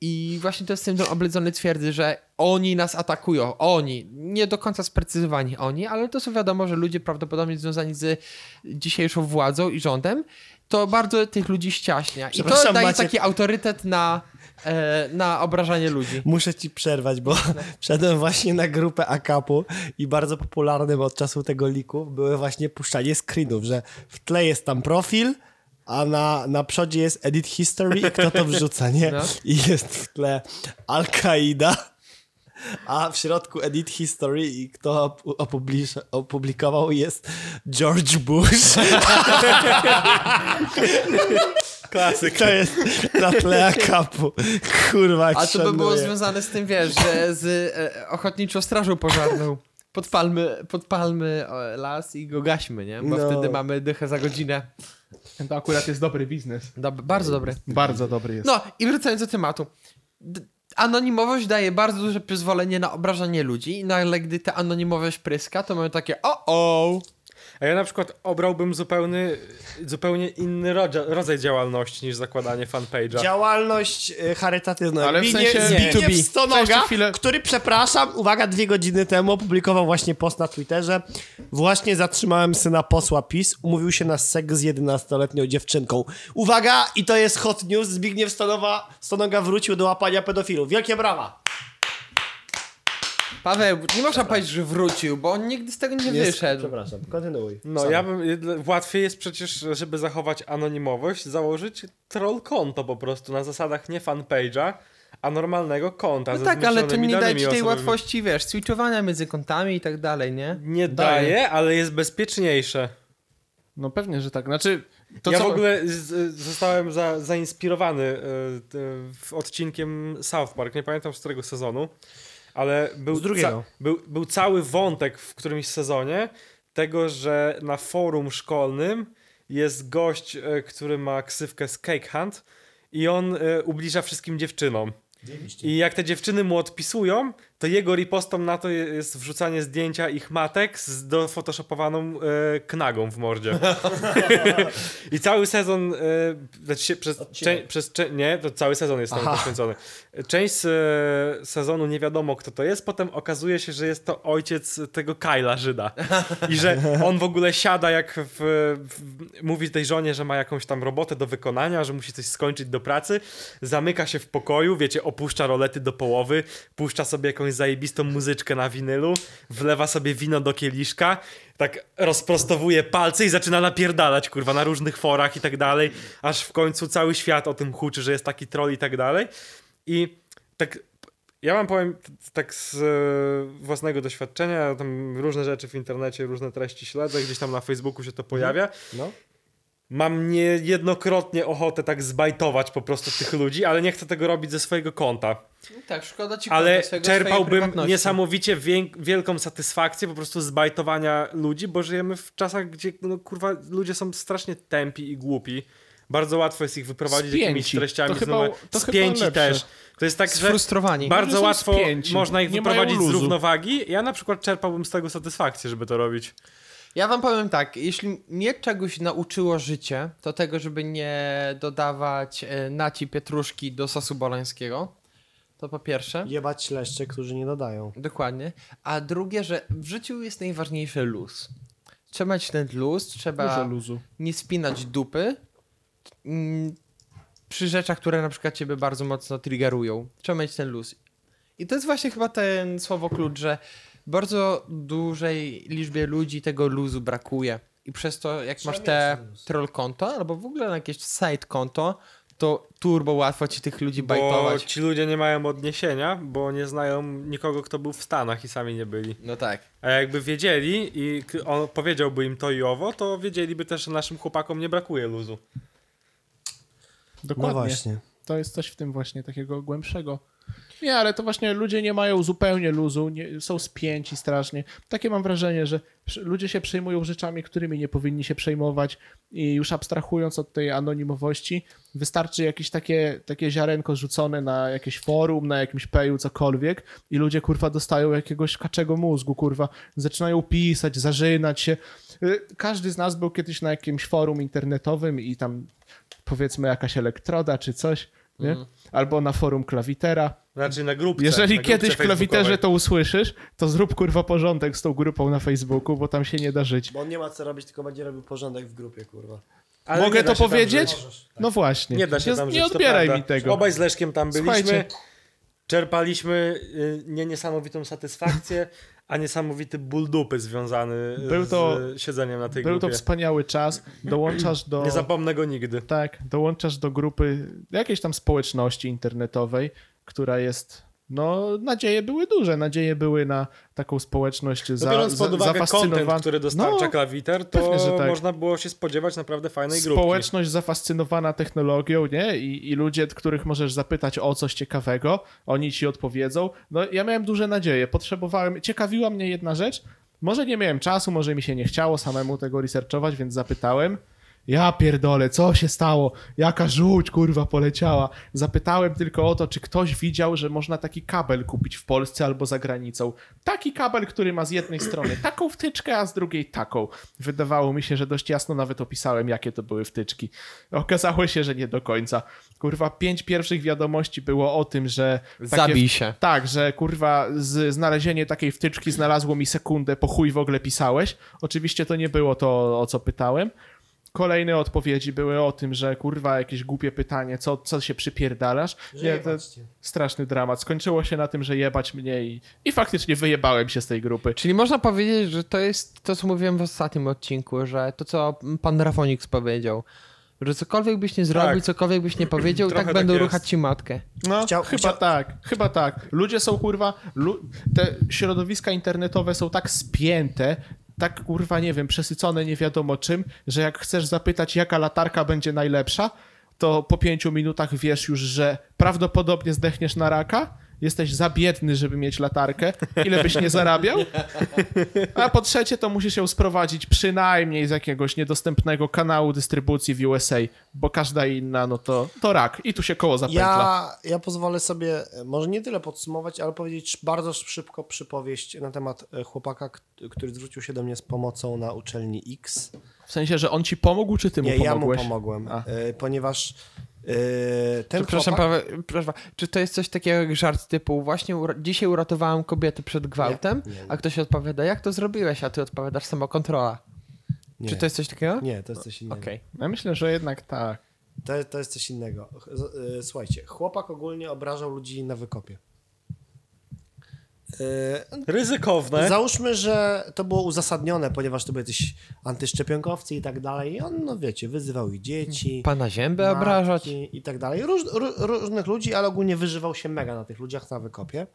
i właśnie to jest syndrom obledzony twierdzy, że oni nas atakują, oni, nie do końca sprecyzowani oni, ale to są wiadomo, że ludzie prawdopodobnie związani z dzisiejszą władzą i rządem, to bardzo tych ludzi ściaśnia. I to
Przepraszam,
daje
Maciek.
taki autorytet na, e, na obrażanie ludzi.
Muszę ci przerwać, bo wszedłem właśnie na grupę Akapu i bardzo popularnym od czasu tego liku były właśnie puszczanie screenów, że w tle jest tam profil, a na, na przodzie jest edit history i kto to wrzuca, nie?
No.
I jest w tle Al-Qaida, a w środku edit history i kto op- opublisz- opublikował jest George Bush.
Klasyk.
To jest na tle Akapu. Kurwa,
A to by było
szanuję.
związane z tym, wiesz, że z e, ochotniczą strażą pożarną. Podpalmy, podpalmy e, las i go gaśmy, nie? Bo
No.
wtedy mamy dychę za godzinę.
to akurat jest dobry biznes.
Dob bardzo dobry.
Bardzo dobry jest.
No i wracając do tematu. D anonimowość daje bardzo duże przyzwolenie na obrażanie ludzi, no ale gdy ta anonimowość pryska, to mamy takie o o
A ja na przykład obrałbym zupełny, zupełnie inny rodzaj, rodzaj działalności niż zakładanie fanpage'a.
Działalność e, charytatywna.
Ale w
Zbigniew-
sensie-
Zbigniew
B2B.
Stonoga,
Cześć, chwilę.
który, przepraszam, uwaga, dwie godziny temu opublikował właśnie post na Twitterze. Właśnie zatrzymałem syna posła PiS, umówił się na seks z 11-letnią dziewczynką. Uwaga, i to jest hot news, Zbigniew Stonowa, Stonoga wrócił do łapania pedofilów. Wielkie brawa!
Paweł, nie można powiedzieć, że wrócił, bo on nigdy z tego nie
Jest-
wyszedł.
Przepraszam, kontynuuj.
No, ja bym. jedle- Łatwiej jest przecież, żeby zachować anonimowość, założyć troll konto po prostu na zasadach nie fanpage'a, a normalnego konta.
No
ze
tak, ale to
zmniejszonymi
nie daje
danymi
ci tej
osobowymi.
łatwości, wiesz, switchowania między kontami i tak dalej, nie?
Nie
Daje.
daje, ale jest bezpieczniejsze.
No pewnie, że tak. Znaczy, to
To ja
co...
w ogóle z, zostałem za, zainspirowany y, y, odcinkiem South Park. Nie pamiętam z którego sezonu, ale był,
Z drugiego.
był, był cały wątek w którymś sezonie tego, że na forum szkolnym jest gość, y, który ma ksywkę z Cake Hunt i on y, ubliża wszystkim dziewczynom. I jak te dziewczyny mu odpisują, to jego ripostą na to jest wrzucanie zdjęcia ich matek z dofotoshopowaną e, knagą w mordzie. I cały sezon, e, znaczy się przez,
Odcinek.
cze, przez cze, nie, to cały sezon jest
Aha.
tam poświęcony. Część z, e, sezonu nie wiadomo kto to jest, potem okazuje się, że jest to ojciec tego Kyla Żyda. I że on w ogóle siada jak w, w, mówi tej żonie, że ma jakąś tam robotę do wykonania, że musi coś skończyć do pracy, zamyka się w pokoju, wiecie, opuszcza rolety do połowy, puszcza sobie jakąś zajebistą muzyczkę na winylu, wlewa sobie wino do kieliszka, tak rozprostowuje palce i zaczyna napierdalać, kurwa, na różnych forach i tak dalej, aż w końcu cały świat o tym huczy, że jest taki troll i tak dalej. I tak ja wam powiem t- tak z e, własnego doświadczenia, tam różne rzeczy w internecie, różne treści śledzę, gdzieś tam na Facebooku się to pojawia.
No.
Mam niejednokrotnie ochotę tak zbajtować po prostu tych ludzi, ale nie chcę tego robić ze swojego konta.
Tak, szkoda ci
Ale
konta swojego, swojej
czerpałbym
prywatności.
niesamowicie wiek- wielką satysfakcję po prostu zbajtowania ludzi, bo żyjemy w czasach, gdzie no, kurwa ludzie są strasznie tępi i głupi. Bardzo łatwo jest ich wyprowadzić
Spięci.
jakimiś treściami.
To
z
chyba-
numer-
to chyba
Spięci
lepsze.
też. To jest tak, że
Sfrustrowani.
bardzo
są
łatwo
spięci,
można ich
nie mają
wyprowadzić z
luzu.
równowagi. Ja na przykład czerpałbym z tego satysfakcję, żeby to robić.
Ja wam powiem tak, jeśli mnie czegoś nauczyło życie, to tego, żeby nie dodawać e, naci pietruszki do sosu bolońskiego, to po pierwsze.
Jebać śleszcze, którzy nie dodają. No
Dokładnie. A drugie, że w życiu jest najważniejszy luz. Trzeba mieć ten luz,
Dużo
trzeba
luzu.
nie spinać dupy mm, przy rzeczach, które na przykład ciebie bardzo mocno triggerują. Trzeba mieć ten luz. I to jest właśnie chyba ten słowo klucz, że bardzo dużej liczbie ludzi tego luzu brakuje. I przez to, jak
Trzeba
masz te
mieć luz.
troll konto, albo w ogóle jakieś side konto, to turbo łatwo ci tych ludzi
Bo
bajtować.
ci ludzie nie mają odniesienia, bo nie znają nikogo, kto był w Stanach i sami nie byli.
No tak.
A jakby wiedzieli i k- on powiedziałby im to i owo, to wiedzieliby też, że naszym chłopakom nie brakuje luzu.
No
Dokładnie.
właśnie.
To jest coś w tym właśnie takiego głębszego. Nie, ale to właśnie ludzie nie mają zupełnie luzu, nie, są spięci strasznie. Takie mam wrażenie, że przy- ludzie się przejmują rzeczami, którymi nie powinni się przejmować i już abstrahując od tej anonimowości, wystarczy jakieś takie, takie ziarenko rzucone na jakieś forum, na jakimś peju, cokolwiek i ludzie kurwa dostają jakiegoś kaczego mózgu, kurwa. Zaczynają pisać, zażynać się. Y, Każdy z nas był kiedyś na jakimś forum internetowym i tam powiedzmy jakaś elektroda czy coś, nie?
Mhm.
Albo na forum klawitera.
Znaczy na grupce.
Jeżeli
na grupce
kiedyś w klawiterze
facebookowej.
to usłyszysz, to zrób kurwa porządek z tą grupą na Facebooku, bo tam się nie da żyć.
Bo on nie ma co robić, tylko będzie robił porządek w grupie, kurwa.
Ale
Mogę
nie da
to
się tam
powiedzieć?
żyć.
No właśnie.
Nie da się
nie,
tam
nie
żyć, to
odbieraj
prawda.
mi tego.
Obaj z Leszkiem tam byliśmy.
Słuchajcie.
Czerpaliśmy y, nie niesamowitą satysfakcję, a niesamowity ból dupy związany
Był to-
z y, siedzeniem na tej
Był to no.
grupie.
wspaniały czas. Dołączasz do.
Nie zapomnę go nigdy.
Tak, dołączasz do grupy jakiejś tam społeczności internetowej, która jest. No, nadzieje były duże. Nadzieje były na taką społeczność
No,
za,
biorąc pod
za-
uwagę
zafascynowaną.
content, który dostarcza
No,
klawiter,
pewnie, że
to
tak.
można było się spodziewać naprawdę fajnej grupy.
społeczność zafascynowana technologią, nie? I, I ludzie, których możesz zapytać o coś ciekawego, oni ci odpowiedzą. No ja miałem duże nadzieje, potrzebowałem, ciekawiła mnie jedna rzecz, może nie miałem czasu, może mi się nie chciało samemu tego researchować, więc zapytałem Ja pierdolę, co się stało? Jaka żółć kurwa poleciała? Zapytałem tylko o to, czy ktoś widział, że można taki kabel kupić w Polsce albo za granicą. Taki kabel, który ma z jednej strony taką wtyczkę, a z drugiej taką. Wydawało mi się, że dość jasno nawet opisałem, jakie to były wtyczki. Okazało się, że nie do końca. Kurwa, pięć pierwszych wiadomości było o tym, że. takie-
Zabij się.
tak, że kurwa z, znalezienie takiej wtyczki znalazło mi sekundę, po chuj w ogóle pisałeś. Oczywiście to nie było to, o co pytałem. Kolejne odpowiedzi były o tym, że kurwa jakieś głupie pytanie, co, co się przypierdalasz. Nie, to straszny dramat. Skończyło się na tym, że jebać mnie i, i faktycznie wyjebałem się z tej grupy.
Czyli można powiedzieć, że to jest to, co mówiłem w ostatnim odcinku, że to, co pan Rafonix powiedział, że cokolwiek byś nie zrobił,
Tak.
cokolwiek byś nie powiedział,
Trochę
tak będą
tak jest.
ruchać ci matkę.
No,
Chciał-
chyba
chciał-
tak, chyba tak. Ludzie są kurwa, lu... te środowiska internetowe są tak spięte, tak kurwa, nie wiem, przesycone nie wiadomo czym, że jak chcesz zapytać, jaka latarka będzie najlepsza, to po pięciu minutach wiesz już, że prawdopodobnie zdechniesz na raka, jesteś za biedny, żeby mieć latarkę, ile byś nie zarabiał, a po trzecie to musisz ją sprowadzić przynajmniej z jakiegoś niedostępnego kanału dystrybucji w USA, bo każda inna, no to, to rak. I tu się koło zapętla.
Ja, ja pozwolę sobie e, może nie tyle podsumować, ale powiedzieć bardzo szybko przypowieść na temat e, chłopaka, k- który zwrócił się do mnie z pomocą na uczelni X.
W sensie, że on ci pomógł, czy ty mu
Nie, ja mu
pomogłeś?
pomogłem,
A.
e, ponieważ e, ten
Przepraszam,
chłopak...
prawe- przepraszam, czy to jest coś takiego jak żart typu właśnie ura- dzisiaj uratowałem kobietę przed gwałtem,
Nie, nie, nie.
a ktoś odpowiada, jak to zrobiłeś, a ty odpowiadasz samokontrola.
Nie,
Czy to jest coś takiego?
nie, to jest coś innego.
Okej.
Ja myślę, że jednak tak.
To, to jest coś innego. Ch- z- y, Słuchajcie, chłopak ogólnie obrażał ludzi na wykopie.
Tak?
Y,
Ryzykowne.
Załóżmy, że to było uzasadnione, ponieważ to były jacyś antyszczepionkowcy i tak dalej. I on, no wiecie, wyzywał i dzieci.
Mhm.
Pana ziębę
matki
obrażać?
I tak dalej. Róż, ró, różnych ludzi, ale ogólnie wyżywał się mega na tych ludziach na wykopie.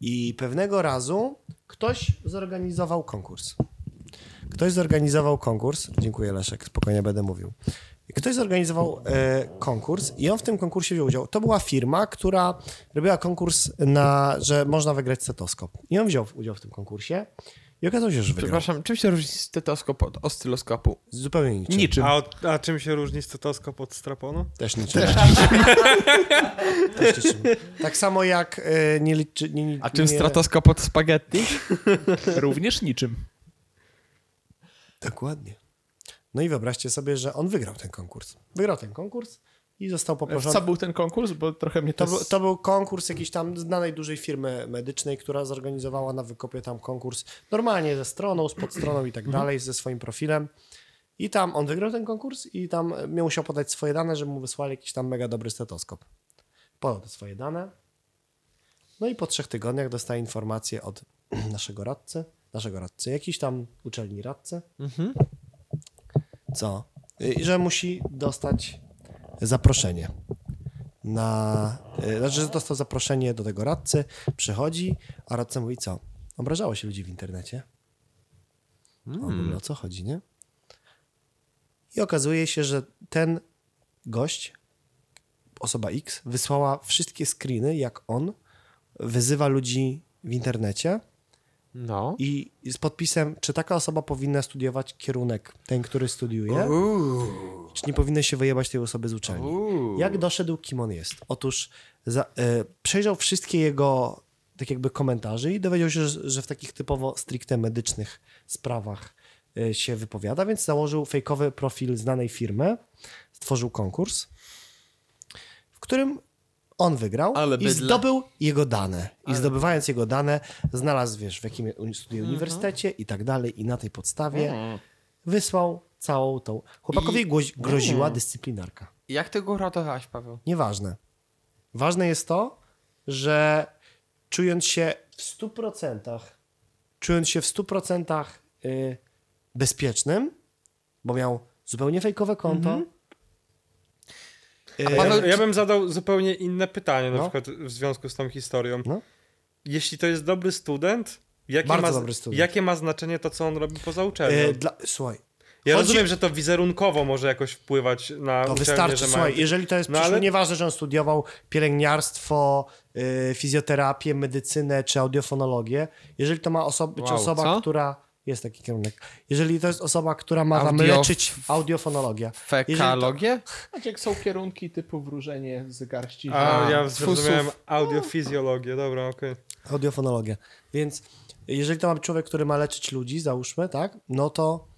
I pewnego razu ktoś zorganizował konkurs. Ktoś zorganizował konkurs. Dziękuję, Leszek, spokojnie będę mówił. Ktoś zorganizował e, konkurs i on w tym konkursie wziął udział. To była firma, która robiła konkurs na, że można wygrać stetoskop. I on wziął udział w tym konkursie i okazało się, że wygrał.
Przepraszam, czym się różni stetoskop od oscyloskopu?
Zupełnie niczym.
Niczym.
A, od- a czym się różni stetoskop od straponu?
Też niczym. Też niczym. Tak samo jak e, nie liczy... Nie, nie,
A czym
nie,
stratoskop od spaghetti?
Również niczym.
Dokładnie. No i wyobraźcie sobie, że on wygrał ten konkurs. Wygrał ten konkurs i został poproszony...
Co był ten konkurs? Bo trochę mnie
To,
to...
był- to był konkurs jakiejś tam znanej dużej firmy medycznej, która zorganizowała na wykopie tam konkurs normalnie ze stroną, z podstroną i
Mhm.
tak dalej, ze swoim profilem. I tam on wygrał ten konkurs i tam e, musiał podać swoje dane, żeby mu wysłali jakiś tam mega dobry stetoskop. Podał te swoje dane. No i po trzech tygodniach dostaje informację od naszego radcy, naszego radcy, jakiś tam uczelni radcy,
Mhm.
co? Y, Że musi dostać zaproszenie na. y, Znaczy, że dostał zaproszenie do tego radcy, przychodzi, a radca mówi co? Obrażało się ludzi w internecie. On mówi, o co chodzi, nie? I okazuje się, że ten gość, osoba X, wysłała wszystkie screeny, jak on wyzywa ludzi w internecie
No.
i z podpisem, czy taka osoba powinna studiować kierunek, ten, który studiuje, czy nie powinno się wyjebać tej osoby z uczelni. Jak doszedł, kim on jest? Otóż za, e, przejrzał wszystkie jego tak jakby komentarze i dowiedział się, że, że w takich typowo stricte medycznych sprawach e, się wypowiada, więc założył fejkowy profil znanej firmy, stworzył konkurs, w którym on wygrał
Ale
i
bydlę.
zdobył jego dane. I zdobywając jego dane, znalazł, wiesz, w jakim uni- studiuje uniwersytecie i tak dalej i na tej podstawie wysłał całą tą... Chłopakowi
I-
głozi- groziła dyscyplinarka.
Jak ty go uratowałeś, Paweł?
Nieważne. Ważne jest to, że czując się w 100%, czując się w 100% y, bezpiecznym, bo miał zupełnie fejkowe konto,
A
Ja,
Paweł,
ja bym zadał zupełnie inne pytanie, na
No.
przykład w związku z tą historią.
No.
Jeśli to jest dobry student, jakie,
Bardzo
ma, z-
dobry student.
jakie ma znaczenie to, co on robi poza uczelnią?
y, dla, słuchaj,
ja
chodzi-
rozumiem, że to wizerunkowo może jakoś wpływać na
to
uczelnię,
No, wystarczy,
że ma...
słuchaj, jeżeli to jest
No
przyszły,
ale-
nieważne, że on studiował pielęgniarstwo, y, fizjoterapię, medycynę czy audiofonologię, jeżeli to ma osoba, czy
Wow,
osoba,
co?
która Jest taki kierunek. Jeżeli to jest osoba, która ma wam
Audio-
leczyć audiofonologia.
Fekalogię?
Tak jak są kierunki typu wróżenie z garści.
A,
A,
ja
fusów.
zrozumiałem audiofizjologię, dobra, okej.
Audiofonologia. Więc jeżeli to ma być człowiek, który ma leczyć ludzi, załóżmy, tak, no to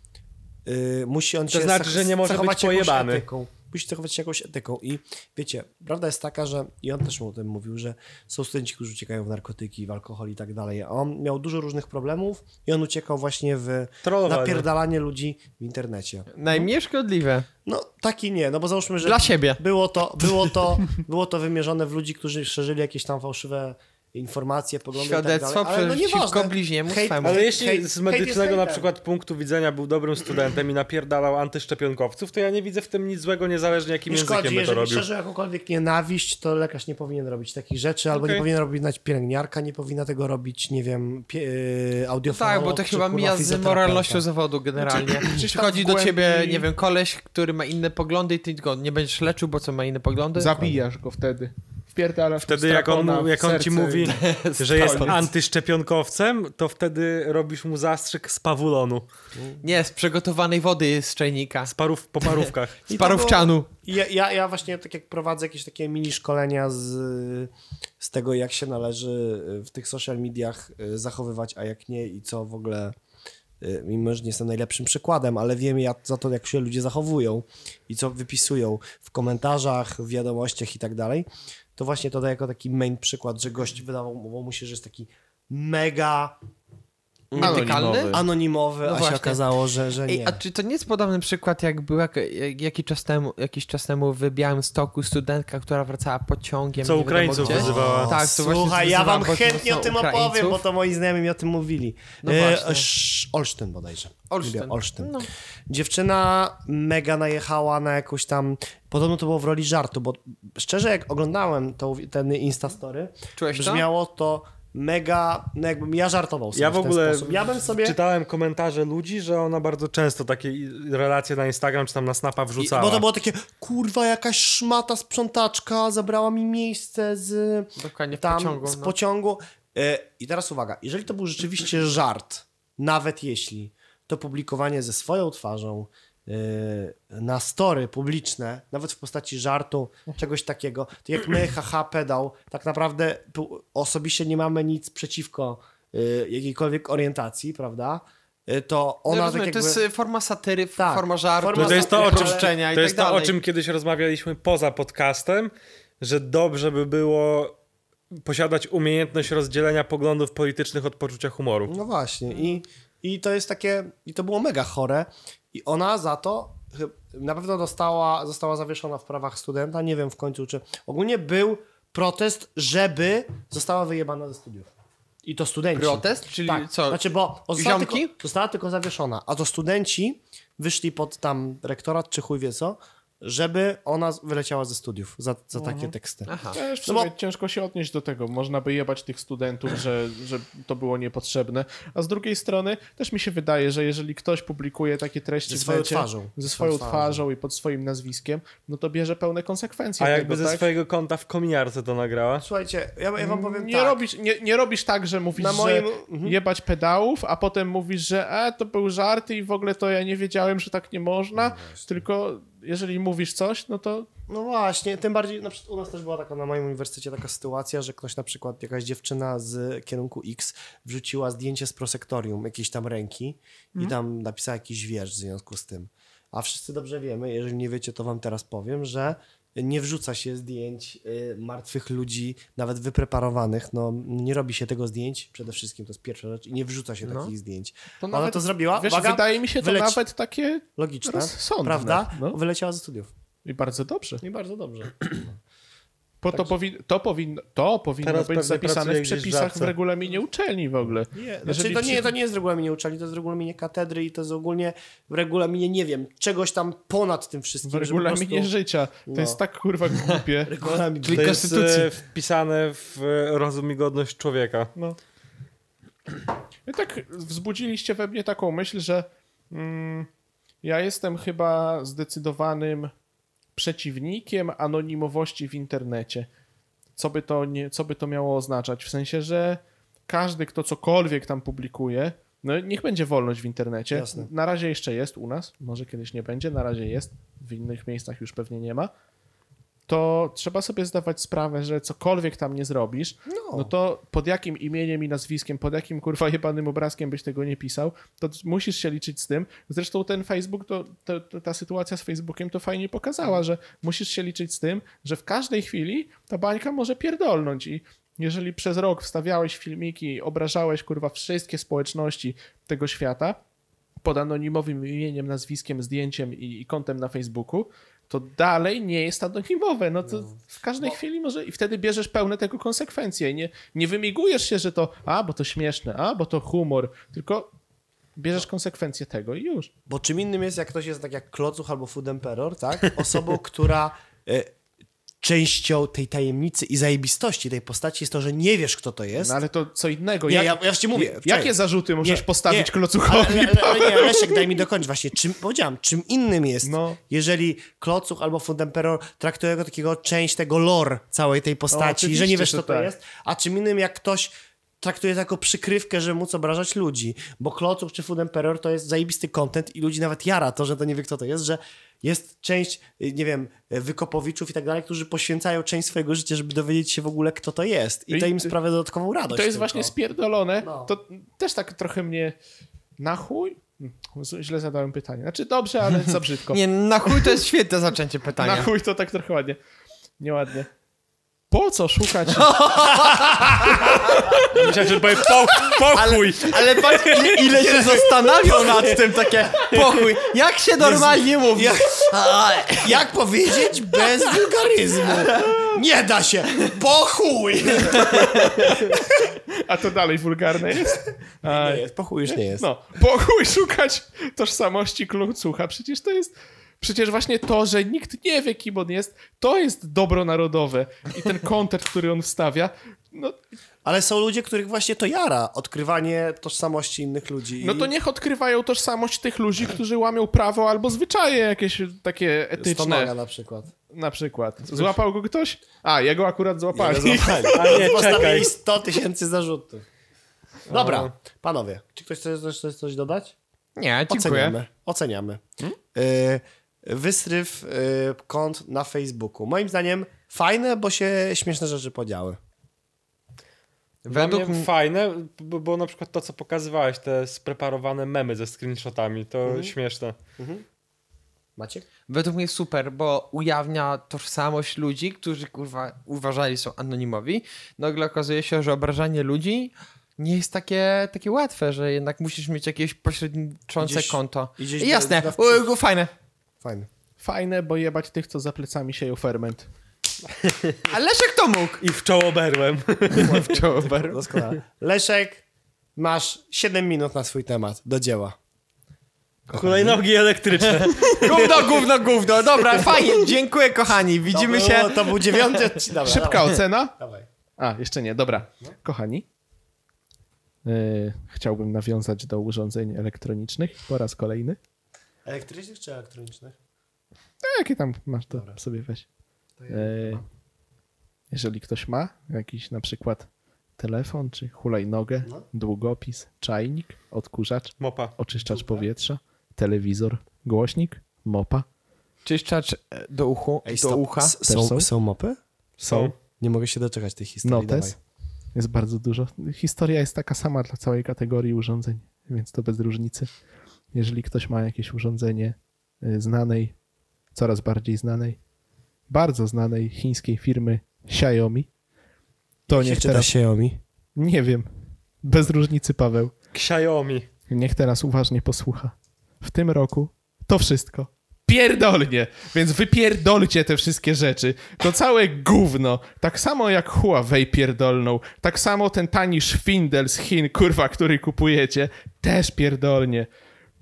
yy, musi on
To
się
znaczy,
zach-
że nie może
zachować
być
jakąś
pojebany.
Etyką. Musi zachować się jakąś etyką. I wiecie, prawda jest taka, że i on też mu o tym mówił, że są studenci, którzy uciekają w narkotyki, w alkohol i tak dalej. A on miał dużo różnych problemów i on uciekał właśnie w
Trollowanie.
napierdalanie ludzi w internecie.
Najmniej szkodliwe.
No taki nie, no bo załóżmy, Mhm. że
Dla siebie.
było to, było, to, było to wymierzone w ludzi, którzy szerzyli jakieś tam fałszywe informacje, poglądy i
Świadectwo
tak dalej. Ale no
przeciwko
nieważne.
bliźniemu
Hejt-
swemu.
Ale jeśli
hejt-
z
hejt jest
medycznego na
hejtem.
przykład punktu widzenia był dobrym studentem i napierdalał antyszczepionkowców, to ja nie widzę w tym nic złego, niezależnie jakim
Nie
językiem
szkodzi,
by to
jeżeli
robił.
szerzy jakąkolwiek nienawiść, to lekarz nie powinien robić takich rzeczy, albo
Okej.
nie powinien robić pielęgniarka, nie powinna tego robić, nie wiem, pie, yy, audiofonolog,
Tak, bo to
czy,
chyba
kurwa,
mija z
fizjoterapeuta.
moralnością zawodu generalnie.
gdzieś tam
Przychodzi
w
do
głębi-
ciebie, nie wiem, koleś, który ma inne poglądy i ty go nie będziesz leczył, bo co ma inne poglądy?
Zabijasz go wtedy. Wpierdalasz
Wtedy jak on, jak on ci mówi,
mm,
że jest antyszczepionkowcem, to wtedy robisz mu zastrzyk z pawulonu,
Nie, z przygotowanej wody z czajnika.
z parów, po parówkach.
I
Z parówczanu.
Ja, ja, ja właśnie tak jak prowadzę jakieś takie mini szkolenia z, z tego, jak się należy y, w tych social mediach y, zachowywać, a jak nie i co w ogóle, y, mimo że nie jestem najlepszym przykładem, ale wiem ja za to, jak się ludzie zachowują i co wypisują w komentarzach, w wiadomościach i tak dalej, to właśnie to daję jako taki main przykład, że gość wydawało mu się, że jest taki mega
Nietykalny?
anonimowy, a
No właśnie.
się okazało, że, że nie.
Ej, a czy to nie jest podobny przykład, jak był jak, jak, jaki czas temu, jakiś czas temu w Białymstoku studentka, która wracała pociągiem.
Co
nie wiadomo
Ukraińców
gdzie?
wyzywała.
Tak, to właśnie
Słuchaj, ja
wyzywała,
wam
bo to
chętnie o
są
tym
Ukraińców.
opowiem, bo to moi znajomi mi o tym mówili.
No
E,
właśnie.
Sz- Olsztyn bodajże.
Olsztyn.
Lubię Olsztyn.
No.
Dziewczyna mega najechała na jakąś tam... Podobno to było w roli żartu, bo szczerze jak oglądałem tą, ten Instastory,
Czułeś to?
brzmiało to mega... No jakbym ja żartował sobie
Ja
w,
w
ten
ogóle
sposób. Ja bym sobie...
czytałem komentarze ludzi, że ona bardzo często takie relacje na Instagram czy tam na Snapa wrzucała.
Bo to było takie, kurwa, jakaś szmata sprzątaczka zabrała mi miejsce z...
Dokładnie, w
tam
pociągu.
z
no.
pociągu. E, I teraz uwaga, jeżeli to był rzeczywiście żart, nawet jeśli, to publikowanie ze swoją twarzą e, na story publiczne, nawet w postaci żartu, czegoś takiego, to jak my, haha, pedał, tak naprawdę pu- osobiście nie mamy nic przeciwko e, jakiejkolwiek orientacji, prawda? E, To
No
ona tak
rozumiem,
jakby...
To jest y, forma satyry, f-
Tak,
forma żartu,
forma
No To jest to, o czym,
uproszczenia i
to, jest
tak
to, o
dalej.
czym kiedyś rozmawialiśmy poza podcastem, że dobrze by było posiadać umiejętność rozdzielenia poglądów politycznych od poczucia humoru.
No właśnie.
Mm.
I, I to jest takie. I to było mega chore. I ona za to chy- na pewno dostała, została zawieszona w prawach studenta. Nie wiem w końcu, czy. Ogólnie był protest, żeby została wyjebana ze studiów. I to studenci.
Protest? Czyli
tak.
co?
Znaczy, bo on została tylko,
Ziomki?
została tylko zawieszona, a to studenci wyszli pod tam rektorat, czy chuj wie co, żeby ona z- wyleciała ze studiów za, za takie teksty.
Mhm. Aha.
Też w
No bo-
sumie ciężko się odnieść do tego. Można by jebać tych studentów, że, że to było niepotrzebne. A z drugiej strony też mi się wydaje, że jeżeli ktoś publikuje takie treści
Ze
w
swoją
necie,
twarzą.
ze swoją
Swoją twarzą.
twarzą i pod swoim nazwiskiem, no to bierze pełne
A
konsekwencje tego,
jakby ze
tak?
swojego konta w kominiarce to nagrała.
Słuchajcie, ja, ja wam powiem
nie,
tak.
robisz, nie, nie robisz tak, że mówisz,
Na moim- Mhm.
że jebać pedałów, a potem mówisz, że e, to był żart i w ogóle to ja nie wiedziałem, że tak nie można, tylko jeżeli mówisz coś, no to
No właśnie, tym bardziej na przykład u nas też była taka na moim uniwersytecie taka sytuacja, że ktoś na przykład, jakaś dziewczyna z kierunku X wrzuciła zdjęcie z prosektorium jakiejś tam ręki
Mm.
i tam napisała jakiś wiersz w związku z tym. A wszyscy dobrze wiemy, jeżeli nie wiecie, to wam teraz powiem, że nie wrzuca się zdjęć y, martwych ludzi, nawet wypreparowanych. No, nie robi się tego zdjęć, przede wszystkim to jest pierwsza rzecz, i nie wrzuca się takich zdjęć.
No. To
To Ona
nawet-
to zrobiła,
wiesz,
uwaga,
wydaje mi się to
wyleci.
nawet takie
logiczne,
rozsądne,
prawda?
no.
Wyleciała ze studiów.
i bardzo dobrze.
I bardzo dobrze.
Bo to, powin- to powinno, to powinno
Teraz
być
pewnie
zapisane
pracuje
w
gdzieś w
przepisach, w
żabce.
regulaminie uczelni w ogóle.
Nie,
Jeżeli
znaczy to, nie,
przy-
to nie jest w regulaminie uczelni, to jest w regulaminie katedry i to jest ogólnie w regulaminie, nie wiem, czegoś tam ponad tym wszystkim.
W
żeby po
regulaminie
prostu-
życia. To
no.
jest tak kurwa głupie.
Regulamin.
Czyli
To jest
konstytucji.
e, wpisane w e, rozum i godność człowieka.
No. I tak wzbudziliście we mnie taką myśl, że mm, ja jestem chyba zdecydowanym przeciwnikiem anonimowości w internecie. Co by, to nie, co by to miało oznaczać? W sensie, że każdy, kto cokolwiek tam publikuje, No niech będzie wolność w internecie.
Jasne.
Na razie jeszcze jest u nas, może kiedyś nie będzie, na razie jest, w innych miejscach już pewnie nie ma. To trzeba sobie zdawać sprawę, że cokolwiek tam nie zrobisz,
No.
no to pod jakim imieniem i nazwiskiem, pod jakim kurwa jebanym obrazkiem byś tego nie pisał, to t- musisz się liczyć z tym. Zresztą ten Facebook, to, to, to, ta sytuacja z Facebookiem to fajnie pokazała, że musisz się liczyć z tym, że w każdej chwili ta bańka może pierdolnąć i jeżeli przez rok wstawiałeś filmiki, obrażałeś kurwa wszystkie społeczności tego świata pod anonimowym imieniem, nazwiskiem, zdjęciem i, i kontem na Facebooku, to dalej nie jest anonimowe. No to w każdej chwili może i wtedy bierzesz pełne tego konsekwencje. I Nie, nie wymigujesz się, że to a, bo to śmieszne, a, bo to humor, tylko
No.
bierzesz konsekwencje tego i już.
Bo czym innym jest, jak ktoś jest tak jak Klocuch albo Food Emperor, tak? Osobą, która e, częścią tej tajemnicy i zajebistości tej postaci jest to, że nie wiesz, kto to jest.
No ale to co innego.
Nie,
Jak-
ja- ja już ci mówię,
jak-
wczoraj.
Jakie zarzuty możesz
Nie,
postawić
nie.
klocuchowi?
Ale, ale, ale nie, Leszek, daj mi dokończyć właśnie. Czym, powiedziałem, czym innym jest,
No.
jeżeli Klocuch albo Fundemperor traktuje go takiego część tego lore całej tej postaci,
oczywiście,
że nie wiesz, co
że
to
tak.
jest, a czym innym jak ktoś traktuje to jako przykrywkę, żeby móc obrażać ludzi, bo Klocuch czy Fundemperor to jest zajebisty content i ludzi nawet jara to, że to nie wie, kto to jest, że jest część, y, nie wiem, y, wykopowiczów i tak dalej, którzy poświęcają część swojego życia, żeby dowiedzieć się w ogóle, kto to jest. I,
I-
to im sprawia dodatkową radość.
To jest
tylko.
właśnie spierdolone.
No.
To też tak trochę mnie na chuj? Hmm, z- Źle zadałem pytanie. Znaczy dobrze, ale za brzydko.
Nie, na chuj to jest świetne zaczęcie pytania.
na chuj to tak trochę ładnie. Nieładnie. Po co szukać?
No.
Myślałem, że powie po, pokój!
Ale patrz, ile, ile się zastanawiał nad tym, takie pochuj. Jak się normalnie mówi?
Jak, jak powiedzieć bez wulgaryzmu? Nie da się! Pochuj!
A to dalej wulgarne jest. A,
Nie jest, pochuj już nie jest.
No, po chuj szukać tożsamości klucucha. Przecież to jest. Przecież właśnie to, że nikt nie wie, kim on jest, to jest dobro narodowe. I ten kontert, który on wstawia, no,
Ale są ludzie, których właśnie to jara, odkrywanie tożsamości innych ludzi.
no to niech odkrywają tożsamość tych ludzi, którzy łamią prawo albo zwyczaje jakieś takie
Stonoga no.
etyczne.
na przykład.
Na przykład. Złapał go ktoś? A, jego akurat złapali.
A nie, czekaj.
Postawili 100 tysięcy zarzutów. Dobra, panowie, czy ktoś chce coś, coś, coś dodać?
Nie, dziękuję.
Oceniamy. Oceniamy. Y, wysryw y, kont na Facebooku. Moim zdaniem fajne, bo się śmieszne rzeczy podziały.
Według
Według mnie
m-
fajne, bo, bo na przykład to, co pokazywałeś, te spreparowane memy ze screenshotami, to śmieszne.
Maciek?
Według mnie super, bo ujawnia tożsamość ludzi, którzy kurwa uważali są anonimowi. Nagle okazuje się, że obrażanie ludzi nie jest takie, takie łatwe, że jednak musisz mieć jakieś pośredniczące
Idziesz-
konto.
idziesz
I Jasne,
do- do-
u, u, fajne.
Fajne.
Fajne, bo jebać tych, co za plecami sieją ferment.
A Leszek to mógł.
I w czoło berłem.
Czołber.
Doskonale. Leszek, masz 7 minut na swój temat. Do dzieła.
Hulajnogi elektryczne.
Gówno, gówno, gówno. Dobra, fajnie. Dziękuję kochani. Widzimy
to
się.
Było, to był dziewiąty odcinek. Dobra,
Szybka ocena.
Dawaj.
A, jeszcze nie, dobra. Kochani, yy, chciałbym nawiązać do urządzeń elektronicznych po raz kolejny.
Elektrycznych czy elektronicznych?
A, jakie tam masz, to
Dobra.
sobie weź. Yy, jeżeli ktoś ma jakiś na przykład telefon, czy hulajnogę,
No.
długopis, czajnik, odkurzacz,
Mopa.
oczyszczacz powietrza, telewizor, głośnik, mopa,
Czyszczacz e, do uchu, do ucha.
Też
Są,
są?
są mopy?
są,
Nie mogę się doczekać tej historii.
notes. Jest bardzo dużo. Historia jest taka sama dla całej kategorii urządzeń, więc to bez różnicy. Jeżeli ktoś ma jakieś urządzenie y, znanej, coraz bardziej znanej, bardzo znanej chińskiej firmy Xiaomi, to
Dawaj.
niech
Się czyta
teraz...
Xiaomi.
Nie wiem. Bez różnicy, Paweł.
Xiaomi.
Niech teraz uważnie posłucha. W tym roku to wszystko. Pierdolnie! Więc wypierdolcie te wszystkie rzeczy. To całe gówno. Tak samo jak Huawei pierdolną. Tak samo ten tani szwindel z Chin, kurwa, który kupujecie. Też pierdolnie.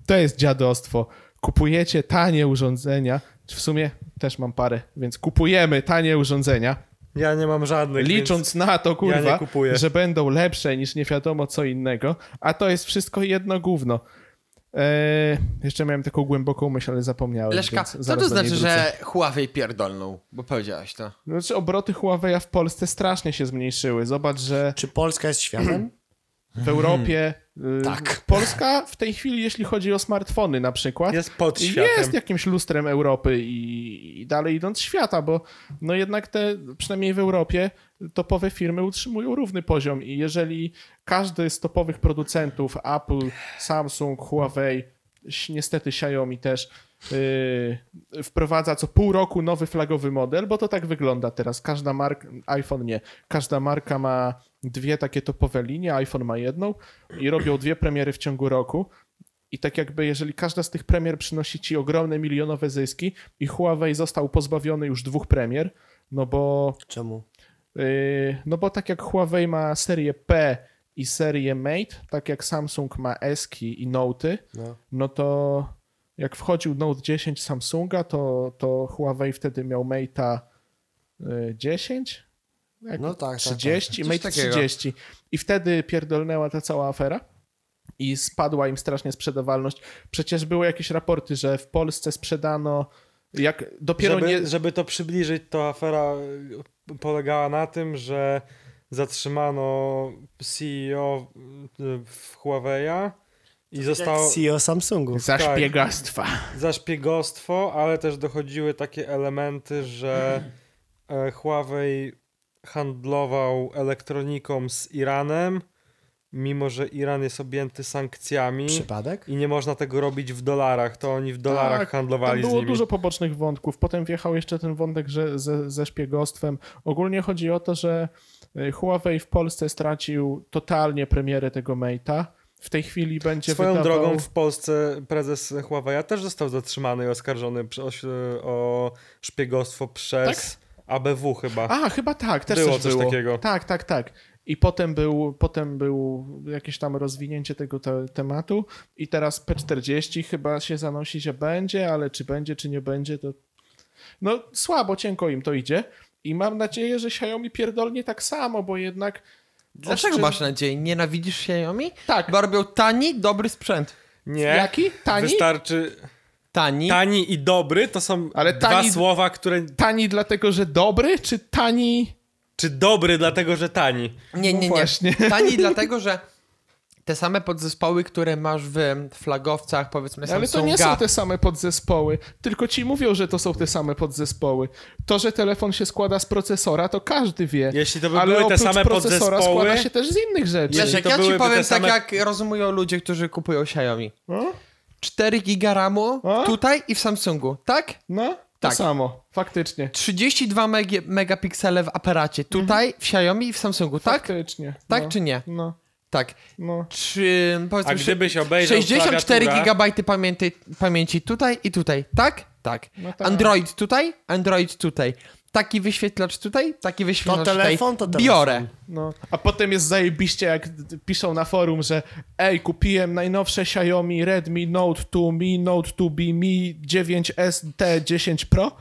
To jest dziadostwo. Kupujecie tanie urządzenia. W sumie też mam parę, więc kupujemy tanie urządzenia.
Ja nie mam żadnych. Tak więc...
Licząc na to,
ja nie
kurwa,
kupuję.
że będą lepsze niż nie wiadomo co innego, a to jest wszystko jedno gówno. Eee, jeszcze miałem taką głęboką myśl, ale zapomniałem.
Leszka,
więc
co
zaraz
to
do niej
znaczy,
wrócę.
że Huawei pierdolną? Bo powiedziałaś to.
Znaczy, obroty Huawei'a w Polsce strasznie się zmniejszyły. Zobacz, że
Hmm.
Czy Polska jest światem?
w Europie Y,
Tak.
Polska w tej chwili, jeśli chodzi o smartfony na przykład,
Jest pod światem.
jest jakimś lustrem Europy i, i dalej idąc świata, bo no jednak te, przynajmniej w Europie, topowe firmy utrzymują równy poziom i jeżeli każdy z topowych producentów, Apple, Samsung, Huawei, ś- niestety Xiaomi też, yy, wprowadza co pół roku nowy flagowy model, bo to tak wygląda teraz. Każda marka, iPhone nie, każda marka ma dwie takie topowe linie, iPhone ma jedną i robią dwie premiery w ciągu roku. I tak jakby, jeżeli każda z tych premier przynosi ci ogromne milionowe zyski i Huawei został pozbawiony już dwóch premier, no bo,
Czemu?
yy, no bo tak jak Huawei ma serię P i serię Mate, tak jak Samsung ma S-ki i Note'y,
No.
no to jak wchodził Note 10 Samsunga, to, to Huawei wtedy miał Mate'a y, 10, jak
No tak, tak,
30,
tak.
Mate
Coś takiego.
30. I wtedy pierdolnęła ta cała afera i spadła im strasznie sprzedawalność. Przecież były jakieś raporty, że w Polsce sprzedano jak dopiero
Żeby,
nie...
żeby to przybliżyć, to afera y, polegała na tym, że zatrzymano CEO y, w Huawei'a i zostało
CEO E Samsungu.
Za szpiegostwa.
za szpiegostwo, ale też dochodziły takie elementy, że e, Huawei handlował elektroniką z Iranem, mimo że Iran jest objęty sankcjami
Przypadek?
i nie można tego robić w dolarach, to oni w dolarach
Tak,
handlowali z
Tam było
nimi.
dużo pobocznych wątków. Potem wjechał jeszcze ten wątek że ze, ze szpiegostwem. Ogólnie chodzi o to, że y, Huawei w Polsce stracił totalnie premierę tego Mate'a. W tej chwili będzie
Swoją
wydawał...
drogą w Polsce prezes Huawei'a też został zatrzymany i oskarżony przy- o, o szpiegostwo przez ABW chyba.
Tak? A, chyba tak, też
Było
coś,
coś
było.
takiego.
Tak, tak, tak. I potem był, potem był jakieś tam rozwinięcie tego te, tematu i teraz P40 chyba się zanosi, że będzie, ale czy będzie, czy nie będzie, to no słabo, cienko im to idzie. I mam nadzieję, że Xiaomi pierdolnie tak samo, bo jednak...
Dlaczego
oszczę-
masz nadzieję? Nienawidzisz Xiaomi?
Tak,
Bo robią tani, dobry sprzęt.
nie,
jaki? Tani?
wystarczy
Tani.
tani i dobry, to są
Ale
dwa
tani-
słowa, które...
Tani dlatego, że dobry, czy tani...
Czy dobry dlatego, że tani?
Nie, nie,
właśnie.
nie. Tani dlatego, że te same podzespoły, które masz w flagowcach, powiedzmy
Ale
Samsunga.
to nie są te same podzespoły, tylko ci mówią, że to są te same podzespoły. To, że telefon się składa z procesora, to każdy wie.
Jeśli to by
Ale
były te
oprócz
same
procesora składa
podzespoły,
się też z innych rzeczy.
Wiesz,
Jeżeli
jak
to
ja ci
byłyby te
powiem
same-
tak, jak rozumują ludzie, którzy kupują Xiaomi.
No,
4 giga RAMu
A?
tutaj i w Samsungu, tak?
no to
Tak.
samo, faktycznie.
32 meg- megapiksele w aparacie, tutaj w Xiaomi i w Samsungu, tak?
Faktycznie.
Tak
no.
czy nie?
No,
Tak.
no.
Czy, powiedzmy,
a
że-
gdybyś obejrzał
64
klawiaturę-
GB pamięci, pamięci tutaj i tutaj, tak? Tak.
No tak.
Android tutaj, Android tutaj. Taki wyświetlacz tutaj, taki wyświetlacz
telefon, to
tutaj.
telefon.
Biorę.
No. A potem jest zajebiście, jak d- d- piszą na forum, że ej, kupiłem najnowsze Xiaomi Redmi Note 2 Mi, Note 2 B Mi 9S T10 Pro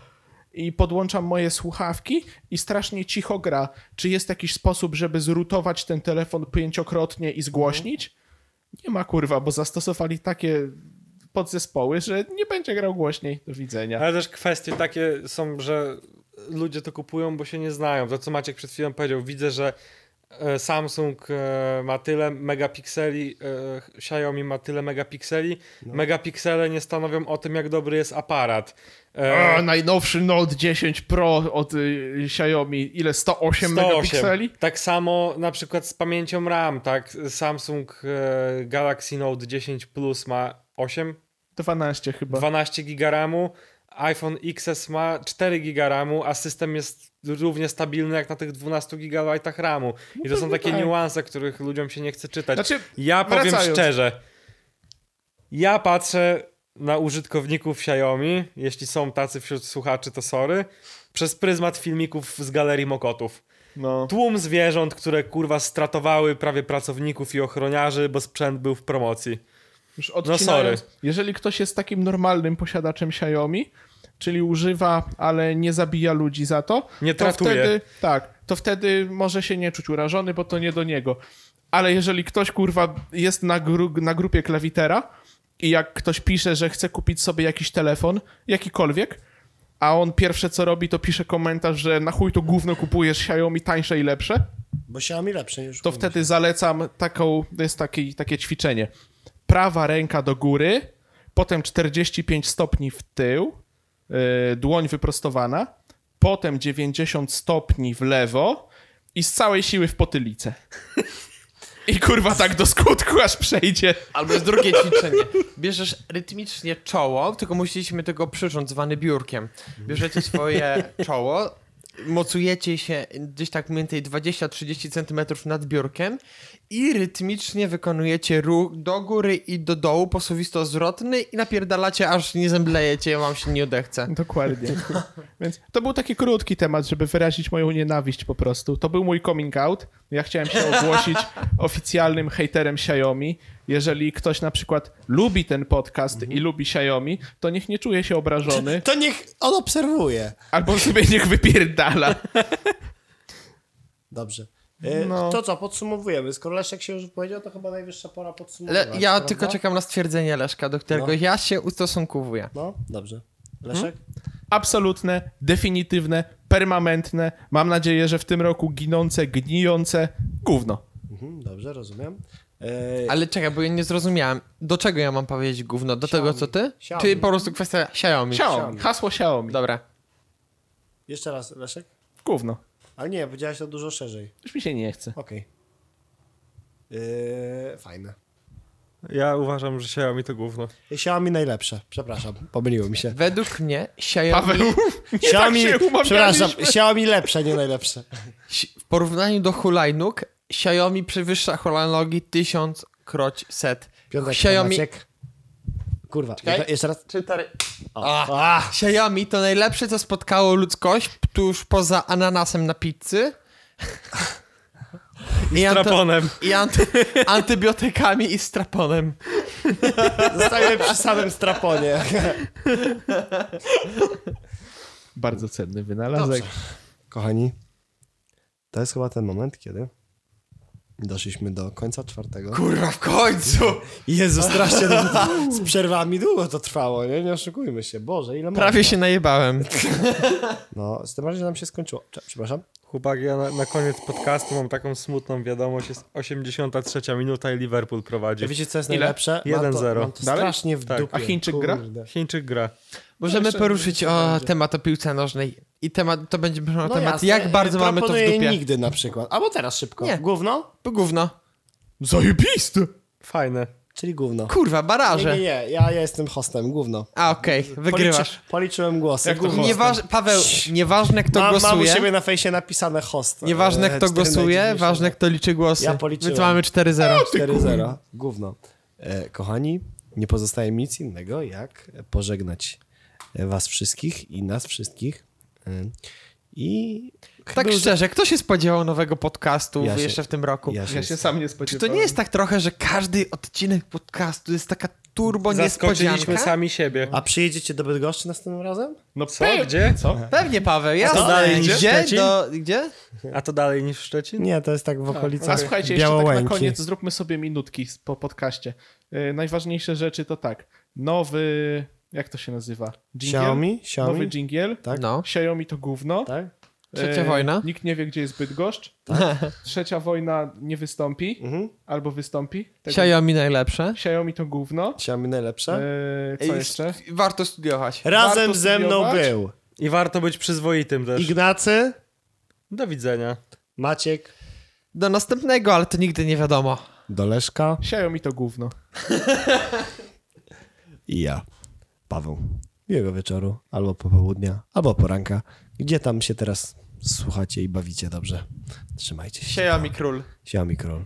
i podłączam moje słuchawki i strasznie cicho gra. Czy jest jakiś sposób, żeby zrutować ten telefon pięciokrotnie i zgłośnić? Nie ma kurwa, bo zastosowali takie podzespoły, że nie będzie grał głośniej. Do widzenia.
Ale też kwestie takie są, że ludzie to kupują, bo się nie znają. To, co Maciek przed chwilą powiedział, widzę, że e, Samsung e, ma tyle megapikseli, e, Xiaomi ma tyle megapikseli.
No.
Megapiksele nie stanowią o tym, jak dobry jest aparat. E,
A, najnowszy Note 10 Pro od y, Xiaomi, ile? 108, 108 megapikseli?
Tak samo na przykład z pamięcią RAM, tak? Samsung e, Galaxy Note 10 Plus ma 8
12 chyba.
12 giga RAMu, iPhone XS ma 4 giga RAMu, a system jest równie stabilny jak na tych 12 gigabajtach RAMu. I to są
pewnie
takie
tak.
niuanse, których ludziom się nie chce czytać.
Znaczy,
ja powiem
wracając.
szczerze, ja patrzę na użytkowników Xiaomi, jeśli są tacy wśród słuchaczy, to sorry, przez pryzmat filmików z galerii Mokotów.
No.
Tłum zwierząt, które kurwa stratowały prawie pracowników i ochroniarzy, bo sprzęt był w promocji.
Już
no sorry.
odcinając, jeżeli ktoś jest takim normalnym posiadaczem Xiaomi, czyli używa, ale nie zabija ludzi za to,
Nie
to
tratuje.
wtedy, tak, to wtedy może się nie czuć urażony, bo to nie do niego. Ale jeżeli ktoś, kurwa, jest na, gru, na grupie klawitera i jak ktoś pisze, że chce kupić sobie jakiś telefon, jakikolwiek, a on pierwsze co robi, to pisze komentarz, że na chuj to gówno kupujesz, Xiaomi tańsze i lepsze,
Bo się mi lepsze już.
to wtedy zalecam taką, to jest taki, takie ćwiczenie. Prawa ręka do góry, potem 45 stopni w tył, yy, dłoń wyprostowana, potem 90 stopni w lewo i z całej siły w potylicę. I kurwa tak do skutku aż przejdzie.
Albo jest drugie ćwiczenie. Bierzesz rytmicznie czoło, tylko musieliśmy tego przyrząd zwany biurkiem. Bierzecie swoje czoło, mocujecie się gdzieś tak mniej więcej 20-30 centymetrów nad biurkiem i rytmicznie wykonujecie ruch do góry i do dołu, posuwisto zwrotny i napierdalacie, aż nie zemdlejecie, wam się nie odechce.
Dokładnie. Więc to był taki krótki temat, żeby wyrazić moją nienawiść po prostu. To był mój coming out. Ja chciałem się ogłosić oficjalnym hejterem Xiaomi. Jeżeli ktoś na przykład lubi ten podcast i lubi Xiaomi, to niech nie czuje się obrażony,
To niech on obserwuje.
albo sobie niech wypierdala.
Dobrze. E,
No.
To co, podsumowujemy. Skoro Leszek się już wypowiedział, to chyba najwyższa pora podsumować.
Le- ja
prawda?
tylko czekam na stwierdzenie Leszka, do którego
No.
ja się ustosunkowuję.
No, dobrze. Leszek?
Hmm? Absolutne, definitywne, permanentne, mam nadzieję, że w tym roku ginące, gnijące, gówno.
Mhm, dobrze, rozumiem. E,
Ale czekaj, bo ja nie zrozumiałem, do czego ja mam powiedzieć gówno? Do tego, co ty?
Xiaomi.
Czy po prostu kwestia Xiaomi?
Xiaomi, hasło Xiaomi,
Dobra.
Jeszcze raz, Leszek?
gówno.
Ale nie, powiedziałaś to dużo szerzej.
Już mi się nie chce.
Okej. E, fajne.
Ja uważam, że Xiaomi to gówno.
Xiaomi najlepsze. Przepraszam, pomyliło mi się.
Według mnie Xiaomi,
Paweł,
Xiaomi,
tak się umawialiśmy.
przepraszam, Xiaomi lepsze, nie najlepsze.
Si- w porównaniu do hulajnóg, Xiaomi przewyższa hulajnogi tysiąc kroć set.
Piątek,
Xiaomi,
Maciek. Kurwa,
Czekaj.
jeszcze raz. O.
A.
A.
Xiaomi to najlepsze, co spotkało ludzkość, tuż poza ananasem na pizzy. I, anto-
Traponem.
i anty- antybiotykami i straponem.
Zostajemy przy samym straponie.
bardzo cenny wynalazek.
Kochani, to jest chyba ten moment, kiedy doszliśmy do końca czwartego.
Kurwa, w końcu!
Jezu, strasznie długo, z przerwami długo to trwało, nie? Nie oszukujmy się. Boże, ile
Prawie się najebałem.
No, z tym bardziej, że nam się skończyło. Cze- Przepraszam.
Chłopaki, ja na, na koniec podcastu mam taką smutną wiadomość. Jest 83 minuta i Liverpool prowadzi.
Ja wiecie, co jest
Ile?
najlepsze? Mam to-
1-0.
mam to
Dalej?
Strasznie w
Tak.
dupie.
A Chińczyk gra?
Kurde.
Chińczyk gra.
Możemy
jeszcze
poruszyć o temat o piłce nożnej. I temat, to będzie no
No
temat,
jasne,
jak bardzo
e,
mamy to w
proponuję
dupie.
nigdy na przykład. Albo teraz szybko.
Nie.
Gówno?
Gówno.
Zajebiste!
Fajne.
Czyli gówno.
Kurwa,
Nie,
baraże.
nie, nie. Ja, ja jestem hostem. Gówno.
A, okej, wygrywasz.
Policzy, policzyłem głosy.
Jak to
Gówno.
host?
Nieważ, Paweł, nieważne kto
Mam, mam u
głosuje,
siebie na fejsie napisane host.
nieważne
E,
kto
cztery no.
głosuje,
najdziwniejsze.
ważne kto liczy głosy.
Ja policzyłem.
Więc mamy
No,
4-0.
4-0. Gówno. E, kochani, nie pozostaje mi nic innego, jak pożegnać e, was wszystkich i nas wszystkich. E, I
Tak szczerze, kto się spodziewał nowego podcastu
Ja się-
jeszcze w tym roku?
Ja się sam nie
Czy
spodziewałem.
to nie jest tak trochę, że każdy odcinek podcastu jest taka turbo niespodzianka?
Zaskoczyliśmy sami siebie.
A przyjedziecie do Bydgoszczy następnym razem?
No
Co?
pe-
Gdzie?
Co?
Pewnie, Paweł, jasne.
dalej niż
gdzie?
Szczecin?
Do, gdzie?
A to dalej niż Szczecin?
Nie, to jest tak w
A
okolicach
słuchajcie, jeszcze tak na
Białołęki.
koniec zróbmy sobie minutki z- po podcaście. Yy, najważniejsze rzeczy to tak. Nowy, jak to się nazywa? Dżingiel?
Xiaomi?
Nowy
Xiaomi?
dżingiel.
Tak?
No.
Xiaomi to gówno.
Tak?
Trzecia
Yy,
wojna. Tak.
Nikt nie wie, gdzie jest Bydgoszcz. Trzecia wojna nie wystąpi.
Mhm.
Albo wystąpi. Tego-
Xiaomi najlepsze.
Xiaomi to gówno.
Xiaomi najlepsze.
Yy, co
Ej,
jeszcze?
Warto studiować.
E, Razem
warto
ze mną
studiować.
był
I warto być przyzwoitym też.
Ignacy,
Do widzenia.
Maciek,
Do następnego, ale to nigdy nie wiadomo.
Doleszka
Xiaomi to gówno.
i ja, Paweł. Miłego wieczoru, albo popołudnia, albo poranka. Gdzie tam się teraz słuchacie i bawicie dobrze? Trzymajcie się.
Xiaomi król.
Xiaomi Król.